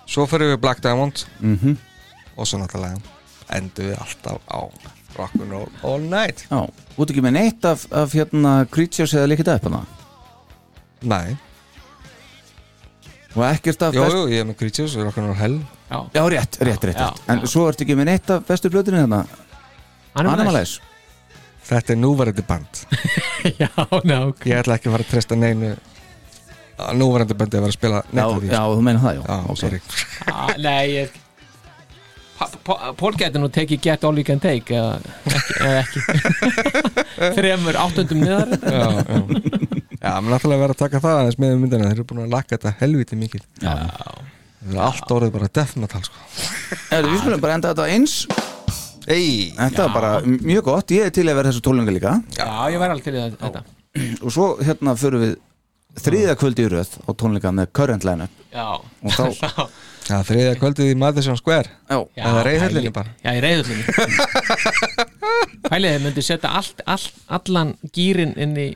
[SPEAKER 5] svo fyrir við Black Diamond
[SPEAKER 6] Mhm.
[SPEAKER 5] og svo náttúrulega endur við alltaf á Rock'n'Roll All Night
[SPEAKER 6] Já, út ekki með neitt af, af hérna Creatures eða líkit upp hana
[SPEAKER 5] nei,
[SPEAKER 6] Og ekkert af
[SPEAKER 5] jú,
[SPEAKER 6] best-
[SPEAKER 5] jú, ég er með Creatures og Rock'n'Roll Hell
[SPEAKER 3] Já,
[SPEAKER 6] Já, rétt, rétt, rétt,
[SPEAKER 3] Já,
[SPEAKER 6] rétt. En svo ertu ekki með neitt af bestu blöðinu hérna
[SPEAKER 3] hann er með
[SPEAKER 6] Animalize
[SPEAKER 5] þetta er núverandi band
[SPEAKER 3] Já, ná, ok
[SPEAKER 5] ég ætla ekki að fara að treysta neinu að núverandi bandi að vera að spila
[SPEAKER 6] Já,
[SPEAKER 5] neitt af því sko.
[SPEAKER 6] já, þú meina það, já,
[SPEAKER 5] já
[SPEAKER 6] ok.
[SPEAKER 5] sorry
[SPEAKER 3] Já, Nei, ég Pa- Pa- Paul gæti nú tekið Get All You Can Take eða ekki, eða ekki. Þremur áttundum niðar
[SPEAKER 5] já, já já, menn náttúrulega verið að taka það aðeins með í myndina þeir eru búin að laka þetta helviti mikið
[SPEAKER 6] Já.
[SPEAKER 5] þeir eru allt orðið bara death metal sko.
[SPEAKER 6] Erðu, við skulum bara enda þetta eins
[SPEAKER 5] ei,
[SPEAKER 6] Þetta var bara m- mjög gott, ég er til að vera þessu tólunga líka
[SPEAKER 3] Já, ég væri alveg til í það- þetta
[SPEAKER 6] Og svo hérna förum við þriðja kvöldi í röð á tónleika með Current Lineup
[SPEAKER 3] Já,
[SPEAKER 6] Og þá,
[SPEAKER 5] já, þriðja kvöldið í Madison Square
[SPEAKER 6] já,
[SPEAKER 3] já
[SPEAKER 5] Eða reiðhöllinni
[SPEAKER 3] pæli-
[SPEAKER 5] bara.
[SPEAKER 3] Já, í reyðhullinni Pælið, þið myndir setja allt, allt, allan gýrin inn í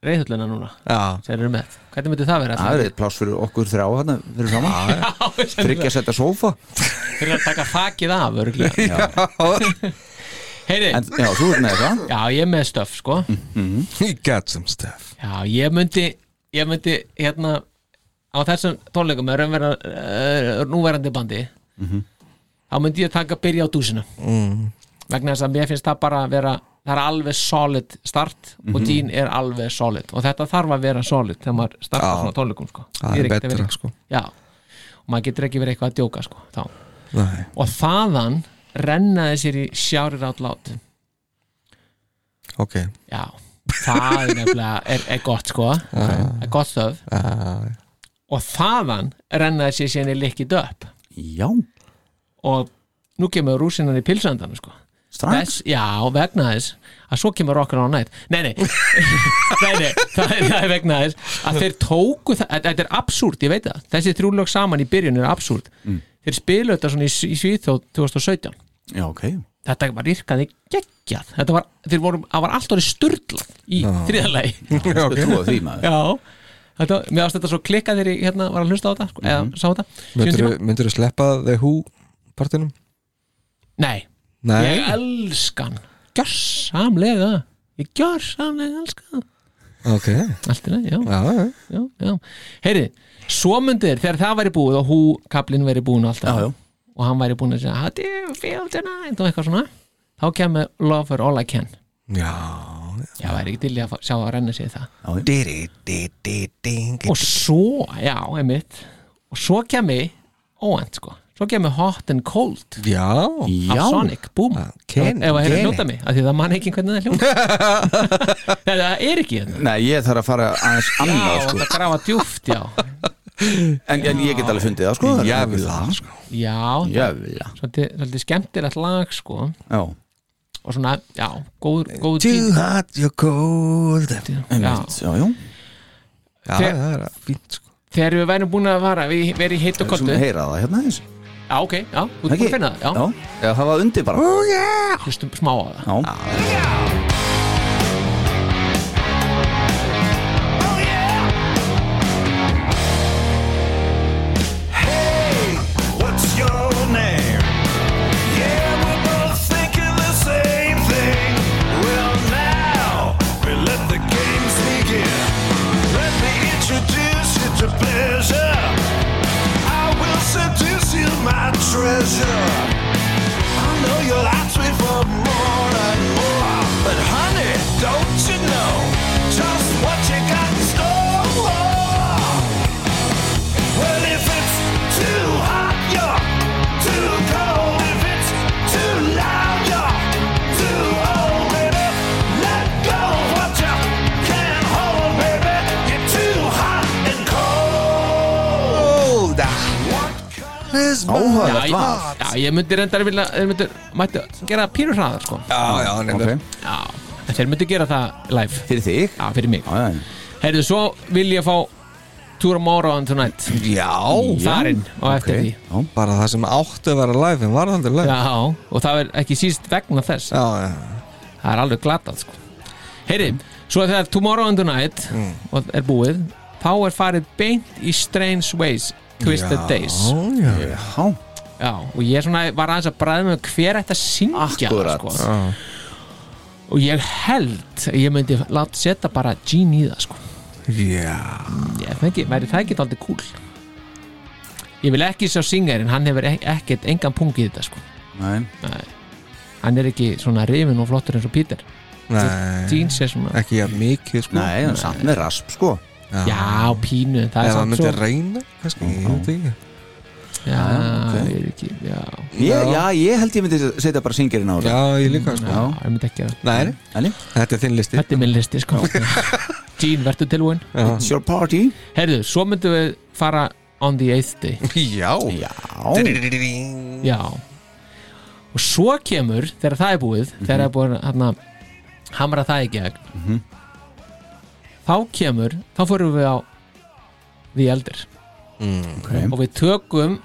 [SPEAKER 3] reyðhullina núna
[SPEAKER 5] já,
[SPEAKER 3] sem þeir eru með Hvernig myndi það vera?
[SPEAKER 6] það er eitt pláss fyrir okkur þrjá hérna fyrir saman
[SPEAKER 3] Tryggja
[SPEAKER 6] Tryggja setta sófa
[SPEAKER 3] Þeir eru að taka fakið af örgulega Heyri,
[SPEAKER 6] En já, þú ert með það
[SPEAKER 3] já ég er með stöf sko
[SPEAKER 5] He got some stuff
[SPEAKER 3] Já ég myndi Ég myndi hérna Á þessum tónleikum með raunverða uh, Núverandi bandi
[SPEAKER 5] Mhm.
[SPEAKER 3] Þá myndi ég taka byrja á dúsinu Vegna þess að mér finnst það bara að vera Það er alveg solid start
[SPEAKER 5] Mhm.
[SPEAKER 3] Og dín er alveg solid Og þetta þarf að vera solid þegar maður startar
[SPEAKER 5] Já.
[SPEAKER 3] svona tónleikum sko.
[SPEAKER 5] Það
[SPEAKER 3] Ég
[SPEAKER 5] er
[SPEAKER 3] ekkert að
[SPEAKER 5] betra
[SPEAKER 3] vera-
[SPEAKER 5] sko
[SPEAKER 3] Já Og maður getur ekki verið eitthvað að djóka sko Þá
[SPEAKER 5] Nei.
[SPEAKER 3] og þaðan rennaði sér í sjárir átt lát
[SPEAKER 5] Ok
[SPEAKER 3] já, það er nefnilega er, er gott sko, er gott þöf
[SPEAKER 5] uh,
[SPEAKER 3] og þaðan rennaði sér síðan í likkið upp
[SPEAKER 6] Já,
[SPEAKER 3] og nú kemur rúsinan í pilsöndan sko.
[SPEAKER 6] strax
[SPEAKER 3] Þess- já, vegna þess að svo kemur okkur á nætt nei, nei, nei, nei það, er, það er vegna þess að þeir tóku það, þetta- þetta er absúrt, ég veit það þessi þrjúlög saman í byrjun er absúrt þeir spilu þetta svona í, Sv- í Svíþjóð 2017
[SPEAKER 6] Já, ok
[SPEAKER 3] þetta var yrkaði geggjað þetta var, þeir voru, það var allt orðið sturla í þriðalegi
[SPEAKER 6] Þú trúið því maður
[SPEAKER 3] já, þetta, mér ást þetta svo klikkað þegar ég hérna var að hlusta á þetta sko, eða sá þetta Sýnum tíma.
[SPEAKER 5] Myndur þú sleppa The Who partinum?
[SPEAKER 3] nei,
[SPEAKER 5] Nei
[SPEAKER 3] ég elskan gjörsamlega ég gjörsamlega elskan
[SPEAKER 5] Ok Já,
[SPEAKER 3] allt í leið, já,
[SPEAKER 5] já
[SPEAKER 3] já, já heyri, svo myndi þeir, þegar það væri búið og hú kaplinn væri búin og alltaf
[SPEAKER 6] Já, já.
[SPEAKER 3] og hann væri búin að segja how do you feel tonight og eitthvað svona þá kemur Love for All I Can
[SPEAKER 5] Já
[SPEAKER 3] já, það er ekki til í að fá- sjá að renna sér það
[SPEAKER 5] Diri, di, di, ding
[SPEAKER 3] og svo, já, einmitt og svo kemur, óvænt sko svo kemur Hot and Cold
[SPEAKER 5] Já
[SPEAKER 3] af Sonic, búm
[SPEAKER 5] Ah, Ken,
[SPEAKER 3] ef að hefur
[SPEAKER 5] Ken.
[SPEAKER 3] njóta mig, af því það man ekki hvernig það hljóma það er ekki þetta
[SPEAKER 6] Nei, ég þarf að fara aðeins annað
[SPEAKER 3] Já,
[SPEAKER 6] sko.
[SPEAKER 3] það grafa djúft, já
[SPEAKER 6] en, en ég get alveg fundið það sko
[SPEAKER 5] Ég vil það sko
[SPEAKER 3] Já,
[SPEAKER 6] Jöfla
[SPEAKER 3] svolítið, svolítið skemmtilegt lag sko
[SPEAKER 6] Já,
[SPEAKER 3] og svona, já, góður góð
[SPEAKER 5] Too hot, you're cold Já,
[SPEAKER 3] já.
[SPEAKER 6] einmitt, já, já
[SPEAKER 3] Þegar-
[SPEAKER 5] það er fínt sko
[SPEAKER 3] þegar við værum búin að fara við verið í heitt og
[SPEAKER 6] Sem
[SPEAKER 3] koltu já,
[SPEAKER 6] heyra það hérna eins
[SPEAKER 3] ok, já, þú ert búin að finna það já,
[SPEAKER 6] Já, það var undir bara
[SPEAKER 5] Oh,
[SPEAKER 3] hlustum smá á það
[SPEAKER 5] Ah,
[SPEAKER 6] Já,
[SPEAKER 4] What's your name? Yeah, we're both thinking the same thing. Well, now we let the games begin. Let me introduce you to pleasure. I will seduce you, my treasure. I know you'll ask me for more and more, but honey, don't you know just what you got in store? Well, if it's too hot, you're too cold. If it's too loud, you're too old. Baby, let go of what you can't hold, baby. You're too hot and cold.
[SPEAKER 5] Cold
[SPEAKER 3] já,
[SPEAKER 6] áhugað
[SPEAKER 3] ég, já, ég myndi reyndar vilja þeir myndi, mættu gera píru hraðar sko
[SPEAKER 5] Já, já, nefnir
[SPEAKER 6] Ok,
[SPEAKER 3] já, en þeir myndi gera það live
[SPEAKER 6] fyrir þig
[SPEAKER 3] já, fyrir mig
[SPEAKER 6] Já, já, já.
[SPEAKER 3] heyrðu, svo vil ég fá Tour of Moro and Tonight
[SPEAKER 5] Já
[SPEAKER 3] þarinn og eftir
[SPEAKER 6] ok,
[SPEAKER 3] því
[SPEAKER 6] já.
[SPEAKER 5] Bara það sem átti að vera live en var aldrei live
[SPEAKER 3] já, og það er ekki síst vegna þess
[SPEAKER 5] Já, já
[SPEAKER 3] það er alveg glatað sko. heyri, svo þegar Tomorrow and the Night og er búið, þá er farið beint í Strange Ways Twisted Days
[SPEAKER 5] já, já.
[SPEAKER 6] Já,
[SPEAKER 3] já, og ég svona var aðeins að bræða með hver ætti að syngja það,
[SPEAKER 6] Akkúrat.
[SPEAKER 3] sko. og ég held að ég myndi láta setja bara Gene í það sko.
[SPEAKER 5] Já,
[SPEAKER 3] ég fengi, væri það ekki aldrei cool ég vil ekki sjá singarinn hann hefur ek- ekkert engan punkt í þetta sko.
[SPEAKER 6] nei
[SPEAKER 3] hann er ekki svona rifin og flottur eins og Peter
[SPEAKER 5] nei
[SPEAKER 3] Gene sé svona
[SPEAKER 5] Ekki jafn mikið sko
[SPEAKER 6] Nei, en samt með rasp sko
[SPEAKER 3] Já, pínu Það er
[SPEAKER 5] Ef það
[SPEAKER 3] samt
[SPEAKER 5] myndi
[SPEAKER 3] svo
[SPEAKER 5] reyna kannski, ég veit ekki
[SPEAKER 3] Já,
[SPEAKER 6] ok.
[SPEAKER 3] ég er ekki Já,
[SPEAKER 6] ég, Já, ég held ég myndi setja bara syngirinn á það
[SPEAKER 5] Já, ég líka sko
[SPEAKER 3] já ég myndi ekki að
[SPEAKER 5] Nei,
[SPEAKER 6] Elli,
[SPEAKER 5] þetta er þinn listi
[SPEAKER 3] Þetta er minn listi, sko Gene, verður tilbúin
[SPEAKER 6] it's your party
[SPEAKER 3] Herðu, svo myndum við fara on the eighth day
[SPEAKER 5] Já
[SPEAKER 6] Já,
[SPEAKER 3] Já Og svo kemur, þegar það er búið
[SPEAKER 5] Mhm.
[SPEAKER 3] Þegar það er búið hérna Hamra það í gegn Þá kemur, þá fórum við á The Elder
[SPEAKER 6] ok
[SPEAKER 3] Og við tökum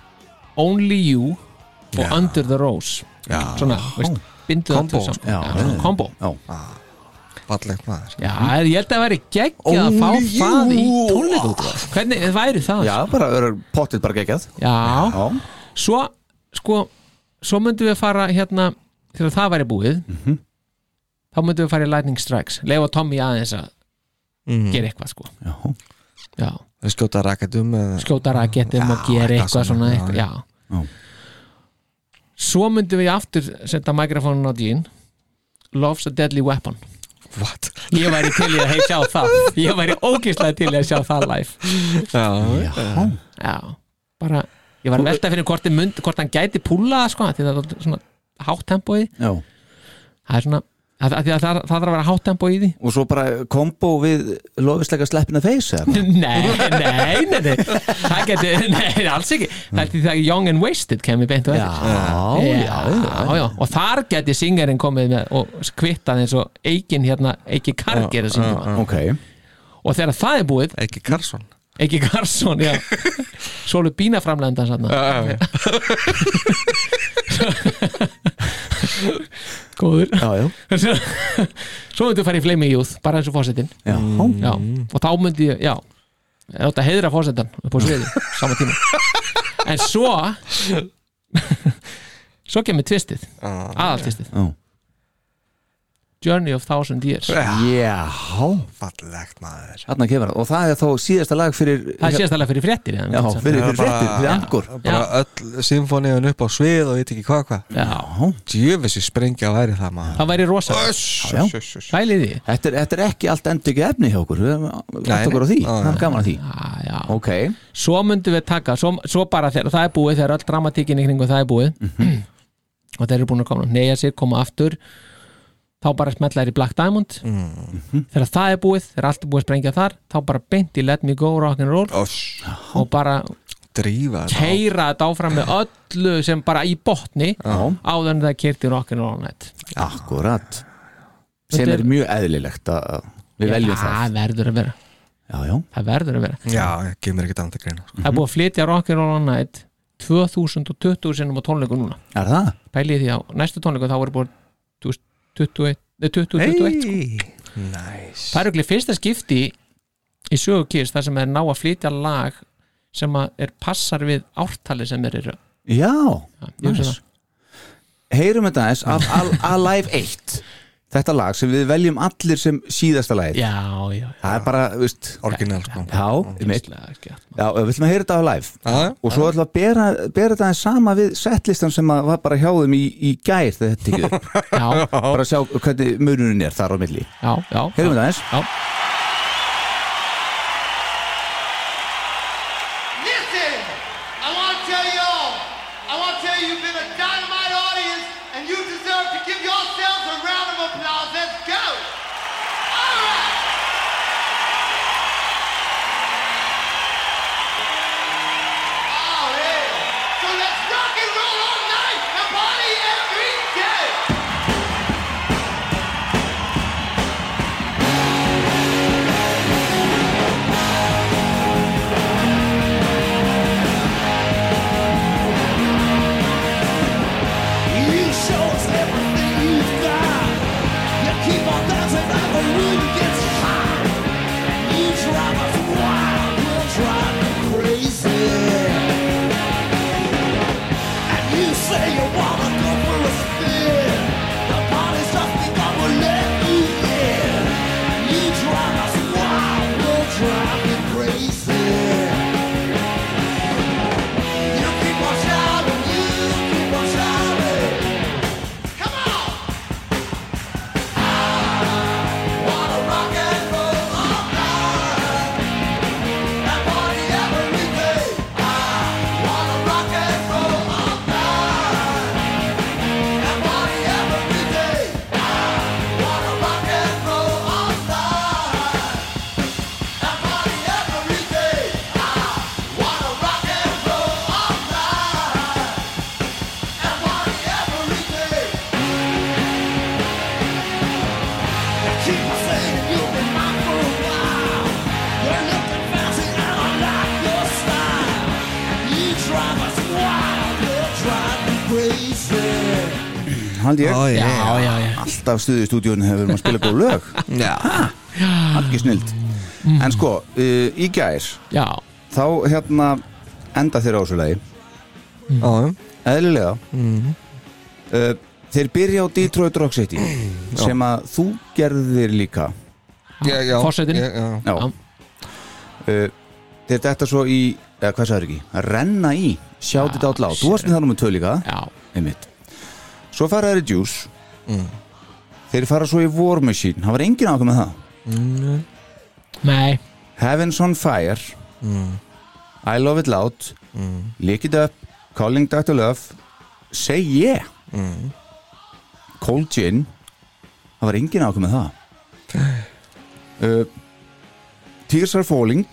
[SPEAKER 3] Only You og
[SPEAKER 5] Já.
[SPEAKER 3] Under the Rose
[SPEAKER 5] Já,
[SPEAKER 3] Svona, veist, bindu það
[SPEAKER 5] Combo,
[SPEAKER 3] til saman
[SPEAKER 6] Já,
[SPEAKER 3] Já, svona
[SPEAKER 6] já.
[SPEAKER 3] Kombo
[SPEAKER 6] Já,
[SPEAKER 5] fallegt maður
[SPEAKER 3] Já, ég held að það væri geggjað að fá
[SPEAKER 5] Only
[SPEAKER 3] það í
[SPEAKER 5] you.
[SPEAKER 3] tónleikútrás Hvernig væri það?
[SPEAKER 6] já bara verður pottið bara geggjað
[SPEAKER 3] Já.
[SPEAKER 6] Já,
[SPEAKER 3] Svo, sko, svo myndum við fara hérna þegar það væri búið þá myndum við fara í Lightning Strikes leifa Tommy aðeins að gera eitthvað sko
[SPEAKER 6] já,
[SPEAKER 3] já.
[SPEAKER 5] Við skjóta raketum eða
[SPEAKER 3] skjóta raketum og gera
[SPEAKER 5] eitthvað
[SPEAKER 3] eitthvað svona
[SPEAKER 5] svona,
[SPEAKER 3] eitthvað, já.
[SPEAKER 5] já.
[SPEAKER 6] Já.
[SPEAKER 3] Svo myndum við aftur setja mikrofónun á dýn Love's a Deadly Weapon
[SPEAKER 5] Sko, What?
[SPEAKER 3] Ég væri til í að hef sjá það Ég væri ógislega til í að sjá það live
[SPEAKER 5] Já,
[SPEAKER 3] Já, bara Ég var að velta fyrir hvort, þið mynd, hvort hann gæti púla það, sko, af því það er dálítið svona hátt tempói
[SPEAKER 6] já
[SPEAKER 3] Það er svona að, að, að, það, það þarf að vera hátt tempói í því
[SPEAKER 6] Og svo bara kombo við lofislega sleppina feys eða?
[SPEAKER 3] Nei, nei, nei, nei Það geti, nei, alls ekki Það er því það Young and Wasted kemur beint og
[SPEAKER 6] Já,
[SPEAKER 3] eftir
[SPEAKER 6] já, já,
[SPEAKER 3] já, já, og þar geti singarinn komið með og kvittað eins og eikin hérna, eiki Karger að syngja
[SPEAKER 6] Ok,
[SPEAKER 3] og þegar það er búið,
[SPEAKER 5] ekki Karlsson
[SPEAKER 3] eiki Karlsson já, sólu bína framlegenda sann góður
[SPEAKER 6] já, já,
[SPEAKER 3] svo svo myndi ég fara í Flaming Youth bara eins og fósettin
[SPEAKER 6] já.
[SPEAKER 3] já,
[SPEAKER 5] Mm.
[SPEAKER 3] og þá myndi ég, já ég átti að heiðra fósettan upp á sviði sama tíma en svo
[SPEAKER 5] Ah.
[SPEAKER 3] svo kemur tvistið, aðaltvistið
[SPEAKER 6] Já.
[SPEAKER 3] Journey of Thousand Years það
[SPEAKER 6] Já,
[SPEAKER 5] Fallegt maður
[SPEAKER 6] þarna kemur það og það er þá síðasta lag fyrir
[SPEAKER 3] er sést alveg fyrir fréttir eða,
[SPEAKER 6] Já,
[SPEAKER 3] ekki satt?
[SPEAKER 6] fyrir,
[SPEAKER 5] Það er
[SPEAKER 6] fyrir
[SPEAKER 5] bara-
[SPEAKER 6] fréttir, fyrir angur
[SPEAKER 5] Bara öll symfóniðun upp á svið og veit ekki hvað hvað
[SPEAKER 3] Já,
[SPEAKER 5] Djöfis í sprengja væri það maður
[SPEAKER 3] það væri rosa
[SPEAKER 6] já.
[SPEAKER 5] Öss
[SPEAKER 3] Pælið því
[SPEAKER 6] þetta, er- þetta er ekki allt endurki efni hjá okkur Við höfum
[SPEAKER 5] Nei,
[SPEAKER 6] átt okkur á því,
[SPEAKER 5] nei.
[SPEAKER 6] það er gaman að því
[SPEAKER 3] Já, Ah, já.
[SPEAKER 6] Ok,
[SPEAKER 3] Svo myndum við taka svo, svo bara þegar það er búið, þegar öll dramatíkin í kringum það er búið
[SPEAKER 6] Mhm.
[SPEAKER 3] og þeir eru búin að koma að neyja sér, koma aftur þá bara smetla þér í Black Diamond
[SPEAKER 6] Mhm.
[SPEAKER 3] þegar það er búið, þegar allt er búið að sprengja þar þá bara beint í Let Me Go Rock'n'Roll og bara
[SPEAKER 5] Drífa þetta.
[SPEAKER 3] keira þetta áfram með öllu sem bara í botni áður en það kyrti Rock'n'Roll Night
[SPEAKER 6] akkurat sem
[SPEAKER 3] Þetta
[SPEAKER 6] er
[SPEAKER 3] er-
[SPEAKER 6] mjög eðlilegt að að við veljum það
[SPEAKER 3] það verður að vera,
[SPEAKER 6] Já, já,
[SPEAKER 3] það verður að vera
[SPEAKER 5] Já, ég kemur ekkert annað til greina sko.
[SPEAKER 3] það
[SPEAKER 6] Mhm.
[SPEAKER 3] er búið að flytja Rock'n'Roll Night 2020 sinnum á tónleiku núna
[SPEAKER 6] er það?
[SPEAKER 3] pælið því að næstu tónleiku þá verður búin 2021 nei, 2021 sko.
[SPEAKER 5] Nice
[SPEAKER 3] það er okkur fyrsta skipti í sögu Kiss þar sem er ná að flytja lag sem að er passar við ártali sem er eru
[SPEAKER 6] Já,
[SPEAKER 3] Já, ég hugsa
[SPEAKER 6] næs Heyrum þetta aðeins af Al- Alive 1 Þetta lag sem við veljum allir sem síðasta lagið
[SPEAKER 3] já, já, já
[SPEAKER 6] Það er bara, þú veist
[SPEAKER 5] Orginal sko
[SPEAKER 6] Já, einmitt.
[SPEAKER 3] Ógeðslega skætt, maður.
[SPEAKER 6] já við viljum að heyra þetta á live
[SPEAKER 5] Já,
[SPEAKER 6] og svo ætlum við að bera, bera þetta aðeins sama við settlistan sem að var bara hjá þeim í, í gær þegar þetta tekið upp
[SPEAKER 3] já,
[SPEAKER 6] bara að sjá hvernig mununin er þar á milli
[SPEAKER 3] já, já
[SPEAKER 6] Heyrum þetta aðeins
[SPEAKER 3] já,
[SPEAKER 7] Listen, I want to tell y'all, I want to tell you, you've been a dynamite audience, and you deserve to give yourselves a round of applause. Let's go. All right. Oh, yeah. So let's rock and roll all night and party every day.
[SPEAKER 9] You show us everything you've got. You keep on dancing and the room gets hot. You drive us wild, we'll drive you crazy. And you say you wanna go for a spin. The body's just begun, we'll let you in. You drive us wild, we'll drive you crazy. You keep on shouting, you keep on shouting. Come on! I wanna rock and roll all night and party every day. I wanna rock and roll all night and party every day. I wanna rock and roll all night and party every day. I wanna rock and roll all night and party every day. They keep on saying you've been mine for a while. You're looking fancy and I like your style. You drive us wild, you drive me crazy.
[SPEAKER 6] Haldi ég,
[SPEAKER 5] Ó,
[SPEAKER 3] já,
[SPEAKER 5] já.
[SPEAKER 3] já, já.
[SPEAKER 6] alltaf stuðið í stúdíun hefur maður spilað góð lög
[SPEAKER 5] Já.
[SPEAKER 6] ekki snild
[SPEAKER 3] Mm.
[SPEAKER 6] en sko, uh, í gær
[SPEAKER 3] já,
[SPEAKER 6] þá hérna enda þeir á þessu lagi
[SPEAKER 5] Já,
[SPEAKER 6] eðlilega
[SPEAKER 3] Mm.
[SPEAKER 6] uh, þeir byrja á Detroit Rock City sem að þú gerðir líka
[SPEAKER 5] já, já
[SPEAKER 3] Forsetinn.
[SPEAKER 5] Ég- já.
[SPEAKER 6] Já
[SPEAKER 3] Já.
[SPEAKER 6] uh, Þeir detta svo í, eða hvað sagður ekki að renna í, shout it out loud Þú varst með það nummer 2 líka,
[SPEAKER 3] já, Mm.
[SPEAKER 6] einmitt Svo fara þeir í Juice Þeir fara svo í War Machine Það var engin ákveð með það
[SPEAKER 3] nei
[SPEAKER 6] Heaven's on Fire I Love It Loud Lick It Up, Calling Dr. Love Say Yeah Cold Gin Það var engin ákveð með það uh, Tears Are Falling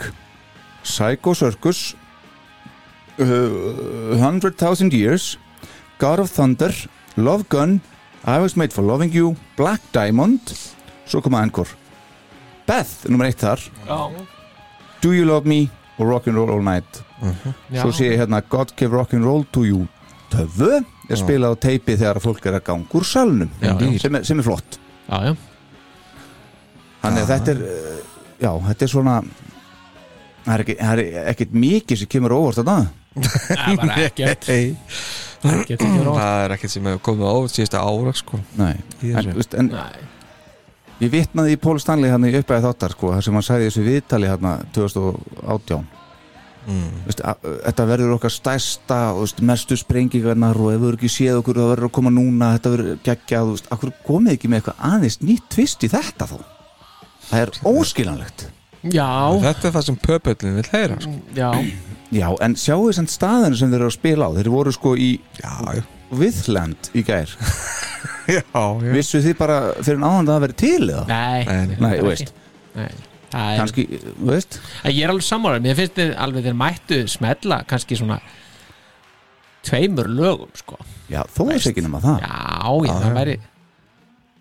[SPEAKER 6] Psycho Circus uh, 100,000 Years God of Thunder Love Gun I Was Made For Loving You Black Diamond Svo koma Encore Beth, nummer eitt þar
[SPEAKER 3] já,
[SPEAKER 6] Do You Love Me og Rock'n'Roll All Night
[SPEAKER 3] já.
[SPEAKER 6] svo sé ég hérna God Give Rock'n'Roll to You töfu er spilað á teipi þegar fólk er að ganga úr salnum
[SPEAKER 3] Já, já.
[SPEAKER 6] sem, er, sem er flott
[SPEAKER 3] já, já.
[SPEAKER 6] þannig að þetta er uh, já, þetta er svona það er ekki- það er ekkert mikið sem kemur á óvart þarna
[SPEAKER 3] Nei, bara ekkert
[SPEAKER 5] Hey.
[SPEAKER 3] ekkert, ekkert, ekkert
[SPEAKER 5] Það er ekkert sem hefur komið á síðasta ára sko
[SPEAKER 6] nei,
[SPEAKER 5] Ég er
[SPEAKER 6] en,
[SPEAKER 5] svo.
[SPEAKER 6] veist, en
[SPEAKER 3] Nei.
[SPEAKER 6] Ég vitnaði í Pól Stanley hann í uppæði þáttar sko, þar sem hann sagði í þessu viðtali hérna hann 2018 Vist, að, Þetta verður okkar stærsta og veist, mestu sprengingarnar og ef þú eru ekki séð okkur það verður að koma núna, þetta verður geggjað þú veist, Akkur komið ekki með eitthvað aðeins nýtt tvist í þetta þá Það er óskilanlegt
[SPEAKER 3] Já,
[SPEAKER 5] Þetta er það sem pöpullin vil heyra sko.
[SPEAKER 3] já
[SPEAKER 6] Já, en sjáu þessan staðinu sem þeir eru að spila á Þeir voru sko í
[SPEAKER 5] Já, já,
[SPEAKER 6] Viðland í gær
[SPEAKER 5] já, já.
[SPEAKER 6] Vissu þið bara fyrir en áðan að það verið til eða?
[SPEAKER 3] Nei,
[SPEAKER 5] En-
[SPEAKER 6] Nei, þú veist,
[SPEAKER 3] Nei. Það er,
[SPEAKER 6] kannski, þú veist
[SPEAKER 3] En ég er alveg sammála Mér finnst þið alveg þeir mættu smetla kannski svona tveimur lögum sko
[SPEAKER 6] Já, þó er ekki nema það
[SPEAKER 3] Já, já, það væri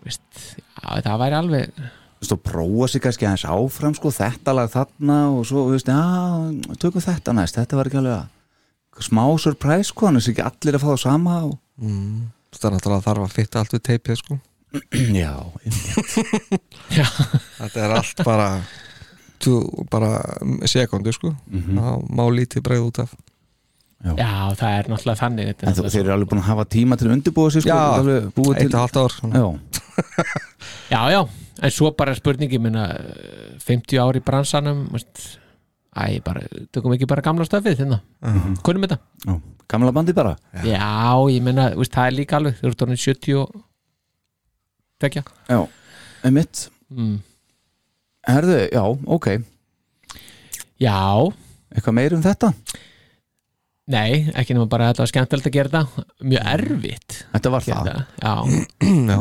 [SPEAKER 3] veist, já, það væri alveg
[SPEAKER 6] Þú veist, og prófa sig kannski aðeins áfram sko, þetta lag þarna og svo, þú veist, já, tökum þetta næst þetta var ekki alveg að smá surprise sko, hann er ekki allir að fá það sama og...
[SPEAKER 5] Það Mm. er náttúrulega þarf að fitta allt við teipið sko.
[SPEAKER 6] Já,
[SPEAKER 5] Þetta er allt bara tjú, bara sekundu sko. þá má lítið breið út af
[SPEAKER 3] Já, það er náttúrulega þannig þetta er
[SPEAKER 6] en þú,
[SPEAKER 3] náttúrulega
[SPEAKER 6] þeir eru alveg búin að hafa tíma til að undirbúa sig sko,
[SPEAKER 5] Já,
[SPEAKER 6] og alveg búa
[SPEAKER 5] eitt og
[SPEAKER 6] til
[SPEAKER 5] halvt ár svona.
[SPEAKER 6] Já,
[SPEAKER 3] Já, já, en svo bara spurningi minna 50 ár í bransanum veist, Æ, bara, tökum ekki bara gamla stöfið þinn Kunnum þetta?
[SPEAKER 6] já, gamla bandi bara
[SPEAKER 3] Já, ég meina, veist, það er líka alveg Þú ert orðin 70 og Tekja
[SPEAKER 6] Já, einmitt
[SPEAKER 3] mm.
[SPEAKER 6] Herðu, já, ok,
[SPEAKER 3] Já,
[SPEAKER 6] eitthvað meir um þetta
[SPEAKER 3] nei, ekki nema bara að þetta var skemmtilegt að gera þetta Mjög
[SPEAKER 5] Mm.
[SPEAKER 3] erfitt
[SPEAKER 6] Þetta var það,
[SPEAKER 3] gera þetta. Já,
[SPEAKER 5] Já,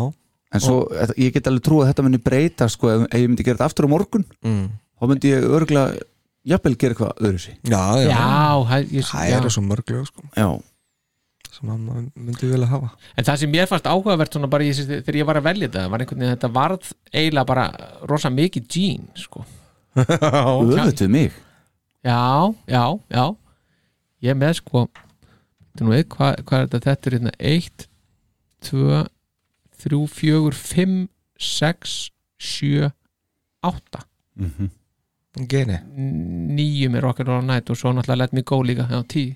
[SPEAKER 6] en svo, þetta, ég get alveg trúið að þetta muni breyta sko, ef, ef ég myndi gera þetta aftur á morgun
[SPEAKER 5] mm.
[SPEAKER 6] þá myndi ég örgulega, jafnvel gera eitthvað öðru sig
[SPEAKER 5] já, já.
[SPEAKER 3] já, það- ég,
[SPEAKER 5] Það
[SPEAKER 3] já.
[SPEAKER 5] eru svo mörg lög sko,
[SPEAKER 6] Já,
[SPEAKER 5] sem að maður myndi vilja hafa
[SPEAKER 3] En það sem mér fannst áhugavert svona bara ég, syns- þegar ég var að velja þetta var einhvern veginn að þetta varð eiginlega bara rosa mikið gene sko.
[SPEAKER 6] öðvituð mig
[SPEAKER 3] Já, já, já Ég er með sko þetta er nú eitt, hvað, hvað er þetta? Þetta er hérna 1, 2 3, 4, 5 6, 7 8,
[SPEAKER 5] Geni
[SPEAKER 3] 9 með Rock and Roll Night og svo náttúrulega Let Me Go líka, já, 10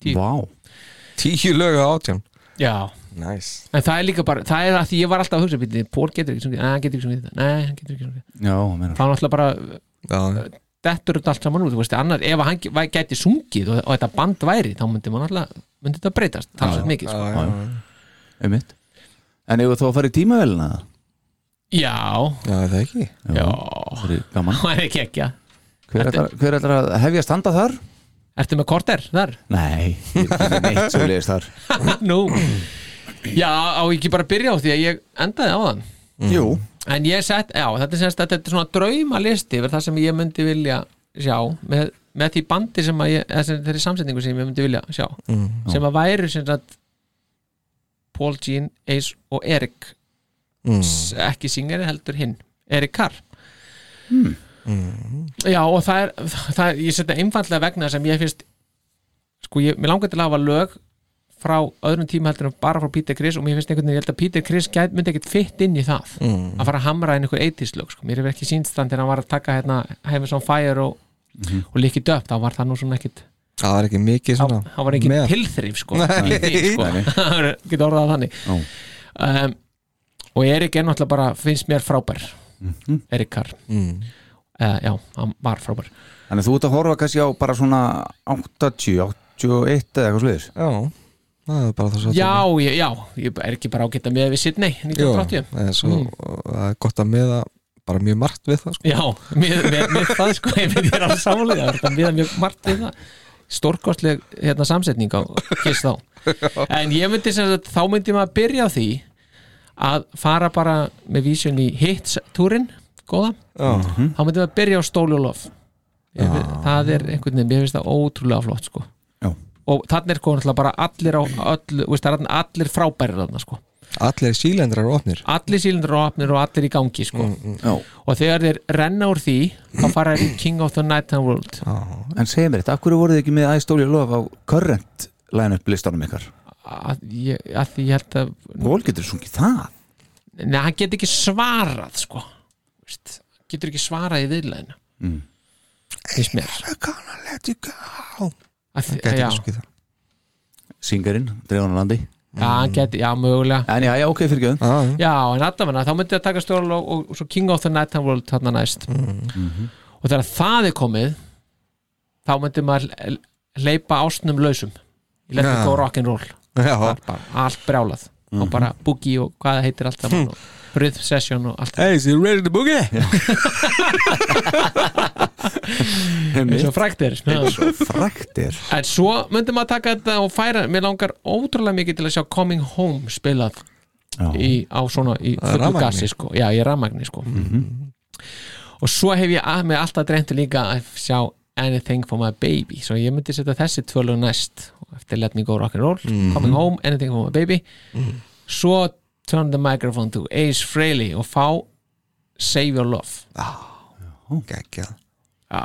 [SPEAKER 3] Tíu.
[SPEAKER 6] Vá,
[SPEAKER 5] Tíu lög á átján
[SPEAKER 3] Já,
[SPEAKER 5] nice.
[SPEAKER 3] en það er líka bara það er að því ég var alltaf að hugsa býtni, Pól getur ekki svona, nei, hann getur ekki svona, nei, hann getur ekki svona
[SPEAKER 6] já, meina
[SPEAKER 3] Það er náttúrulega bara uh,
[SPEAKER 5] já,
[SPEAKER 3] dettur þetta allt saman út, þú veist, annars ef hann væ- gæti sungið og, og þetta band væri þá myndi maður alltaf, myndi þetta breytast talsveit mikið, sko.
[SPEAKER 5] já, já.
[SPEAKER 6] einmitt En eigum við þá að fara í tímavélina
[SPEAKER 3] Já,
[SPEAKER 5] já, er það ekki
[SPEAKER 3] já
[SPEAKER 6] það er gaman
[SPEAKER 3] það er ekki ekki,
[SPEAKER 6] Hver
[SPEAKER 3] Þetta-
[SPEAKER 6] ætlar, hver ætlar að hefja standa þar?
[SPEAKER 3] ertu með korter þar?
[SPEAKER 6] Nei, ég er ekki neitt svo leiðist þar
[SPEAKER 3] Nú, já, á ég ekki bara að byrja á því að ég endaði á þann
[SPEAKER 6] Jú,
[SPEAKER 3] en ég sett, já, þetta er, semst, þetta er svona draumalisti yfir það sem ég myndi vilja sjá með, með því bandi sem að ég, eða sem, þeirri samsetningu sem ég myndi vilja sjá sem að væru sem sagt Paul Jean, Ace og Erik S- ekki syngari heldur hinn Erik Carr já og það er, það er ég setja einfallega vegna sem ég finnst sko ég, mér langar til að hafa lög frá öðrum tíma heldur en bara frá Peter Criss og mér finnst einhvern veginn, ég held að Peter Criss gæt, myndi ekkit fitt inn í það
[SPEAKER 5] Mm.
[SPEAKER 3] að fara að hamra inn einhver 80s lög sko. mér hefur ekki sínst þann þegar hann var að taka hérna Heimers on Fire og, og líki döpt þá var það nú svona ekkit
[SPEAKER 5] Það var ekki mikið svona
[SPEAKER 3] þá var ekki
[SPEAKER 5] með.
[SPEAKER 3] tilþrif sko, í því, sko. getur orðað það þannig
[SPEAKER 6] Já.
[SPEAKER 3] um, og Erik er náttúrulega bara finnst mér frábær Erik Karr
[SPEAKER 5] mm.
[SPEAKER 3] uh, já, hann var frábær
[SPEAKER 6] þannig að þú ert að horfa kannski á bara svona 80, 81 eða eitthvað sliðis
[SPEAKER 5] Já, það er bara það svo
[SPEAKER 3] já, ég, já, ég er ekki bara ágætt að miða við Sidney
[SPEAKER 5] Jú,
[SPEAKER 3] 1980
[SPEAKER 5] en svo
[SPEAKER 3] Mm.
[SPEAKER 5] það er gott að miða bara mjög margt við það sko.
[SPEAKER 3] já, með, með, með það sko ég veit ég er alveg samlega þetta miða mjög margt við það stórkostleg hérna, samsetning á kiss þá en ég myndi sem sagt, þá myndi maður byrja á því að fara bara með vísun í hits-túrin góða
[SPEAKER 5] Já,
[SPEAKER 3] þá myndum við að byrja á Stóli og Lof Ég veit- það er einhvern veginn, mér finnst það ótrúlega flott sko.
[SPEAKER 6] Já.
[SPEAKER 3] og þannig er sko náttúrulega bara allir, á, öll, veist, það er þarna allir frábærir þarna, sko.
[SPEAKER 5] allir sílendrar eru opnir
[SPEAKER 3] allir sílindur og apnir og allir í gangi sko.
[SPEAKER 6] Já.
[SPEAKER 3] og þegar þeir renna úr því þá fara þeir í King of the Night and World
[SPEAKER 6] En segja mér þetta, af hverju voruð þið ekki með æstóli og lof á current line-up listanum ykkar?
[SPEAKER 3] að, ég, að því ég held að
[SPEAKER 6] Gól getur sungið það
[SPEAKER 3] neða, hann getur ekki svarað sko. Veist, getur ekki svarað í viðlæðinu
[SPEAKER 5] Mm.
[SPEAKER 3] finnst mér
[SPEAKER 5] Gonna let you go
[SPEAKER 3] Að því-
[SPEAKER 5] Gæti
[SPEAKER 3] já.
[SPEAKER 5] ekki sungið það
[SPEAKER 6] Singarinn, Drefanalandi
[SPEAKER 3] já,
[SPEAKER 5] Mm.
[SPEAKER 3] hann geti, já, mögulega
[SPEAKER 6] En já, já, ok, fyrir gjöðum
[SPEAKER 5] Já, já.
[SPEAKER 3] já, en allavega, þá myndi ég að taka stjórn og, og svo King of the Night and World þarna næst
[SPEAKER 5] Mm.
[SPEAKER 3] og þegar það er komið þá myndi maður leipa ástnum lausum í letið
[SPEAKER 5] Já.
[SPEAKER 3] ja. góð rock'n'roll
[SPEAKER 5] já.
[SPEAKER 3] bara allt brjálað og bara boogie og hvað það heitir allt saman og rhythm session og allt
[SPEAKER 5] Hey, is you ready to boogie?
[SPEAKER 3] eins og frækt er Já.
[SPEAKER 6] Svo frækt er
[SPEAKER 3] en svo myndum að taka þetta og færa mér langar ótrúlega mikið til að sjá Coming Home spilað í, á svona í fullu
[SPEAKER 5] rafmagni.
[SPEAKER 3] gasi sko. já, í rafmagni sko. og svo hef ég að mig alltaf dreymti líka að sjá Anything for my baby svo ég myndi setja þessi tvölu næst og eftir Let me go rock'n'roll
[SPEAKER 5] Mhm.
[SPEAKER 3] Coming Home, Anything for my baby svo Turn the microphone to Ace Frehley og fá Save your love
[SPEAKER 5] Gækja
[SPEAKER 3] já.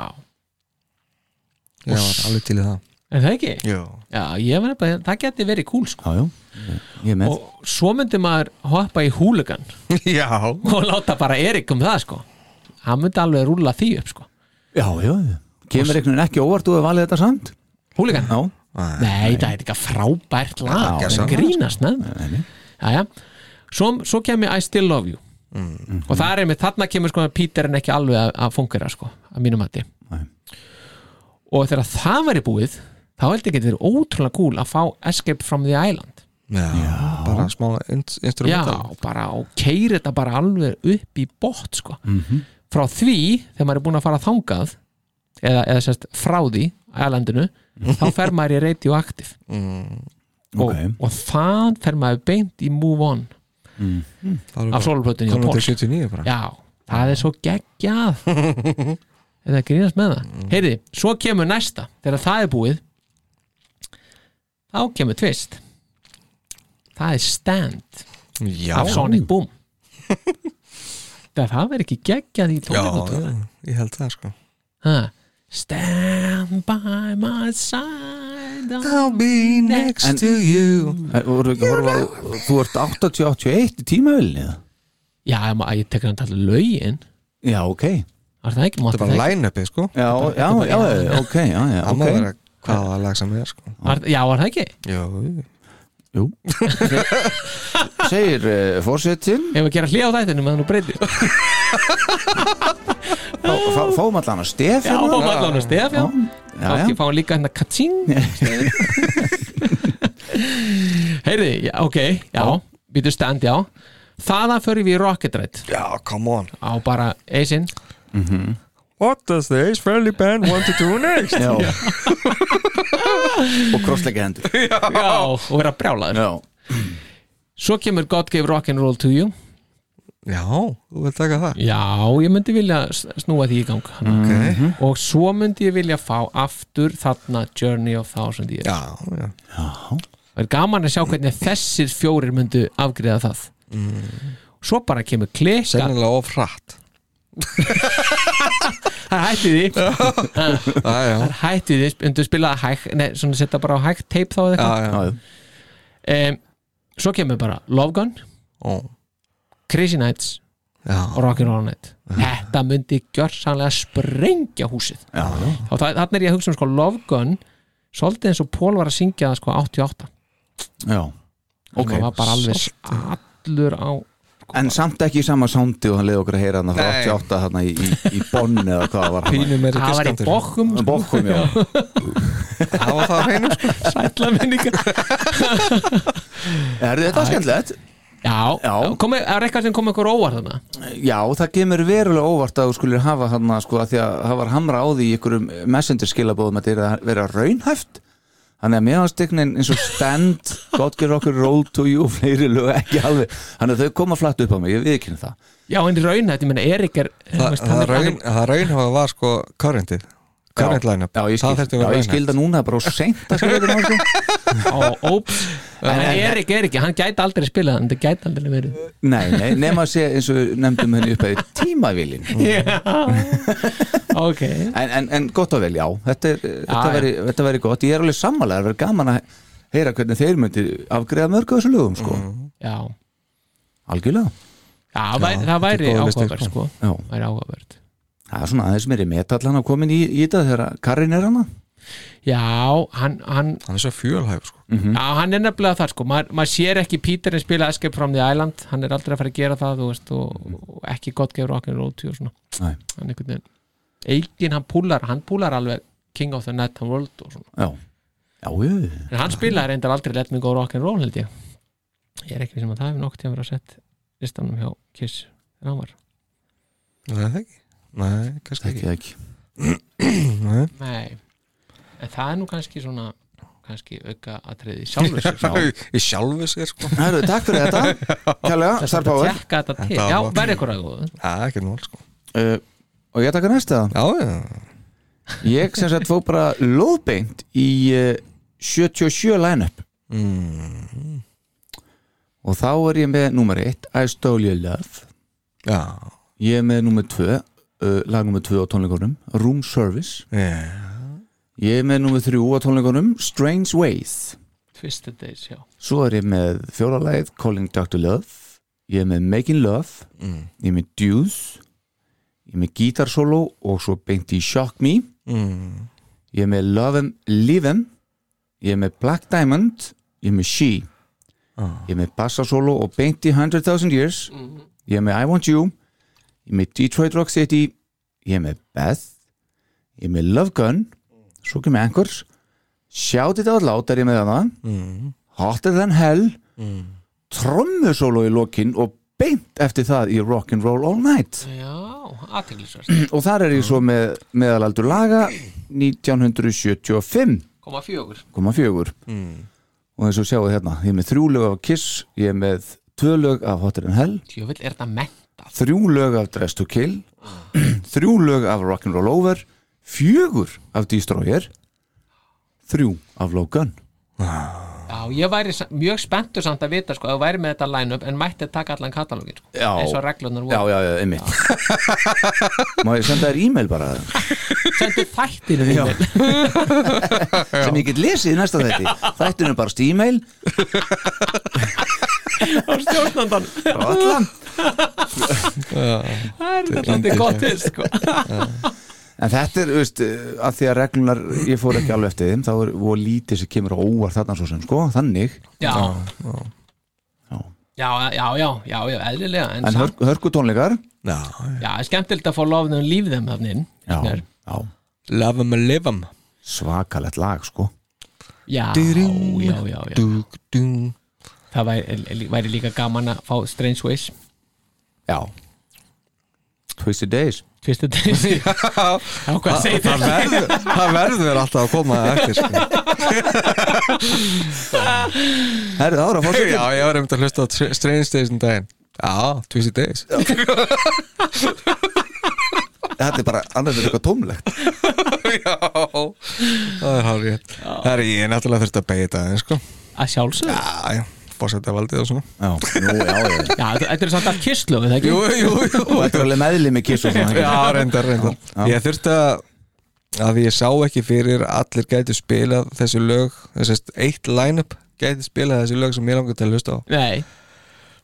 [SPEAKER 5] Já, alveg til í það
[SPEAKER 3] en það ekki?
[SPEAKER 5] Já
[SPEAKER 3] Já, ég var nefnilega, það geti verið kúl sko.
[SPEAKER 6] Já, já, ég er með
[SPEAKER 3] og svo myndi maður hoppa í húlugan
[SPEAKER 5] Já
[SPEAKER 3] og láta bara Erik um það sko. hann myndi alveg rúla því upp sko.
[SPEAKER 6] Já, já, já Kemur einhvern veginn ekki óvart þú að valið þetta samt?
[SPEAKER 3] húlugan,
[SPEAKER 6] Já,
[SPEAKER 3] nei, það er eitthvað frábært lag,
[SPEAKER 5] Já,
[SPEAKER 3] það
[SPEAKER 5] já.
[SPEAKER 3] er grínast neð já, já svo, svo kemur I still love you og það er einmitt, þarna kemur sko Peter en ekki alveg að, að fungera sko, að mínum hætti
[SPEAKER 6] Nei.
[SPEAKER 3] og þegar það væri búið þá held ég getið verið ótrúlega kúl að fá Escape from the Island
[SPEAKER 5] Já Bara smá inst- instrumental
[SPEAKER 3] Já, bara og keiri þetta bara alveg upp í bótt sko. frá því, þegar maður er búin að fara þangað eða, eða sérst frá því ælandinu, þá fer maður í radioaktiv og,
[SPEAKER 6] Ok.
[SPEAKER 3] og þann fer maður beint í move on
[SPEAKER 5] Það er
[SPEAKER 3] af
[SPEAKER 5] bara-
[SPEAKER 3] sólplötunni og
[SPEAKER 5] Komum
[SPEAKER 3] pól
[SPEAKER 5] til 79 bara
[SPEAKER 3] Já, það er svo geggjað er það grínast með það Heyriði, svo kemur næsta þegar það er búið þá kemur tvist það er stand
[SPEAKER 5] Já
[SPEAKER 3] af Sonic Boom það, það verður ekki geggjað í
[SPEAKER 5] Já,
[SPEAKER 3] tónleikum
[SPEAKER 5] ég held það sko
[SPEAKER 3] Stand by my side
[SPEAKER 5] I'll be next
[SPEAKER 6] En-
[SPEAKER 5] to you
[SPEAKER 6] Er- voru ekki að horfa á- Þú ert 80-81 í tímavilni
[SPEAKER 3] Já, ég ma- ég tekur hann alltaf lögin
[SPEAKER 6] Já, ok Já,
[SPEAKER 3] Var það ekki, mátti
[SPEAKER 5] Þetta
[SPEAKER 3] það
[SPEAKER 5] var
[SPEAKER 3] ekki
[SPEAKER 5] line-upið sko
[SPEAKER 6] já, já, ok, já, já,
[SPEAKER 5] Það má
[SPEAKER 6] ok
[SPEAKER 5] vera hvaða lag sem er sko
[SPEAKER 3] var, Já, var það ekki
[SPEAKER 5] Já, jú.
[SPEAKER 6] Segir uh, fórsetin
[SPEAKER 3] Ef við gera hlið á þættinu með hann og breytir
[SPEAKER 6] Fá- fá- Fáum allan að stef
[SPEAKER 3] Já,
[SPEAKER 6] hérna.
[SPEAKER 3] fáum allan að stef Já,
[SPEAKER 6] já, já.
[SPEAKER 3] já Fáum líka hérna katsing Heyrði, já, ok Já, býtu stand, já Þaðan förum við í Rocket Ride
[SPEAKER 5] Já, come on
[SPEAKER 3] á bara eisinn
[SPEAKER 5] What does the Ace Fairly Band want to do next?
[SPEAKER 6] Já. Og krossleika hendur
[SPEAKER 3] Já, og vera brjálaður
[SPEAKER 6] Já,
[SPEAKER 3] Svo kemur God gave rock'n'roll to you
[SPEAKER 5] Já, þú vilt taka það
[SPEAKER 3] Já, ég myndi vilja s- snúa því í gang
[SPEAKER 5] Ok
[SPEAKER 3] Mhm.
[SPEAKER 5] Mhm.
[SPEAKER 3] Og svo myndi ég vilja fá aftur þarna Journey of Thousand Years
[SPEAKER 5] Já, já
[SPEAKER 3] Það er gaman að sjá hvernig þessir fjórir myndu afgriða það
[SPEAKER 5] Mm.
[SPEAKER 3] Svo bara kemur klika
[SPEAKER 5] Sennilega of hratt
[SPEAKER 3] Það hætti því
[SPEAKER 5] Já, já
[SPEAKER 3] Það hætti því, undur spilaða hægt Nei, svona setja bara á hægt tape þá eða
[SPEAKER 5] Já,
[SPEAKER 3] eitthvað
[SPEAKER 5] já
[SPEAKER 6] já,
[SPEAKER 3] um, Svo kemur bara Love Gun,
[SPEAKER 5] Ó,
[SPEAKER 3] Crazy Nights
[SPEAKER 5] Já,
[SPEAKER 3] og Rock'n'Roll Night Þetta myndi gjörsanlega sprengja húsið
[SPEAKER 6] já, já.
[SPEAKER 3] og það, þannig er ég að hugsa um sko Love Gun svolítið eins og Pól var að syngja það sko 88
[SPEAKER 6] já.
[SPEAKER 3] okay.
[SPEAKER 6] Ok.
[SPEAKER 3] það var bara alveg allur á
[SPEAKER 6] En samt ekki í sama sándi og hann leiði okkur að heyra hann frá
[SPEAKER 5] Nei.
[SPEAKER 6] 88 hann í, í, í Bonn eða hvað var hann
[SPEAKER 5] pínum er
[SPEAKER 3] það var í
[SPEAKER 5] ekki skandur
[SPEAKER 3] bókum sko,
[SPEAKER 6] Bokkum, já
[SPEAKER 5] Það var það á hreinu sko
[SPEAKER 3] sætla minninga
[SPEAKER 6] Er þetta skemmtilegt?
[SPEAKER 3] já,
[SPEAKER 6] Já.
[SPEAKER 3] komi, er eitthvað sem kom ykkur óvar þarna
[SPEAKER 6] Já, það kemur verulega óvart að þú skulir hafa hann að sko að því að það var hamra á því í einhverjum messenger skilabóðum að þetta er að vera raunhæft Þannig að mér hans tegnin eins og stand God give okkur roll to you og fleiri lög ekki alveg Þannig að þau koma flatt upp á mig, ég viðkynna það
[SPEAKER 3] já, en í raun þetta, ég meina Erik er
[SPEAKER 5] Þa,
[SPEAKER 3] þú veist,
[SPEAKER 5] Það
[SPEAKER 3] hann er- hann
[SPEAKER 5] raun- það raunhafa var sko currentið Current
[SPEAKER 6] Já.
[SPEAKER 5] line-up
[SPEAKER 6] Já,
[SPEAKER 5] Það
[SPEAKER 6] ég skil,
[SPEAKER 5] þurfti að
[SPEAKER 6] já,
[SPEAKER 5] vera
[SPEAKER 6] ég skil
[SPEAKER 5] line-up
[SPEAKER 6] það núna bara og seint að skilja þetta sko. náttúrulega
[SPEAKER 3] er á óps en Erik er ekki, hann gæti aldrei spilað hann gæti aldrei verið
[SPEAKER 6] Nei, nei, nema að segja eins og við nefndum henni upp að tímavilin
[SPEAKER 5] Mm.
[SPEAKER 3] ok,
[SPEAKER 6] en, en, en gott og vel, já, þetta, er, þetta,
[SPEAKER 3] já.
[SPEAKER 6] veri, þetta veri gott Ég er alveg sammála, það verið gaman að heyra hvernig þeir myndi afgreða mörg af þessu lögum, sko
[SPEAKER 3] já,
[SPEAKER 6] Algjörlega,
[SPEAKER 3] já, já
[SPEAKER 5] þetta
[SPEAKER 3] væri,
[SPEAKER 5] er
[SPEAKER 3] það væri
[SPEAKER 5] góður listi,
[SPEAKER 3] áhugaverð
[SPEAKER 5] sko.
[SPEAKER 3] sko,
[SPEAKER 6] já
[SPEAKER 3] væri áhugaverð
[SPEAKER 6] Það er svona aðeins meiri metallan að komin í, í þetta þegar að Karin er hana
[SPEAKER 3] Já, hann, hann,
[SPEAKER 5] hann er svo fjölhæfur sko.
[SPEAKER 6] Mm.
[SPEAKER 3] já, hann er nefnilega það sko maður maður sér ekki Píterin spila Escape from the Island hann er aldrei að fara að gera það þú veist, og, og ekki gott gefur okkur róti og svona
[SPEAKER 6] Nei.
[SPEAKER 3] hann einhvern veginn eigin hann púlar, hann púlar alveg King of the Night and World og svona
[SPEAKER 6] já, já, já.
[SPEAKER 3] en hann spilaði reyndar aldrei Let Me Go Rock and Roll held ég ég er ekki sem að það hefur nokkuð tíma verið að setja listanum hjá Kiss þegar hann var
[SPEAKER 5] Nei, það ekki Nei, kannski
[SPEAKER 6] Ekki,
[SPEAKER 5] ekki
[SPEAKER 6] ekki.
[SPEAKER 5] Nei.
[SPEAKER 3] Nei, en það er nú kannski svona kannski auka atriði sjálfur sér.
[SPEAKER 5] Í sjálfu sér sko
[SPEAKER 6] Herru, takk fyrir þetta, kærlega,
[SPEAKER 3] Þess að
[SPEAKER 6] starfbáður
[SPEAKER 3] tekka þetta til,
[SPEAKER 5] Þetta
[SPEAKER 3] já,
[SPEAKER 5] var-
[SPEAKER 3] verði ykkur að góðu
[SPEAKER 5] Það er ekki nól sko
[SPEAKER 6] uh, Og ég taka næsta
[SPEAKER 5] Já, já
[SPEAKER 6] Ég sem sagt fó bara lóðbeint í uh, 77 line-up Og þá er ég með númer 1, I Stole Your Love
[SPEAKER 5] Já,
[SPEAKER 6] Ég er með númer 2, uh, lag númer 2 á tónleikunum Room Service
[SPEAKER 5] já
[SPEAKER 6] Ég er með númer 3 á tónleikunum Strange Ways
[SPEAKER 3] Twisted Days, já
[SPEAKER 6] Svo er ég með fjóralæð Calling Dr. Love Ég er með Making Love Ég er með Dues Ég er með Guitar Solo og svo beint í Shock Me
[SPEAKER 5] Mm.
[SPEAKER 6] Ég er með Love 'em, Leave 'em Ég er með Black Diamond Ég er með She Ég er með Bassa Solo og beint í 100.000 Years Ég er með I Want You Ég er með Detroit Rock City Ég er með Beth Ég er með Love Gun Svo kemur Anchors Shout It Out Loud er ég með hana Hotter Than Hell mm. Trommusólo í lokin og beint eftir það í Rock'n'Roll All Night
[SPEAKER 3] Já, aðteglisvært,
[SPEAKER 6] og þar er ég svo með meðalaldur laga 1975
[SPEAKER 3] koma fjögur
[SPEAKER 6] koma fjögur og eins og sjáu hérna, ég er með þrjú lög af Kiss ég er með tvö lög af Hotter than Hell
[SPEAKER 3] Jöfell, er þetta mentað?
[SPEAKER 6] þrjú lög af Dress to Kill þrjú lög af Rock'n'Roll Over fjögur af Destroyer þrjú af Logan
[SPEAKER 3] Já, ég væri sa- mjög spenntur samt að vita sko, að þú væri með þetta line-up en mætti taka allan katalógin sko,
[SPEAKER 6] Já.
[SPEAKER 3] eins og reglunar
[SPEAKER 6] já,
[SPEAKER 3] voru
[SPEAKER 6] já, já, einmitt má ég senda þér e-mail bara
[SPEAKER 3] Sendu þættinu
[SPEAKER 6] Já.
[SPEAKER 3] þínu
[SPEAKER 6] sem ég get lesið í næsta þetti þættinu er bara e-mail
[SPEAKER 3] á stjórnandan
[SPEAKER 6] frá allan
[SPEAKER 3] Það er þetta alltaf gott til sko
[SPEAKER 6] En þetta er, þú veist, að því að reglunar ég fór ekki alveg eftir þeim, þá er og lítið sem kemur á óvart þarna svo sem, sko, þannig
[SPEAKER 3] Já,
[SPEAKER 6] Já.
[SPEAKER 3] já, já, já, já, já, eðlilega
[SPEAKER 6] En
[SPEAKER 3] en, samt-
[SPEAKER 6] hörku, hörku tónleikar
[SPEAKER 5] Já,
[SPEAKER 3] Já, það er skemmtilegt að fá um lofnum lífðum þannig inn finnst
[SPEAKER 6] já,
[SPEAKER 3] mér.
[SPEAKER 6] já,
[SPEAKER 5] love 'em and live 'em
[SPEAKER 6] svakalett lag, sko
[SPEAKER 3] já,
[SPEAKER 5] Dýrinn.
[SPEAKER 3] já, já, já.
[SPEAKER 5] Dúk, dúk
[SPEAKER 3] Það væri, væri líka gaman að fá Strange Ways
[SPEAKER 6] Já Twisted Days
[SPEAKER 3] Twisted Days Já, hvað segir
[SPEAKER 5] Það
[SPEAKER 3] þetta?
[SPEAKER 5] verður, það verður alltaf að koma eftir sko.
[SPEAKER 6] Herðu ára, fórstu
[SPEAKER 5] Já, ég var einmitt að hlusta á Tr- Strange Days um daginn Já, Twisted Days
[SPEAKER 6] Þetta er bara annars er eitthvað tómlegt
[SPEAKER 5] Já, það er hálf rétt Það er ég náttúrulega þurft að beita það sko.
[SPEAKER 3] Að sjálfsögðu
[SPEAKER 5] Já, já, fórsetta valdið og svona
[SPEAKER 6] Já, nú, já, já
[SPEAKER 3] Já, þetta er samt að kistlu, það ekki?
[SPEAKER 5] Jú, jú, jú,
[SPEAKER 6] Og þetta er alveg meðlið með kiss og svona ekki?
[SPEAKER 5] Já, reyndar, reyndar
[SPEAKER 6] Já.
[SPEAKER 5] Ég þurfti að að ég sá ekki fyrir allir gæti spilað þessi lög þessast eitt line-up gæti spilað þessi lög sem ég langar til að hlusta á
[SPEAKER 3] Nei,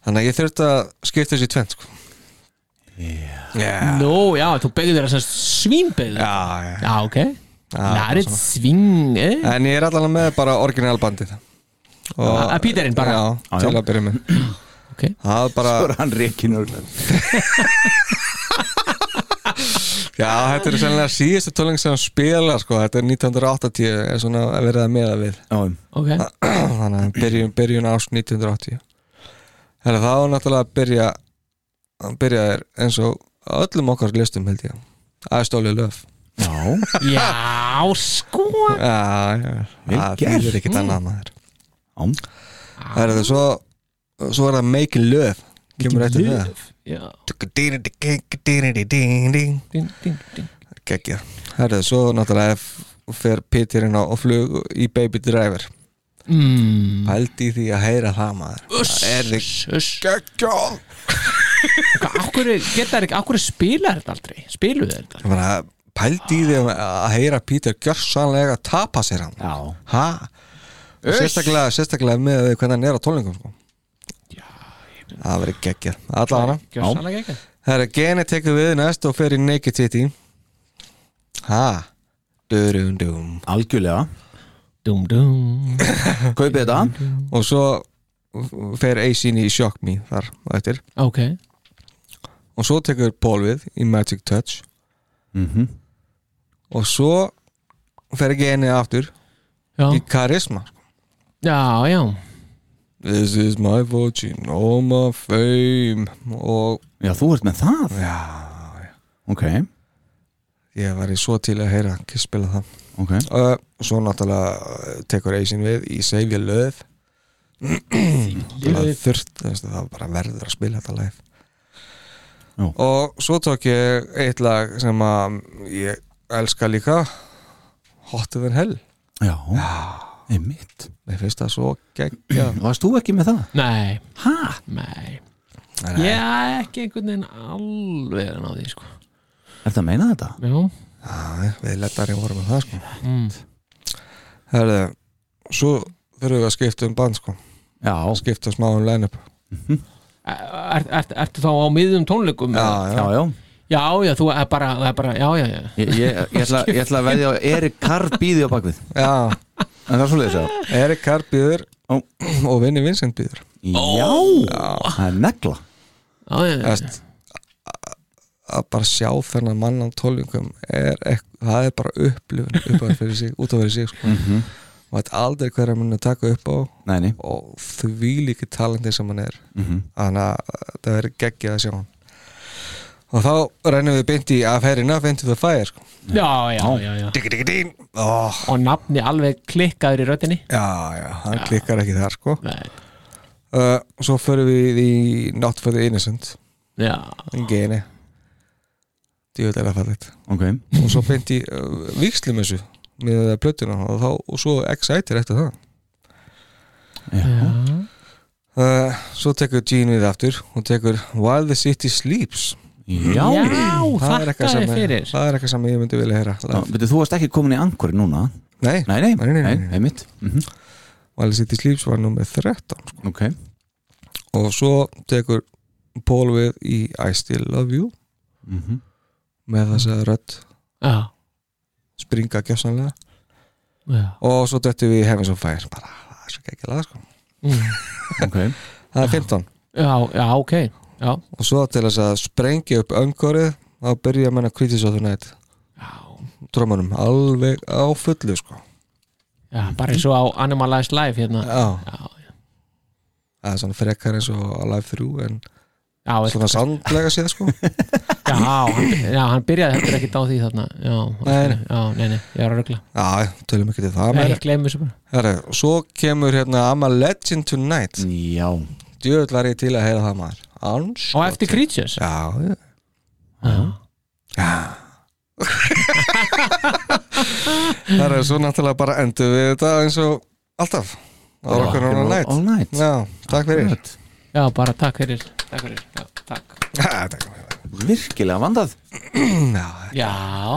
[SPEAKER 5] þannig að ég þurfti að skipta þessi tvent sko. yeah.
[SPEAKER 3] nú, já, þú beggður þess að svínbeggður
[SPEAKER 5] já, já.
[SPEAKER 3] Já, ok Það er eitt svín eh?
[SPEAKER 5] en ég er allan með bara orginalbandið og
[SPEAKER 3] Að Peterinn Ah, bara?
[SPEAKER 5] já,
[SPEAKER 6] Já,
[SPEAKER 5] til
[SPEAKER 6] já.
[SPEAKER 5] að byrja með
[SPEAKER 3] Ok.
[SPEAKER 5] það er bara
[SPEAKER 6] Svo er hann reikin og-
[SPEAKER 5] Já, þetta er sennilega síðasta tónleik sem hann spila sko. þetta er 1980 er svona verið að meða við
[SPEAKER 6] Já,
[SPEAKER 3] Ok,
[SPEAKER 5] þannig að byrjun, byrjun ás 1980 Þannig að það var náttúrulega að byrja að byrja þér eins og á öllum okkar listum held ég aðstóli löf
[SPEAKER 6] já,
[SPEAKER 3] já, sko
[SPEAKER 5] Já, já,
[SPEAKER 6] Vel
[SPEAKER 5] það
[SPEAKER 6] gert. Mm.
[SPEAKER 5] þýðir ekkert annað maður
[SPEAKER 6] já
[SPEAKER 5] Það er það svo svo er það make löf kemur eftir
[SPEAKER 3] Já,
[SPEAKER 5] það
[SPEAKER 3] ding, ding, ding
[SPEAKER 5] Gekkja Það er það svo náttúrulega ef- fer Peter inn á og flug í Baby Driver
[SPEAKER 3] Mm,
[SPEAKER 5] Pældi í því að heyra það maður Það er þig Gekkja
[SPEAKER 3] hvað, akkur geta þær ekki, akkur spila þetta aldrei Spiluðu þeir þetta aldrei?
[SPEAKER 5] Ég meina, pældi í því að- að heyra Peter gjörsanlega tapa sér hann
[SPEAKER 6] Já,
[SPEAKER 5] ha? Og sérstaklega, sérstaklega með því hvernig hann er á tónlingum sko. Já, það verið geggjað alla hana
[SPEAKER 3] Gjörsamlega ekki
[SPEAKER 5] það er að geni tekur við næst og fer í Naked City ha? Du, Dörum, dum
[SPEAKER 6] algjörlega,
[SPEAKER 3] Dum dum
[SPEAKER 6] kaupið þetta
[SPEAKER 5] Og svo fer AC-ni í Shock Me þar og eftir
[SPEAKER 3] Ok,
[SPEAKER 5] Og svo tekur Paul við í Magic Touch
[SPEAKER 6] Mhm.
[SPEAKER 5] Og svo fer ekki henni aftur
[SPEAKER 3] já,
[SPEAKER 5] í Charisma
[SPEAKER 3] já, já
[SPEAKER 5] This is my fortune, all my fame Og
[SPEAKER 6] já, þú ert með það
[SPEAKER 5] já, já.
[SPEAKER 6] ok,
[SPEAKER 5] ég var í svo til að heyra ekki spila það
[SPEAKER 6] ok,
[SPEAKER 5] uh, Svo náttúrulega uh, tekur Aisin við í Save Your Love Náttúrulega þurft þú veist, það var bara verður að spila þetta live
[SPEAKER 6] Já.
[SPEAKER 5] og svo tók ég eitt lag sem að ég elska líka Hotter than Hell
[SPEAKER 6] já einmitt,
[SPEAKER 5] mér finnst það svo geggja
[SPEAKER 6] varst þú ekki með það?
[SPEAKER 3] Nei,
[SPEAKER 6] ha?
[SPEAKER 3] nei Ég er ekki einhvern veginn alveg að ná því sko
[SPEAKER 6] Er það að meina þetta?
[SPEAKER 3] Já,
[SPEAKER 5] Já, við lettari vorum með það sko Herðu, svo þurfum við að skipta um band sko
[SPEAKER 6] Já,
[SPEAKER 5] skipta smá um line-up
[SPEAKER 3] Er- er- ert- ertu þá á miðum tónleikum? eða?
[SPEAKER 6] já, já
[SPEAKER 3] já, já, þú er bara, er bara já, já, já
[SPEAKER 6] Ég, ég, ég, ætla, ég ætla að veðja á Erik Karr býði á bakvið
[SPEAKER 5] Já,
[SPEAKER 6] En það er svoleiðis að
[SPEAKER 5] Erik Karr býður
[SPEAKER 6] Ó.
[SPEAKER 5] og Vinni Vincent býður
[SPEAKER 6] Já, það er negla
[SPEAKER 3] Já, já, já,
[SPEAKER 5] Æst, að bara sjá þennan mann á tólingum er ekk, það er bara upplifun upp að fyrir sig, út að fyrir sig sko. mm
[SPEAKER 6] Mhm.
[SPEAKER 5] -hmm. veit aldrei hverja mun að taka upp á
[SPEAKER 6] Nei, nei,
[SPEAKER 5] og því líki talandi sem hann er
[SPEAKER 6] Mhm.
[SPEAKER 5] þannig að það verður geggjað að sjá hann og þá rennum við byndi af herrina, byndi það fæðir sko.
[SPEAKER 3] já, já, já, já.
[SPEAKER 5] oh,
[SPEAKER 3] Og nafni alveg klikkaður í röddinni
[SPEAKER 5] já, já, hann klikkar ekki þar sko.
[SPEAKER 3] Nei,
[SPEAKER 5] uh, svo förum við í Not for the Innocent
[SPEAKER 3] já,
[SPEAKER 5] en geni djúvel er það fallit
[SPEAKER 6] ok
[SPEAKER 5] og svo beint í uh, vikslumessu með plötuna og, þá, og svo Exciter eftir það uh, svo tekur Gene við aftur og tekur While the City Sleeps
[SPEAKER 6] Já,
[SPEAKER 3] já,
[SPEAKER 5] það er
[SPEAKER 3] þakka
[SPEAKER 5] eitthvað
[SPEAKER 3] þér
[SPEAKER 5] sem, uh,
[SPEAKER 3] fyrir
[SPEAKER 5] það er eitthvað sem ég myndi vilja heyra
[SPEAKER 6] Þá, Veitir, þú varst ekki komin í angurinn núna
[SPEAKER 5] nei,
[SPEAKER 6] Nei, nei,
[SPEAKER 5] Nei, nei, nei, nei.
[SPEAKER 6] einmitt mm
[SPEAKER 5] While the City Sleeps var nummer 13 sko.
[SPEAKER 6] Ok,
[SPEAKER 5] og svo tekur Paul við í I Still Love You
[SPEAKER 6] Mhm.
[SPEAKER 5] með þess að rödd
[SPEAKER 3] Já,
[SPEAKER 5] springa gjössanlega
[SPEAKER 3] já,
[SPEAKER 5] og svo döttum við í Heavens on Fire bara, það er svo ekki sko.
[SPEAKER 6] ok
[SPEAKER 5] það er 15
[SPEAKER 3] já, já, ok Já,
[SPEAKER 5] og svo til þess að sprengja upp öngorið þá byrja menn að kvítið svo þú nætt
[SPEAKER 3] já
[SPEAKER 5] trómanum alveg á fullu sko
[SPEAKER 3] Já, bara eins og á Animalized Life hérna
[SPEAKER 5] já,
[SPEAKER 3] Já, já,
[SPEAKER 5] það er svona frekar eins og á Live 3 en
[SPEAKER 3] já, veist-
[SPEAKER 5] svona sandlega séð sko
[SPEAKER 3] já, hann, já hann byrjaði heldur ekkert á því þarna Já,
[SPEAKER 5] Nei, nei.
[SPEAKER 3] já, nei, nei, ég var að rögla
[SPEAKER 5] já, tölum ekki til það
[SPEAKER 3] Nei,
[SPEAKER 5] meira
[SPEAKER 3] ég gleymi þessu bara
[SPEAKER 5] Herra, svo kemur hérna I'm a Legend Tonight
[SPEAKER 6] Já,
[SPEAKER 5] djöðl var ég til að heyra það maður Ans
[SPEAKER 3] Og eftir Creatures
[SPEAKER 5] já, já.
[SPEAKER 3] Já,
[SPEAKER 5] Herra, svo náttúrulega bara endur við þetta eins og alltaf á Rock'n Roll Night
[SPEAKER 6] all night
[SPEAKER 5] já, takk fyrir
[SPEAKER 6] Right.
[SPEAKER 3] já bara takk fyrir Takk fyrir, já, takk
[SPEAKER 5] Ha, takk fyrir
[SPEAKER 6] Virkilega vandað
[SPEAKER 5] já,
[SPEAKER 3] Já,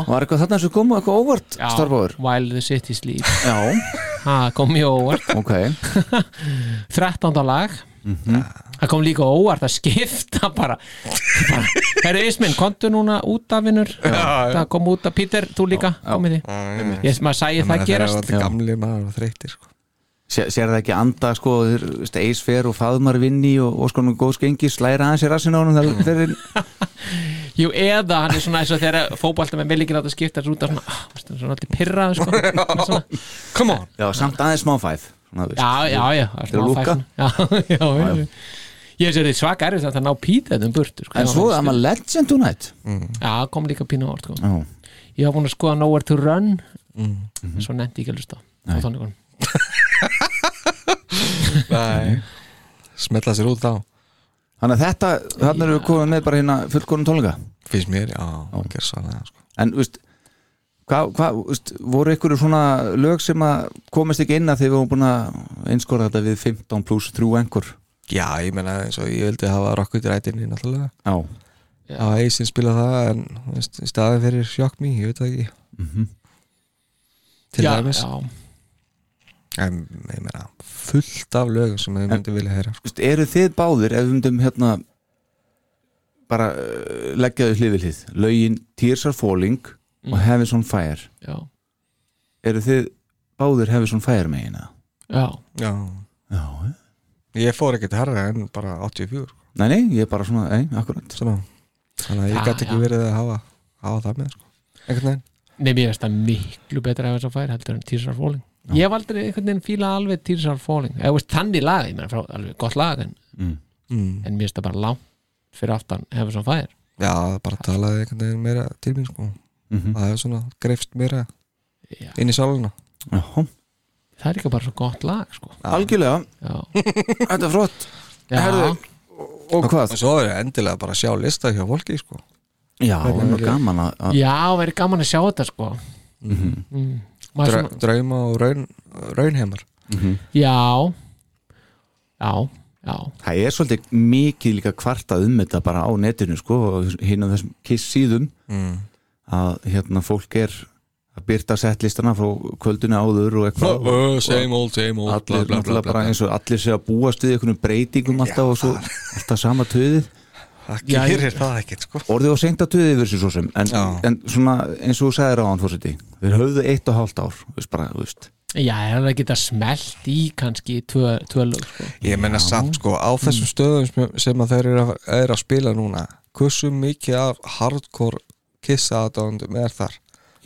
[SPEAKER 6] Var eitthvað þarna sem kom eitthvað óvart,
[SPEAKER 3] já
[SPEAKER 6] starfbóður?
[SPEAKER 3] While the City Sleeps
[SPEAKER 6] Já,
[SPEAKER 3] Það kom mjög óvart
[SPEAKER 6] ok
[SPEAKER 3] 13. lag Mhm. Það kom líka óvart að skipta bara, bara Herru Ismin, kontu núna út af vinnur Það kom út af Peter, þú líka komið því Ég sem að sæði það
[SPEAKER 5] það er
[SPEAKER 3] gerast
[SPEAKER 5] alltaf gamli maður og þreytir sko
[SPEAKER 6] Sér, sér það ekki anda sko þeir, veist, Ace fer og faðmar vinni og, og sko nú góð skengi slæra aðeins í rassinu á honum þegar þeir eru
[SPEAKER 3] Jú, eða hann er svona eins og þegar fótbolta með millingin átt að skipta þessu út af svona, ah, veistu, svona allir pyrrað sko. Svona-
[SPEAKER 5] come on
[SPEAKER 6] Já, samt aðeins smá fæð svona, þú veist.
[SPEAKER 3] Já, já, já það er smá
[SPEAKER 6] að lúka.
[SPEAKER 3] fæsn. Já, já, já, já Ég sé þetta er svaka erfið þetta að ná píta þetta um burtu sko.
[SPEAKER 6] En
[SPEAKER 3] Já,
[SPEAKER 6] svo
[SPEAKER 3] veistu.
[SPEAKER 6] er maður legend tonight
[SPEAKER 3] Já, kom líka pínu ávart sko.
[SPEAKER 6] Já,
[SPEAKER 3] Ég var búin að skoða Nowhere to Run en Svo nefndi ég ekki að hlusta á tónleikunum.
[SPEAKER 5] smetla sér út þá
[SPEAKER 6] þannig að þetta, þannig erum við komið með bara hérna fullkonum tónleika
[SPEAKER 5] finnst mér, já, hann ger sannlega sko.
[SPEAKER 6] En, þú veist, hvað, hva, veist, voru ykkur svona lög sem að komist ekki inn að þegar við vorum búin að einskora þetta við 15 pluss 3 engur
[SPEAKER 5] já, ég menna eins og ég vildi hafa rockut rætinni náttúrulega,
[SPEAKER 6] Já,
[SPEAKER 5] hafa Eisin spila það en þú veist, í staðin fyrir Shock Me, ég veit það ekki til
[SPEAKER 3] já,
[SPEAKER 5] dæmis
[SPEAKER 3] já,
[SPEAKER 5] en ég menna, fullt af lögum sem ég myndi vilja heyra sko.
[SPEAKER 6] veist, eru þið báðir ef við myndum hérna bara eh, uh, leggja þau hlið við hlið lögin Tears Are Falling og Heaven's on Fire
[SPEAKER 3] já
[SPEAKER 6] eru þið báðir hefur svona færi megin eða?
[SPEAKER 3] já,
[SPEAKER 5] Já,
[SPEAKER 6] Já, eh?
[SPEAKER 5] ég fór ekkert herra en bara 84
[SPEAKER 6] nei, nei, ég er bara svona, ei, akkurat
[SPEAKER 5] svona. Þannig að
[SPEAKER 3] Já,
[SPEAKER 5] ég gæti ekki
[SPEAKER 3] já.
[SPEAKER 5] verið að hafa, hafa það með sko. einhvern veginn
[SPEAKER 3] Nei, mér finnst það miklu betra ef þess að færi heldur en Tears Are Falling Ég hef aldrei einhvern veginn fíla alveg Tears Are Falling eða veist þannig lag, ég meina frá alveg gott lag en,
[SPEAKER 5] mm.
[SPEAKER 3] en mér finnst það bara langt fyrir aftan hefur svona færi
[SPEAKER 5] Já, það bara talaði einhvern veginn meira til mín sko.
[SPEAKER 6] Mhm.
[SPEAKER 5] það hefur svona greifst meira
[SPEAKER 3] Já.
[SPEAKER 5] inn í sáluna
[SPEAKER 6] Já,
[SPEAKER 3] Það er ekki bara svo gott lag, sko
[SPEAKER 6] algjörlega,
[SPEAKER 3] Já,
[SPEAKER 6] þetta er frott
[SPEAKER 3] já,
[SPEAKER 6] Herðu, og hvað?
[SPEAKER 5] og svo er endilega bara að sjá lista hjá fólki sko.
[SPEAKER 6] Já, það er nú gaman að að-
[SPEAKER 3] já verið gaman að sjá þetta, sko mm. Maður
[SPEAKER 5] Dra
[SPEAKER 3] svona,
[SPEAKER 5] drauma og raun, raunheimar
[SPEAKER 3] Já Já, já
[SPEAKER 6] Það er svolítið mikið líka kvartað um þetta bara á netinu sko og hinn á þessum kiss síðum
[SPEAKER 5] mm.
[SPEAKER 6] að hérna fólk er að byrta settlistana frá kvöldinu áður og eitthvað
[SPEAKER 5] uh, same old, same old
[SPEAKER 6] allir náttúrulega bara eins og allir sé að búast við einhvernum breytingum alltaf og svo alltaf sama töðið
[SPEAKER 5] það
[SPEAKER 3] Já, ég-
[SPEAKER 5] gerir það ekkert sko.
[SPEAKER 6] orðið og seint að töðið yfir sér svo sem en,
[SPEAKER 5] Já.
[SPEAKER 6] en svona eins og þú sagðir á hann fórseti þeir höfðu eitt og hálft ár þú veist bara, þú veist
[SPEAKER 3] Já, það er að geta smelt í kannski tvö, tvö lög, sko
[SPEAKER 5] ég menna samt sko á þessum stöðum sem- sem að þeir eru að, er að spila núna hversu mikið af hardcore kissa aðdáðundum er þar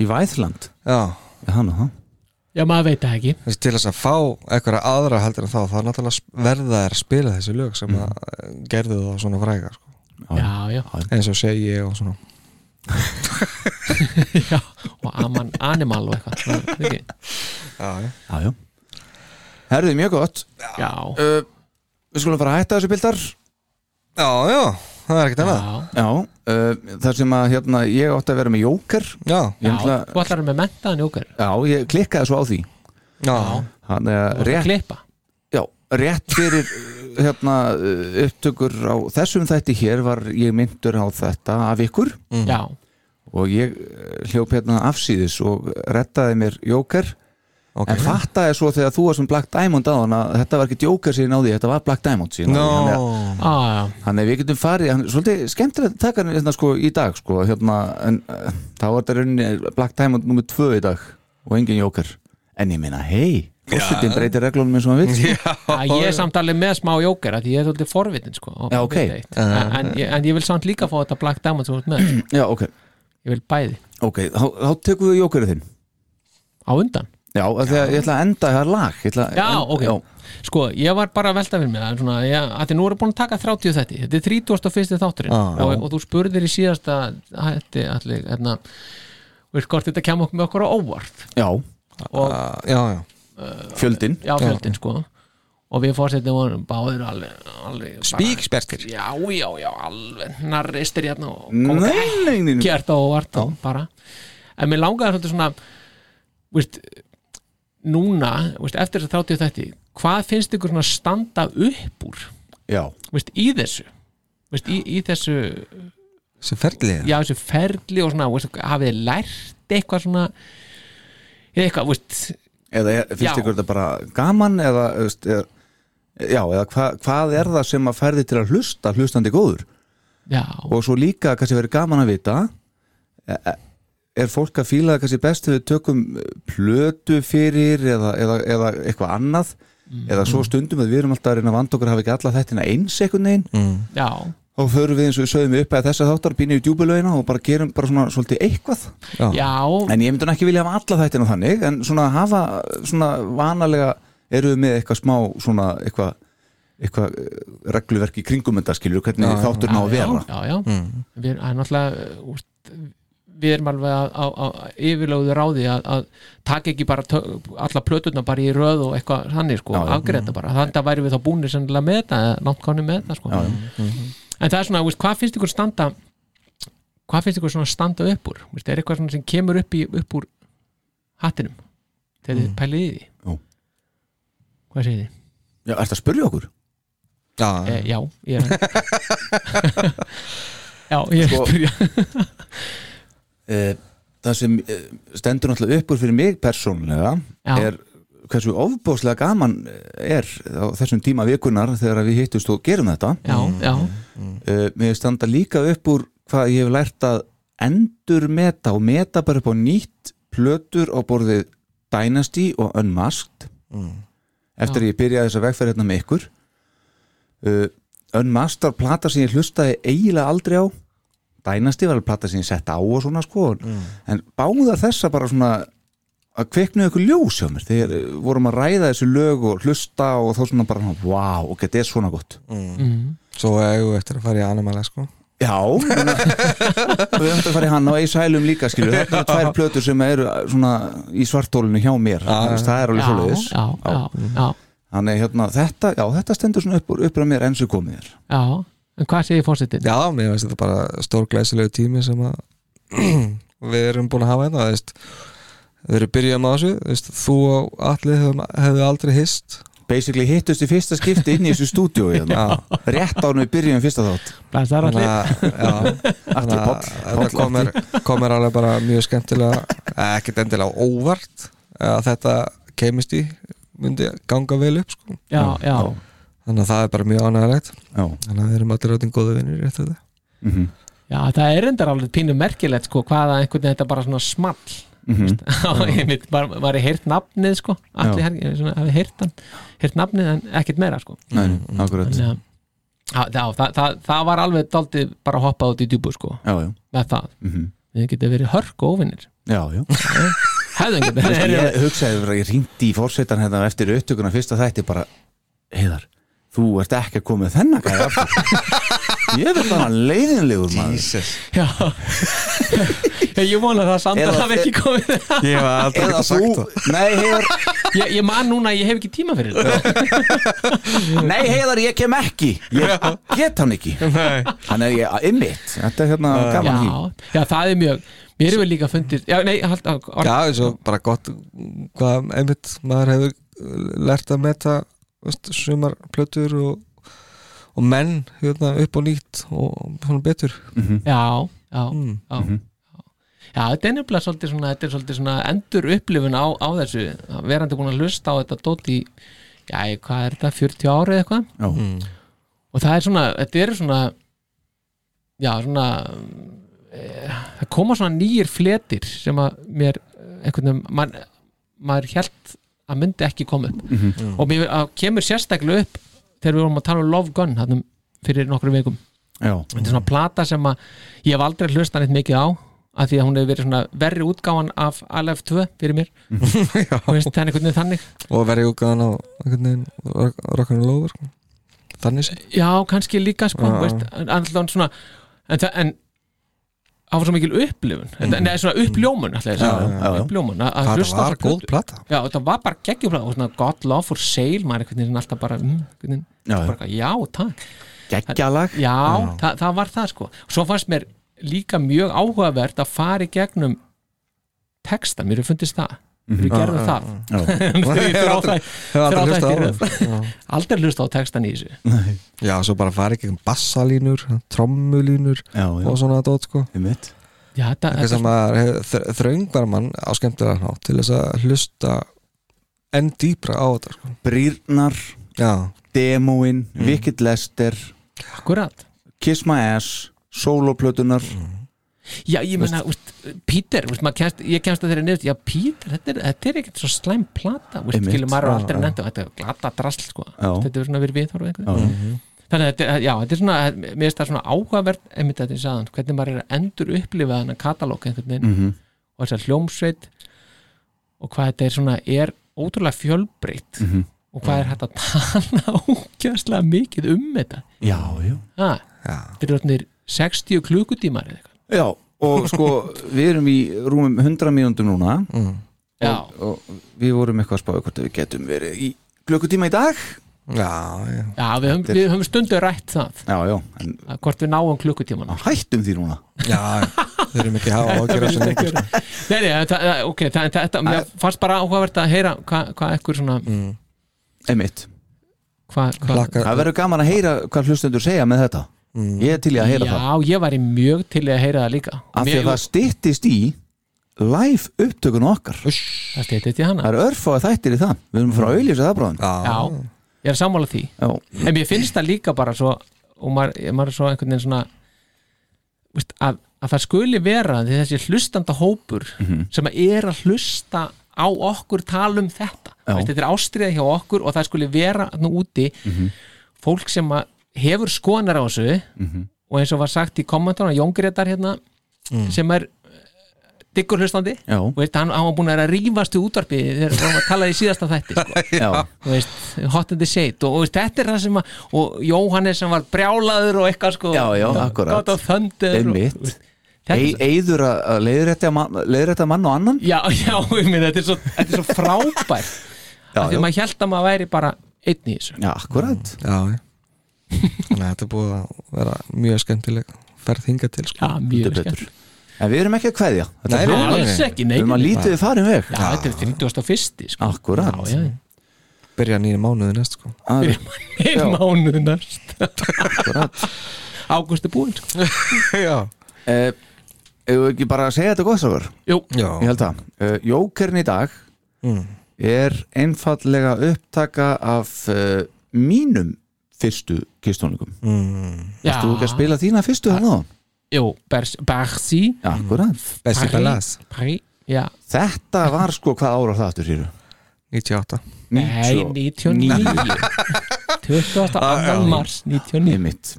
[SPEAKER 6] í Væðland
[SPEAKER 5] já,
[SPEAKER 6] já, hann og hann
[SPEAKER 3] Já, maður veit það ekki
[SPEAKER 5] þessi til þess að fá einhverja aðra heldur en þá þá náttúrulega sp- verða er að spila þessi lög sem að eh, gerðu það svona fræga sko.
[SPEAKER 3] Já, já,
[SPEAKER 5] eins og segi ég og svona
[SPEAKER 3] já Og aman animal og eitthvað svona, er ekki?
[SPEAKER 5] já, já.
[SPEAKER 6] já, já herðið mjög gott
[SPEAKER 3] Já,
[SPEAKER 6] uh, við skulum fara að hætta þessu bildar
[SPEAKER 5] já, já, það er ekkert annað
[SPEAKER 3] já
[SPEAKER 6] já, uh, þar sem að hérna ég átti að vera með jóker
[SPEAKER 5] já,
[SPEAKER 6] ég,
[SPEAKER 3] Já,
[SPEAKER 6] náttúrulega-
[SPEAKER 3] þú ætlar með mentaðan jókar
[SPEAKER 6] já, ég klikkaði svo á því
[SPEAKER 5] já,
[SPEAKER 6] hann er
[SPEAKER 3] Rétt
[SPEAKER 6] rétt
[SPEAKER 3] klippa
[SPEAKER 6] Já, rétt fyrir uh, hérna, uh, upptökur á þessum þætti hér var ég myndur á þetta af ykkur
[SPEAKER 3] Já,
[SPEAKER 6] og ég uh, hljóp hérna afsýðis og rettaði mér jóker
[SPEAKER 5] ok
[SPEAKER 6] en fattaði svo þegar þú var sem Black Diamond á hann að þetta var ekki jóker síðan á því, þetta var Black Diamond síðan á
[SPEAKER 5] no.
[SPEAKER 6] því Þannig að-
[SPEAKER 3] á, já,
[SPEAKER 6] Þannig að við getum farið, hann, svolítið skemmtilegt að taka hann hérna, sko, í dag sko, hérna, en, uh, þá var þetta rauninni Black Diamond nummer 2 í dag og engin jóker en ég meina, hei, fórsetin breytir reglunum eins og hann vil
[SPEAKER 3] já Ég er samt alveg með smá jókar Því ég er svolítið forvitin, sko og-
[SPEAKER 6] Já, ok.
[SPEAKER 3] veit eitt. En, en, ég- en ég vil samt líka fá þetta Black Diamond sem þú ert með
[SPEAKER 6] Já, ok,
[SPEAKER 3] Ég vil bæði
[SPEAKER 6] ok, þá, þá tekum við jókerið þinn
[SPEAKER 3] Á undan
[SPEAKER 6] Já, af því að ég ætla að enda það lag Ég ætla, að-
[SPEAKER 3] Já, ok
[SPEAKER 6] já,
[SPEAKER 3] Sko, ég var bara að velta fyrir mig að, svona, ég, að því nú erum búin að taka 30 þetta Þetta er 31. þátturinn
[SPEAKER 5] Já.
[SPEAKER 3] og, og þú spurðir í síðasta hætti allir, hérna Vilt hvort þetta kemur okkur með okkur á óvart
[SPEAKER 6] já,
[SPEAKER 3] og
[SPEAKER 5] já, já,
[SPEAKER 6] fjöldin
[SPEAKER 3] já, fjöldin sko og við fórsettum vorum báðir alveg, alveg bara-
[SPEAKER 5] spíkspertir
[SPEAKER 3] Já, já, já, alveg narristir hérna og kom
[SPEAKER 6] Nei, nei, nei, nei.
[SPEAKER 3] gert á óvart og bara en mér langaði svolítið svona veist, núna veist, eftir þess að 30 þetta hvað finnst ykkur svona standa upp úr
[SPEAKER 6] Já,
[SPEAKER 3] veist, í þessu veist, í, í þessu,
[SPEAKER 5] sem ferlið
[SPEAKER 3] já, þessu ferli og svona, veist, hafið þið lært eitthvað svona eða eitthvað, veist,
[SPEAKER 6] eða er- finnst
[SPEAKER 3] Já.
[SPEAKER 6] ykkur þetta bara gaman eða, þú veist, eða Já, eða hva, hvað er það sem að færði til að hlusta hlustandi góður
[SPEAKER 3] já,
[SPEAKER 6] og svo líka kannski verið gaman að vita e- e- er fólk að fíla það kannski best ef við tökum eh, plötu fyrir eða, eða, eða eitthvað annað eða svo stundum að við erum alltaf að reyna að vanda okkur að hafa ekki alla þættina eins einhvern veginn
[SPEAKER 3] já
[SPEAKER 6] þá förum við eins og við sögum upp að þessa þáttar býnum í djúbulögina og bara gerum bara svona svolítið eitthvað
[SPEAKER 3] já,
[SPEAKER 6] en ég myndi nú ekki vilja hafa alla þættina þannig en svona hafa svona vanalega eru við með eitthvað smá svona eitthvað eitthvað eh, regluverk í kringum þetta skilur hvernig já, þáttur ná Mm. að
[SPEAKER 3] Ah, já,
[SPEAKER 6] vera
[SPEAKER 3] já, já. Við, það er náttúrulega uh, úst, við erum alveg að, að, að yfirlögðu ráði að, að taka ekki bara tö, alla plötuna bara í röð og eitthvað þannig sko,
[SPEAKER 6] Já, já.
[SPEAKER 3] afgreita bara, þannig að væri við þá búinir sennilega með þetta, eða langt konni með þetta sko.
[SPEAKER 6] Já, Mm-hmm. já.
[SPEAKER 3] en það er svona, úst, hvað finnst ykkur standa hvað finnst ykkur svona standa upp úr úst, er eitthvað svona sem kemur upp, í, upp úr hattinum þegar
[SPEAKER 6] Mm.
[SPEAKER 3] þið pælið í því
[SPEAKER 6] Já.
[SPEAKER 3] hvað segir þið?
[SPEAKER 6] já, ertu að spurja okkur?
[SPEAKER 5] já,
[SPEAKER 6] Ah.
[SPEAKER 3] E, já, ég er já, ég er
[SPEAKER 6] Sko,
[SPEAKER 3] að spyrja
[SPEAKER 6] Eh, það sem eh, stendur náttúrulega uppur fyrir mig persónlega
[SPEAKER 3] Já.
[SPEAKER 6] er hversu ofbóðslega gaman eh, er á þessum tíma vikunar þegar við hittust og gerum þetta
[SPEAKER 3] já, já,
[SPEAKER 6] uh, mér standa líka upp úr hvað ég hef lært að endur meta og meta bara upp á nýtt plötur á borðið Dynasty og Unmasked eftir að ég byrjaði þess að vegferð hérna með ykkur uh, Unmasked var plata sem ég hlustaði eiginlega aldrei á Dynasty var alveg plata sem ég sett á og svona sko en báða þessa bara svona að kveiknu ykkur ljós hjá mér þegar eh, vorum að ræða þessu lög og hlusta og þá svona bara, wow, ok, þetta er svona gott
[SPEAKER 5] Svo eigum við eftir að fara í animala sko
[SPEAKER 6] Já meina, Við höfum þetta að fara í hann á Ace Hælum líka skilur Þetta eru tvær plötur sem eru svona í svartólinu hjá mér ah, Það er alveg
[SPEAKER 3] já,
[SPEAKER 6] svoleiðis
[SPEAKER 3] já, já, já,
[SPEAKER 6] Þannig hérna, þetta, já, þetta stendur svona upp úr uppra mér eins og komið þér
[SPEAKER 3] já en hvað segir fórsetin?
[SPEAKER 5] Já, mér finnst þetta bara stór glæsilegu tími sem að við erum búin að hafa hérna þú veist, Við erum byrjað með þessu þú veist, Þú og allir hefðu aldrei hist
[SPEAKER 6] Basically hittust í fyrsta skipti inn í þessu stúdíu hérna. Rétt ánum við byrjum fyrsta þátt
[SPEAKER 3] Blæsar allir
[SPEAKER 6] Atli Páll,
[SPEAKER 5] Þetta
[SPEAKER 6] Páll
[SPEAKER 5] kom mér, kom mér alveg bara mjög skemmtilega eh, ekkert endilega óvart eh, að þetta kemist í myndi ganga vel upp sko.
[SPEAKER 3] Já, já,
[SPEAKER 5] þannig að það er bara mjög ánægilegt
[SPEAKER 6] Já,
[SPEAKER 5] þannig að við erum allir áttin góðu vinnir eftir þetta
[SPEAKER 3] já, það er endar alveg pínu merkilegt sko, hvaða einhvern veginn þetta bara svona small
[SPEAKER 6] mhm.
[SPEAKER 3] og ég mitt, bara, var ég heyrt nafnið sko, allir
[SPEAKER 6] Já.
[SPEAKER 3] hergi, ég svona, hafi heyrt hann heyrt nafnið en ekkert meira sko
[SPEAKER 6] Nei, nei, akkurat Já,
[SPEAKER 3] þannig að Já, já, það, það, það var alveg daldið bara hoppað út í djúbu sko,
[SPEAKER 6] já,
[SPEAKER 3] með það
[SPEAKER 6] Mhm.
[SPEAKER 3] við getum verið hörku óvinnir
[SPEAKER 6] já, já
[SPEAKER 3] hefðum getur
[SPEAKER 6] Ég hugsaði bara, ég ringdi í fórsetan hérna eftir upptökuna fyrsta þætti bara Heiðar, þú ert ekki að koma með þennan gæði aftur Ég verð bara leiðinlegur maður
[SPEAKER 3] Já Ég vona að það
[SPEAKER 6] Eða-
[SPEAKER 3] samtal hafi ekki komið
[SPEAKER 5] Ég hef aldrei
[SPEAKER 6] Eða þú, nei Heiðar,
[SPEAKER 3] ég, ég man núna að ég hef ekki tíma fyrir þetta
[SPEAKER 6] nei Heiðar, ég kem ekki Ég get hann ekki Hann er ég, ymmit, þetta er hérna
[SPEAKER 3] já,
[SPEAKER 6] gaman hý
[SPEAKER 3] já, það er mjög Mér hefur líka fundist Já, nei, hald, á, orð,
[SPEAKER 5] Já, eins og bara gott hvað einmitt maður hefur eh, lært að meta veist, sumar plötur og, og menn hérna, upp og nýtt og svona betur
[SPEAKER 3] já, já, já, já Já, þetta er nefnilega svolítið svona, þetta er svolítið svona endur upplifun á, á þessu verandi búin að hlusta á þetta dót í já, í- hvað er þetta, 40 ári eða eitthvað
[SPEAKER 6] Já.
[SPEAKER 3] og það er svona, þetta eru svona já, svona e, það koma svona nýjir fletir sem að mér eh, einhvern veginn, man, maður held að myndi ekki koma upp og mér að, kemur sérstaklega upp þegar við vorum að tala um Love Gun hann, fyrir nokkru vikum
[SPEAKER 6] Já,
[SPEAKER 3] þetta er svona plata sem að ég hef aldrei hlusta neitt mikið á af því að hún hefur verið svona verri útgáfan af Aleph 2 fyrir mér og veist, það er einhvern veginn þannig
[SPEAKER 5] og verið útgáðan á einhvern veginn rock- rock and roll sko. þannig sem
[SPEAKER 3] já, kannski líka sko,
[SPEAKER 5] Já.
[SPEAKER 3] veist, en, allan svona, en, það- en það var svo mikil upplifun mm. neða svona uppljómun alltaf, já,
[SPEAKER 6] já, já.
[SPEAKER 3] uppljómun að- að
[SPEAKER 5] það
[SPEAKER 3] hlusta á
[SPEAKER 5] var
[SPEAKER 3] þessa
[SPEAKER 5] góð
[SPEAKER 3] plötu.
[SPEAKER 5] plata
[SPEAKER 3] já, þetta var bara geggjumlega og svona God Love for Sale maður einhvern veginn alltaf bara, mm, einhvern veginn,
[SPEAKER 6] Já, já.
[SPEAKER 3] bara eitthvað, já, takk
[SPEAKER 6] geggjalag
[SPEAKER 3] já, það, það var það sko svo fannst mér líka mjög áhugavert að fara í gegnum texta, mér hefur fundist það mér hefur gerðum það Þegar ég þrá þæ-
[SPEAKER 5] Hef aldrei hlustað
[SPEAKER 3] þrá
[SPEAKER 5] á það.
[SPEAKER 3] þættir röð. aldrei hlusta á textan í þessu
[SPEAKER 5] já, svo bara farið gegn bassalínur trommulínur
[SPEAKER 6] Já,
[SPEAKER 5] og
[SPEAKER 6] já,
[SPEAKER 5] svona dót sko
[SPEAKER 6] ymmit
[SPEAKER 3] já, þetta,
[SPEAKER 5] eitthvað sem að hef- þröngvar mann á skemmtilega hátt til þess að hlusta enn dýpra á þetta sko.
[SPEAKER 6] Brýrnar,
[SPEAKER 5] já,
[SPEAKER 6] demóin, Wicked Lester
[SPEAKER 3] akkurat
[SPEAKER 6] Kiss My Ass, soloplötunar
[SPEAKER 3] Já, ég meina, úst, Peter, úst, maður kemst, ég kemst að þeirra niður Já, Peter, þetta er, þetta er ekkert svo slæm plata úst,
[SPEAKER 6] Einmitt.
[SPEAKER 3] Skilur maður er
[SPEAKER 5] Já,
[SPEAKER 3] aldrei
[SPEAKER 5] já.
[SPEAKER 3] nefnt og Þetta er glata drasl, sko
[SPEAKER 6] Já.
[SPEAKER 3] Þetta er svona verið viðhorf
[SPEAKER 6] Já,
[SPEAKER 3] einhvern
[SPEAKER 6] já.
[SPEAKER 3] Þannig að, þetta er- já, þetta er svona Mér finnst það svona áhugavert, einmitt þetta ég sagðan Hvernig maður er að endur upplifa þennan katalóg einhvern veginn
[SPEAKER 6] Mhm.
[SPEAKER 3] Og þess að hljómsveit Og hvað þetta er svona Er ótrúlega fjölbreytt
[SPEAKER 6] Mhm.
[SPEAKER 3] Og hvað er hægt að tala ókjærslega mikið um þetta
[SPEAKER 6] já, já
[SPEAKER 3] ha,
[SPEAKER 5] já,
[SPEAKER 3] Þetta er orðnir 60 klukutímar eða eitthvað
[SPEAKER 6] Já, og sko við erum í rúmum 100 mínúndum núna
[SPEAKER 3] Já,
[SPEAKER 6] og við vorum eitthvað að spáðu hvort að við getum verið í glökkutíma í dag
[SPEAKER 5] já, já.
[SPEAKER 3] já við, höfum,
[SPEAKER 6] er-
[SPEAKER 3] við höfum stundu rætt það
[SPEAKER 6] Já, já, en
[SPEAKER 3] að hvort við náum klukkutíman
[SPEAKER 6] hættum því núna
[SPEAKER 5] já þeir eru mikið að hafa ágjör þessu lengur sko.
[SPEAKER 3] Nei, nei, það- það- ok, það- það- þetta mér fannst bara áhugavert að heyra hvað hva ekkur svona
[SPEAKER 6] Einmitt,
[SPEAKER 3] hvað hva,
[SPEAKER 5] Hlakka-
[SPEAKER 6] það verður gaman Mm. að heyra hvað hlustendur segja með þetta Ég er til í að heyra það
[SPEAKER 3] Mm. Já, ég væri mjög til í að heyra það líka
[SPEAKER 6] Af því
[SPEAKER 3] Mér-
[SPEAKER 6] að það styttist í live upptökun okkar
[SPEAKER 3] Það stýttist í hana
[SPEAKER 6] Það er Ah. örfáð þættir í það Við erum frá auðlýsa það bráðum
[SPEAKER 3] Mm. Já,
[SPEAKER 5] já,
[SPEAKER 3] ég er sammála því
[SPEAKER 6] Já,
[SPEAKER 3] En mér finnst það líka bara svo og maður, maður er svo einhvern veginn svona
[SPEAKER 6] Mhm.
[SPEAKER 3] veist, að, að það skuli vera þessi hlustanda hópur sem að er að hlusta á okkur tala um þetta
[SPEAKER 6] Já.
[SPEAKER 3] Veist, þetta er ástriða hjá okkur og það skuli vera þarna úti
[SPEAKER 6] Mhm.
[SPEAKER 3] fólk sem að hefur skonar á þessu
[SPEAKER 6] Mhm.
[SPEAKER 3] og eins og var sagt í kommentarna Jón Gretar hérna sem er diggur hlustandi
[SPEAKER 6] Já.
[SPEAKER 3] Þú veist, hann, hann var búin að vera að rífast í útvarpi þegar hann var að tala í síðasta þætti sko.
[SPEAKER 6] Já.
[SPEAKER 3] Þú veist, hot in the shade og, og veist, þetta er það sem að og Jóhannes sem var brjálaður og eitthvað sko,
[SPEAKER 6] Já, já, akkurat.
[SPEAKER 3] God of Thunder og,
[SPEAKER 6] Einmitt.
[SPEAKER 3] þú veist, þetta er
[SPEAKER 6] Ei, Eiður að að leiðrétta mann, leiðrétta mann og annan
[SPEAKER 3] Já, já, ég minn, þetta er svo, þetta er svo frábært
[SPEAKER 6] Já,
[SPEAKER 3] af því
[SPEAKER 6] já.
[SPEAKER 3] að maður held að maður væri bara einn í þessu
[SPEAKER 6] Já, akkurat
[SPEAKER 5] Já, já Þannig að þetta er búið að vera mjög skemmtileg ferð hinga til sko.
[SPEAKER 3] Já, mjög
[SPEAKER 6] Heldur betur.
[SPEAKER 3] skemmt
[SPEAKER 6] En við erum ekki að kveðja Þetta
[SPEAKER 5] Nei,
[SPEAKER 6] er
[SPEAKER 5] nei,
[SPEAKER 6] hljóðan.
[SPEAKER 3] Alls ekki, nei
[SPEAKER 6] Við erum að
[SPEAKER 3] nei.
[SPEAKER 6] lítið við farin veg
[SPEAKER 3] Já, þetta er 31. sko
[SPEAKER 6] Akkurat.
[SPEAKER 3] Já, já,
[SPEAKER 5] Byrja nýja mánuði næst sko.
[SPEAKER 6] Það er-
[SPEAKER 3] einn mánuð næst Ágúst er búinn sko
[SPEAKER 5] Já,
[SPEAKER 6] Eh, Eigum við ekki bara að segja þetta gott sáður
[SPEAKER 3] Jú,
[SPEAKER 6] Ég
[SPEAKER 5] já,
[SPEAKER 6] held það uh, Jókern í dag
[SPEAKER 5] Mm.
[SPEAKER 6] er einfallega upptaka af uh, mínum fyrstu kistónleikum
[SPEAKER 5] Mm.
[SPEAKER 3] já
[SPEAKER 6] Þú ekki að spila þína fyrstu hann á
[SPEAKER 3] Jú, Bersi
[SPEAKER 6] Akkurat
[SPEAKER 5] Bessi Ballas
[SPEAKER 3] Paris, já
[SPEAKER 6] Þetta var sko hvað ára það aftur hér
[SPEAKER 5] 98
[SPEAKER 3] Nei, 99 28. mars 99
[SPEAKER 6] Einmitt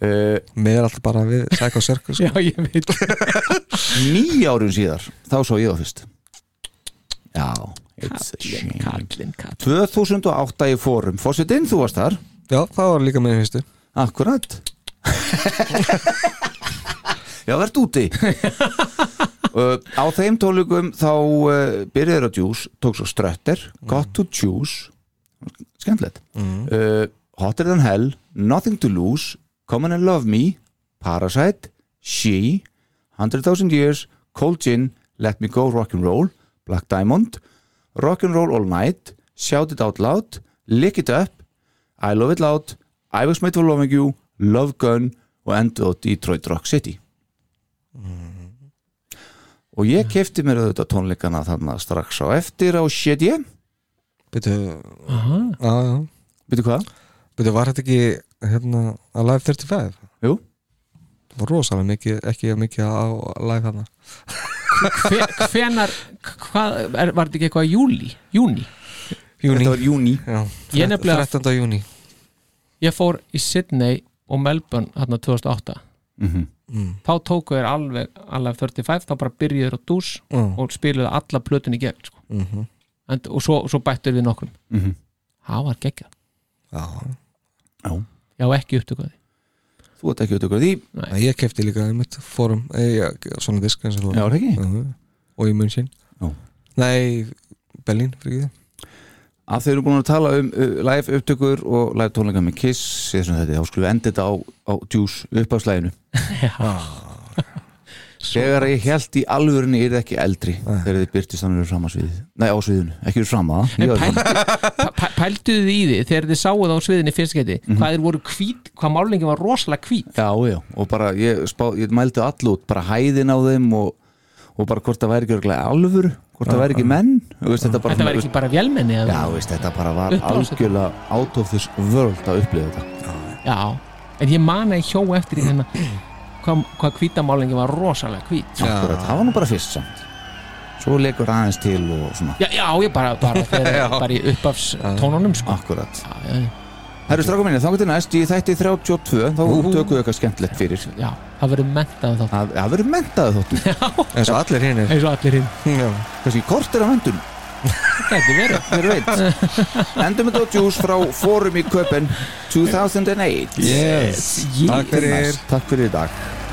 [SPEAKER 6] Uh,
[SPEAKER 5] Mér er alltaf bara við Psycho Circus sko.
[SPEAKER 3] Já, ég veit
[SPEAKER 6] ný árum síðar þá sá ég það fyrst Já it's a shame.
[SPEAKER 3] Kallinn, kallinn
[SPEAKER 6] 2008 í fórum Fossetinn, þú varst þar
[SPEAKER 5] Já, það var líka með fyrstu
[SPEAKER 6] Akkurat Já, verðt úti uh, Á þeim tónleikum þá uh, byrjaður að djús tók svo strötter, got to choose skemmtilegt uh, Hotter than hell, nothing to lose Come on and love me Parasite, She 100,000 years, Cold Gin Let me go rock'n'roll, Black Diamond Rock'n'roll all night Shout it out loud, Lick it up I Love It Loud, I Was Made For Loving You, Love Gun og endur á Detroit Rock City Mhm. og ég kefti mér auðvitað tónleikana þarna strax á eftir á Shady
[SPEAKER 5] Byrju, já, já
[SPEAKER 6] veitu hvað?
[SPEAKER 5] Byrju, var þetta ekki hérna að Live 35?
[SPEAKER 6] Jú,
[SPEAKER 5] Það var rosalega mikið, ekki mikið á Live hérna
[SPEAKER 3] hvenar hvað, er, var þetta ekki eitthvað í júli, júni
[SPEAKER 5] Júni
[SPEAKER 6] þetta var júni
[SPEAKER 5] Já,
[SPEAKER 3] Ég nefnilega-
[SPEAKER 5] 13. júni
[SPEAKER 3] ég fór í Sydney og Melbourne hérna 2008
[SPEAKER 6] Mhm.
[SPEAKER 5] Mm.
[SPEAKER 3] þá tóku þér alveg alveg 35, þá bara byrjuður á dús
[SPEAKER 5] Mm.
[SPEAKER 3] og spiluðu alla plötun í gegn sko.
[SPEAKER 5] mhm.
[SPEAKER 3] en, og svo, svo bættur við nokkrum
[SPEAKER 6] Mhm.
[SPEAKER 3] það var geggjað,
[SPEAKER 5] Já,
[SPEAKER 3] já ekki upptökuði
[SPEAKER 6] þú ert ekki auðvitað hvað því
[SPEAKER 5] en ég kefti líka einmitt fórum, eh, já, svona disk eins og þú
[SPEAKER 6] Já, er það ekki?
[SPEAKER 5] Já, já. Og í München
[SPEAKER 6] Já.
[SPEAKER 5] Nei, Berlín, fyrir ekki
[SPEAKER 6] að þau eru búin að tala um uh, live upptökur og live tónleika með Kiss eða sem þetta, þá skulum við enda þetta á, á Juice uppáslæginu þegar ég held í alvörunni er ekki eldri þegar þið byrtist þannig úr samasviðið nei á sviðinu, ekki úr sama
[SPEAKER 3] En
[SPEAKER 6] í öðru.
[SPEAKER 3] pældu, pæ- pælduðu þið í því þegar þið sáu það á sviðinni fyrst geti hvað þeir voru hvít, hvað málingin var rosalega hvít
[SPEAKER 6] Já, já, og bara ég, spá, ég mældi all út, bara hæðin á þeim og, og bara hvort það væri ekki örugglega alvöru, hvort það væri ekki menn þú veist, þetta, bara,
[SPEAKER 3] þetta var ekki bara vélmenni eða-
[SPEAKER 6] Já, þú veist, þetta bara var
[SPEAKER 3] Uppblásið.
[SPEAKER 6] algjörlega out of this world að upplifa þetta
[SPEAKER 3] Já, en ég man að ég hjó eftir í hérna hvað, hvað hvítamálingin var rosalega hvít
[SPEAKER 5] Já.
[SPEAKER 6] Akkurat, það var nú bara fyrst samt Svo leikur aðeins til og svona
[SPEAKER 3] Já, já, ég bara, bara, þegar, bara í uppafs tónunum sko.
[SPEAKER 6] Akkurat
[SPEAKER 3] Já, já,
[SPEAKER 6] Herru strákum minni, þá getur næst í þætti 32 þá
[SPEAKER 5] Úhú.
[SPEAKER 6] tökum við eitthvað skemmtilegt fyrir
[SPEAKER 3] já, það verður mentað þá
[SPEAKER 6] Það það verður mentaði þóttum,
[SPEAKER 5] En svo allir hinn er
[SPEAKER 3] eins og allir hinn,
[SPEAKER 5] Já,
[SPEAKER 6] kannski kortir af höndun
[SPEAKER 3] þetta er verið
[SPEAKER 6] Hver veit Endum þetta á Juice frá Forum í Köpen 2008
[SPEAKER 5] Yes. Takk fyrir
[SPEAKER 6] Takk fyrir í dag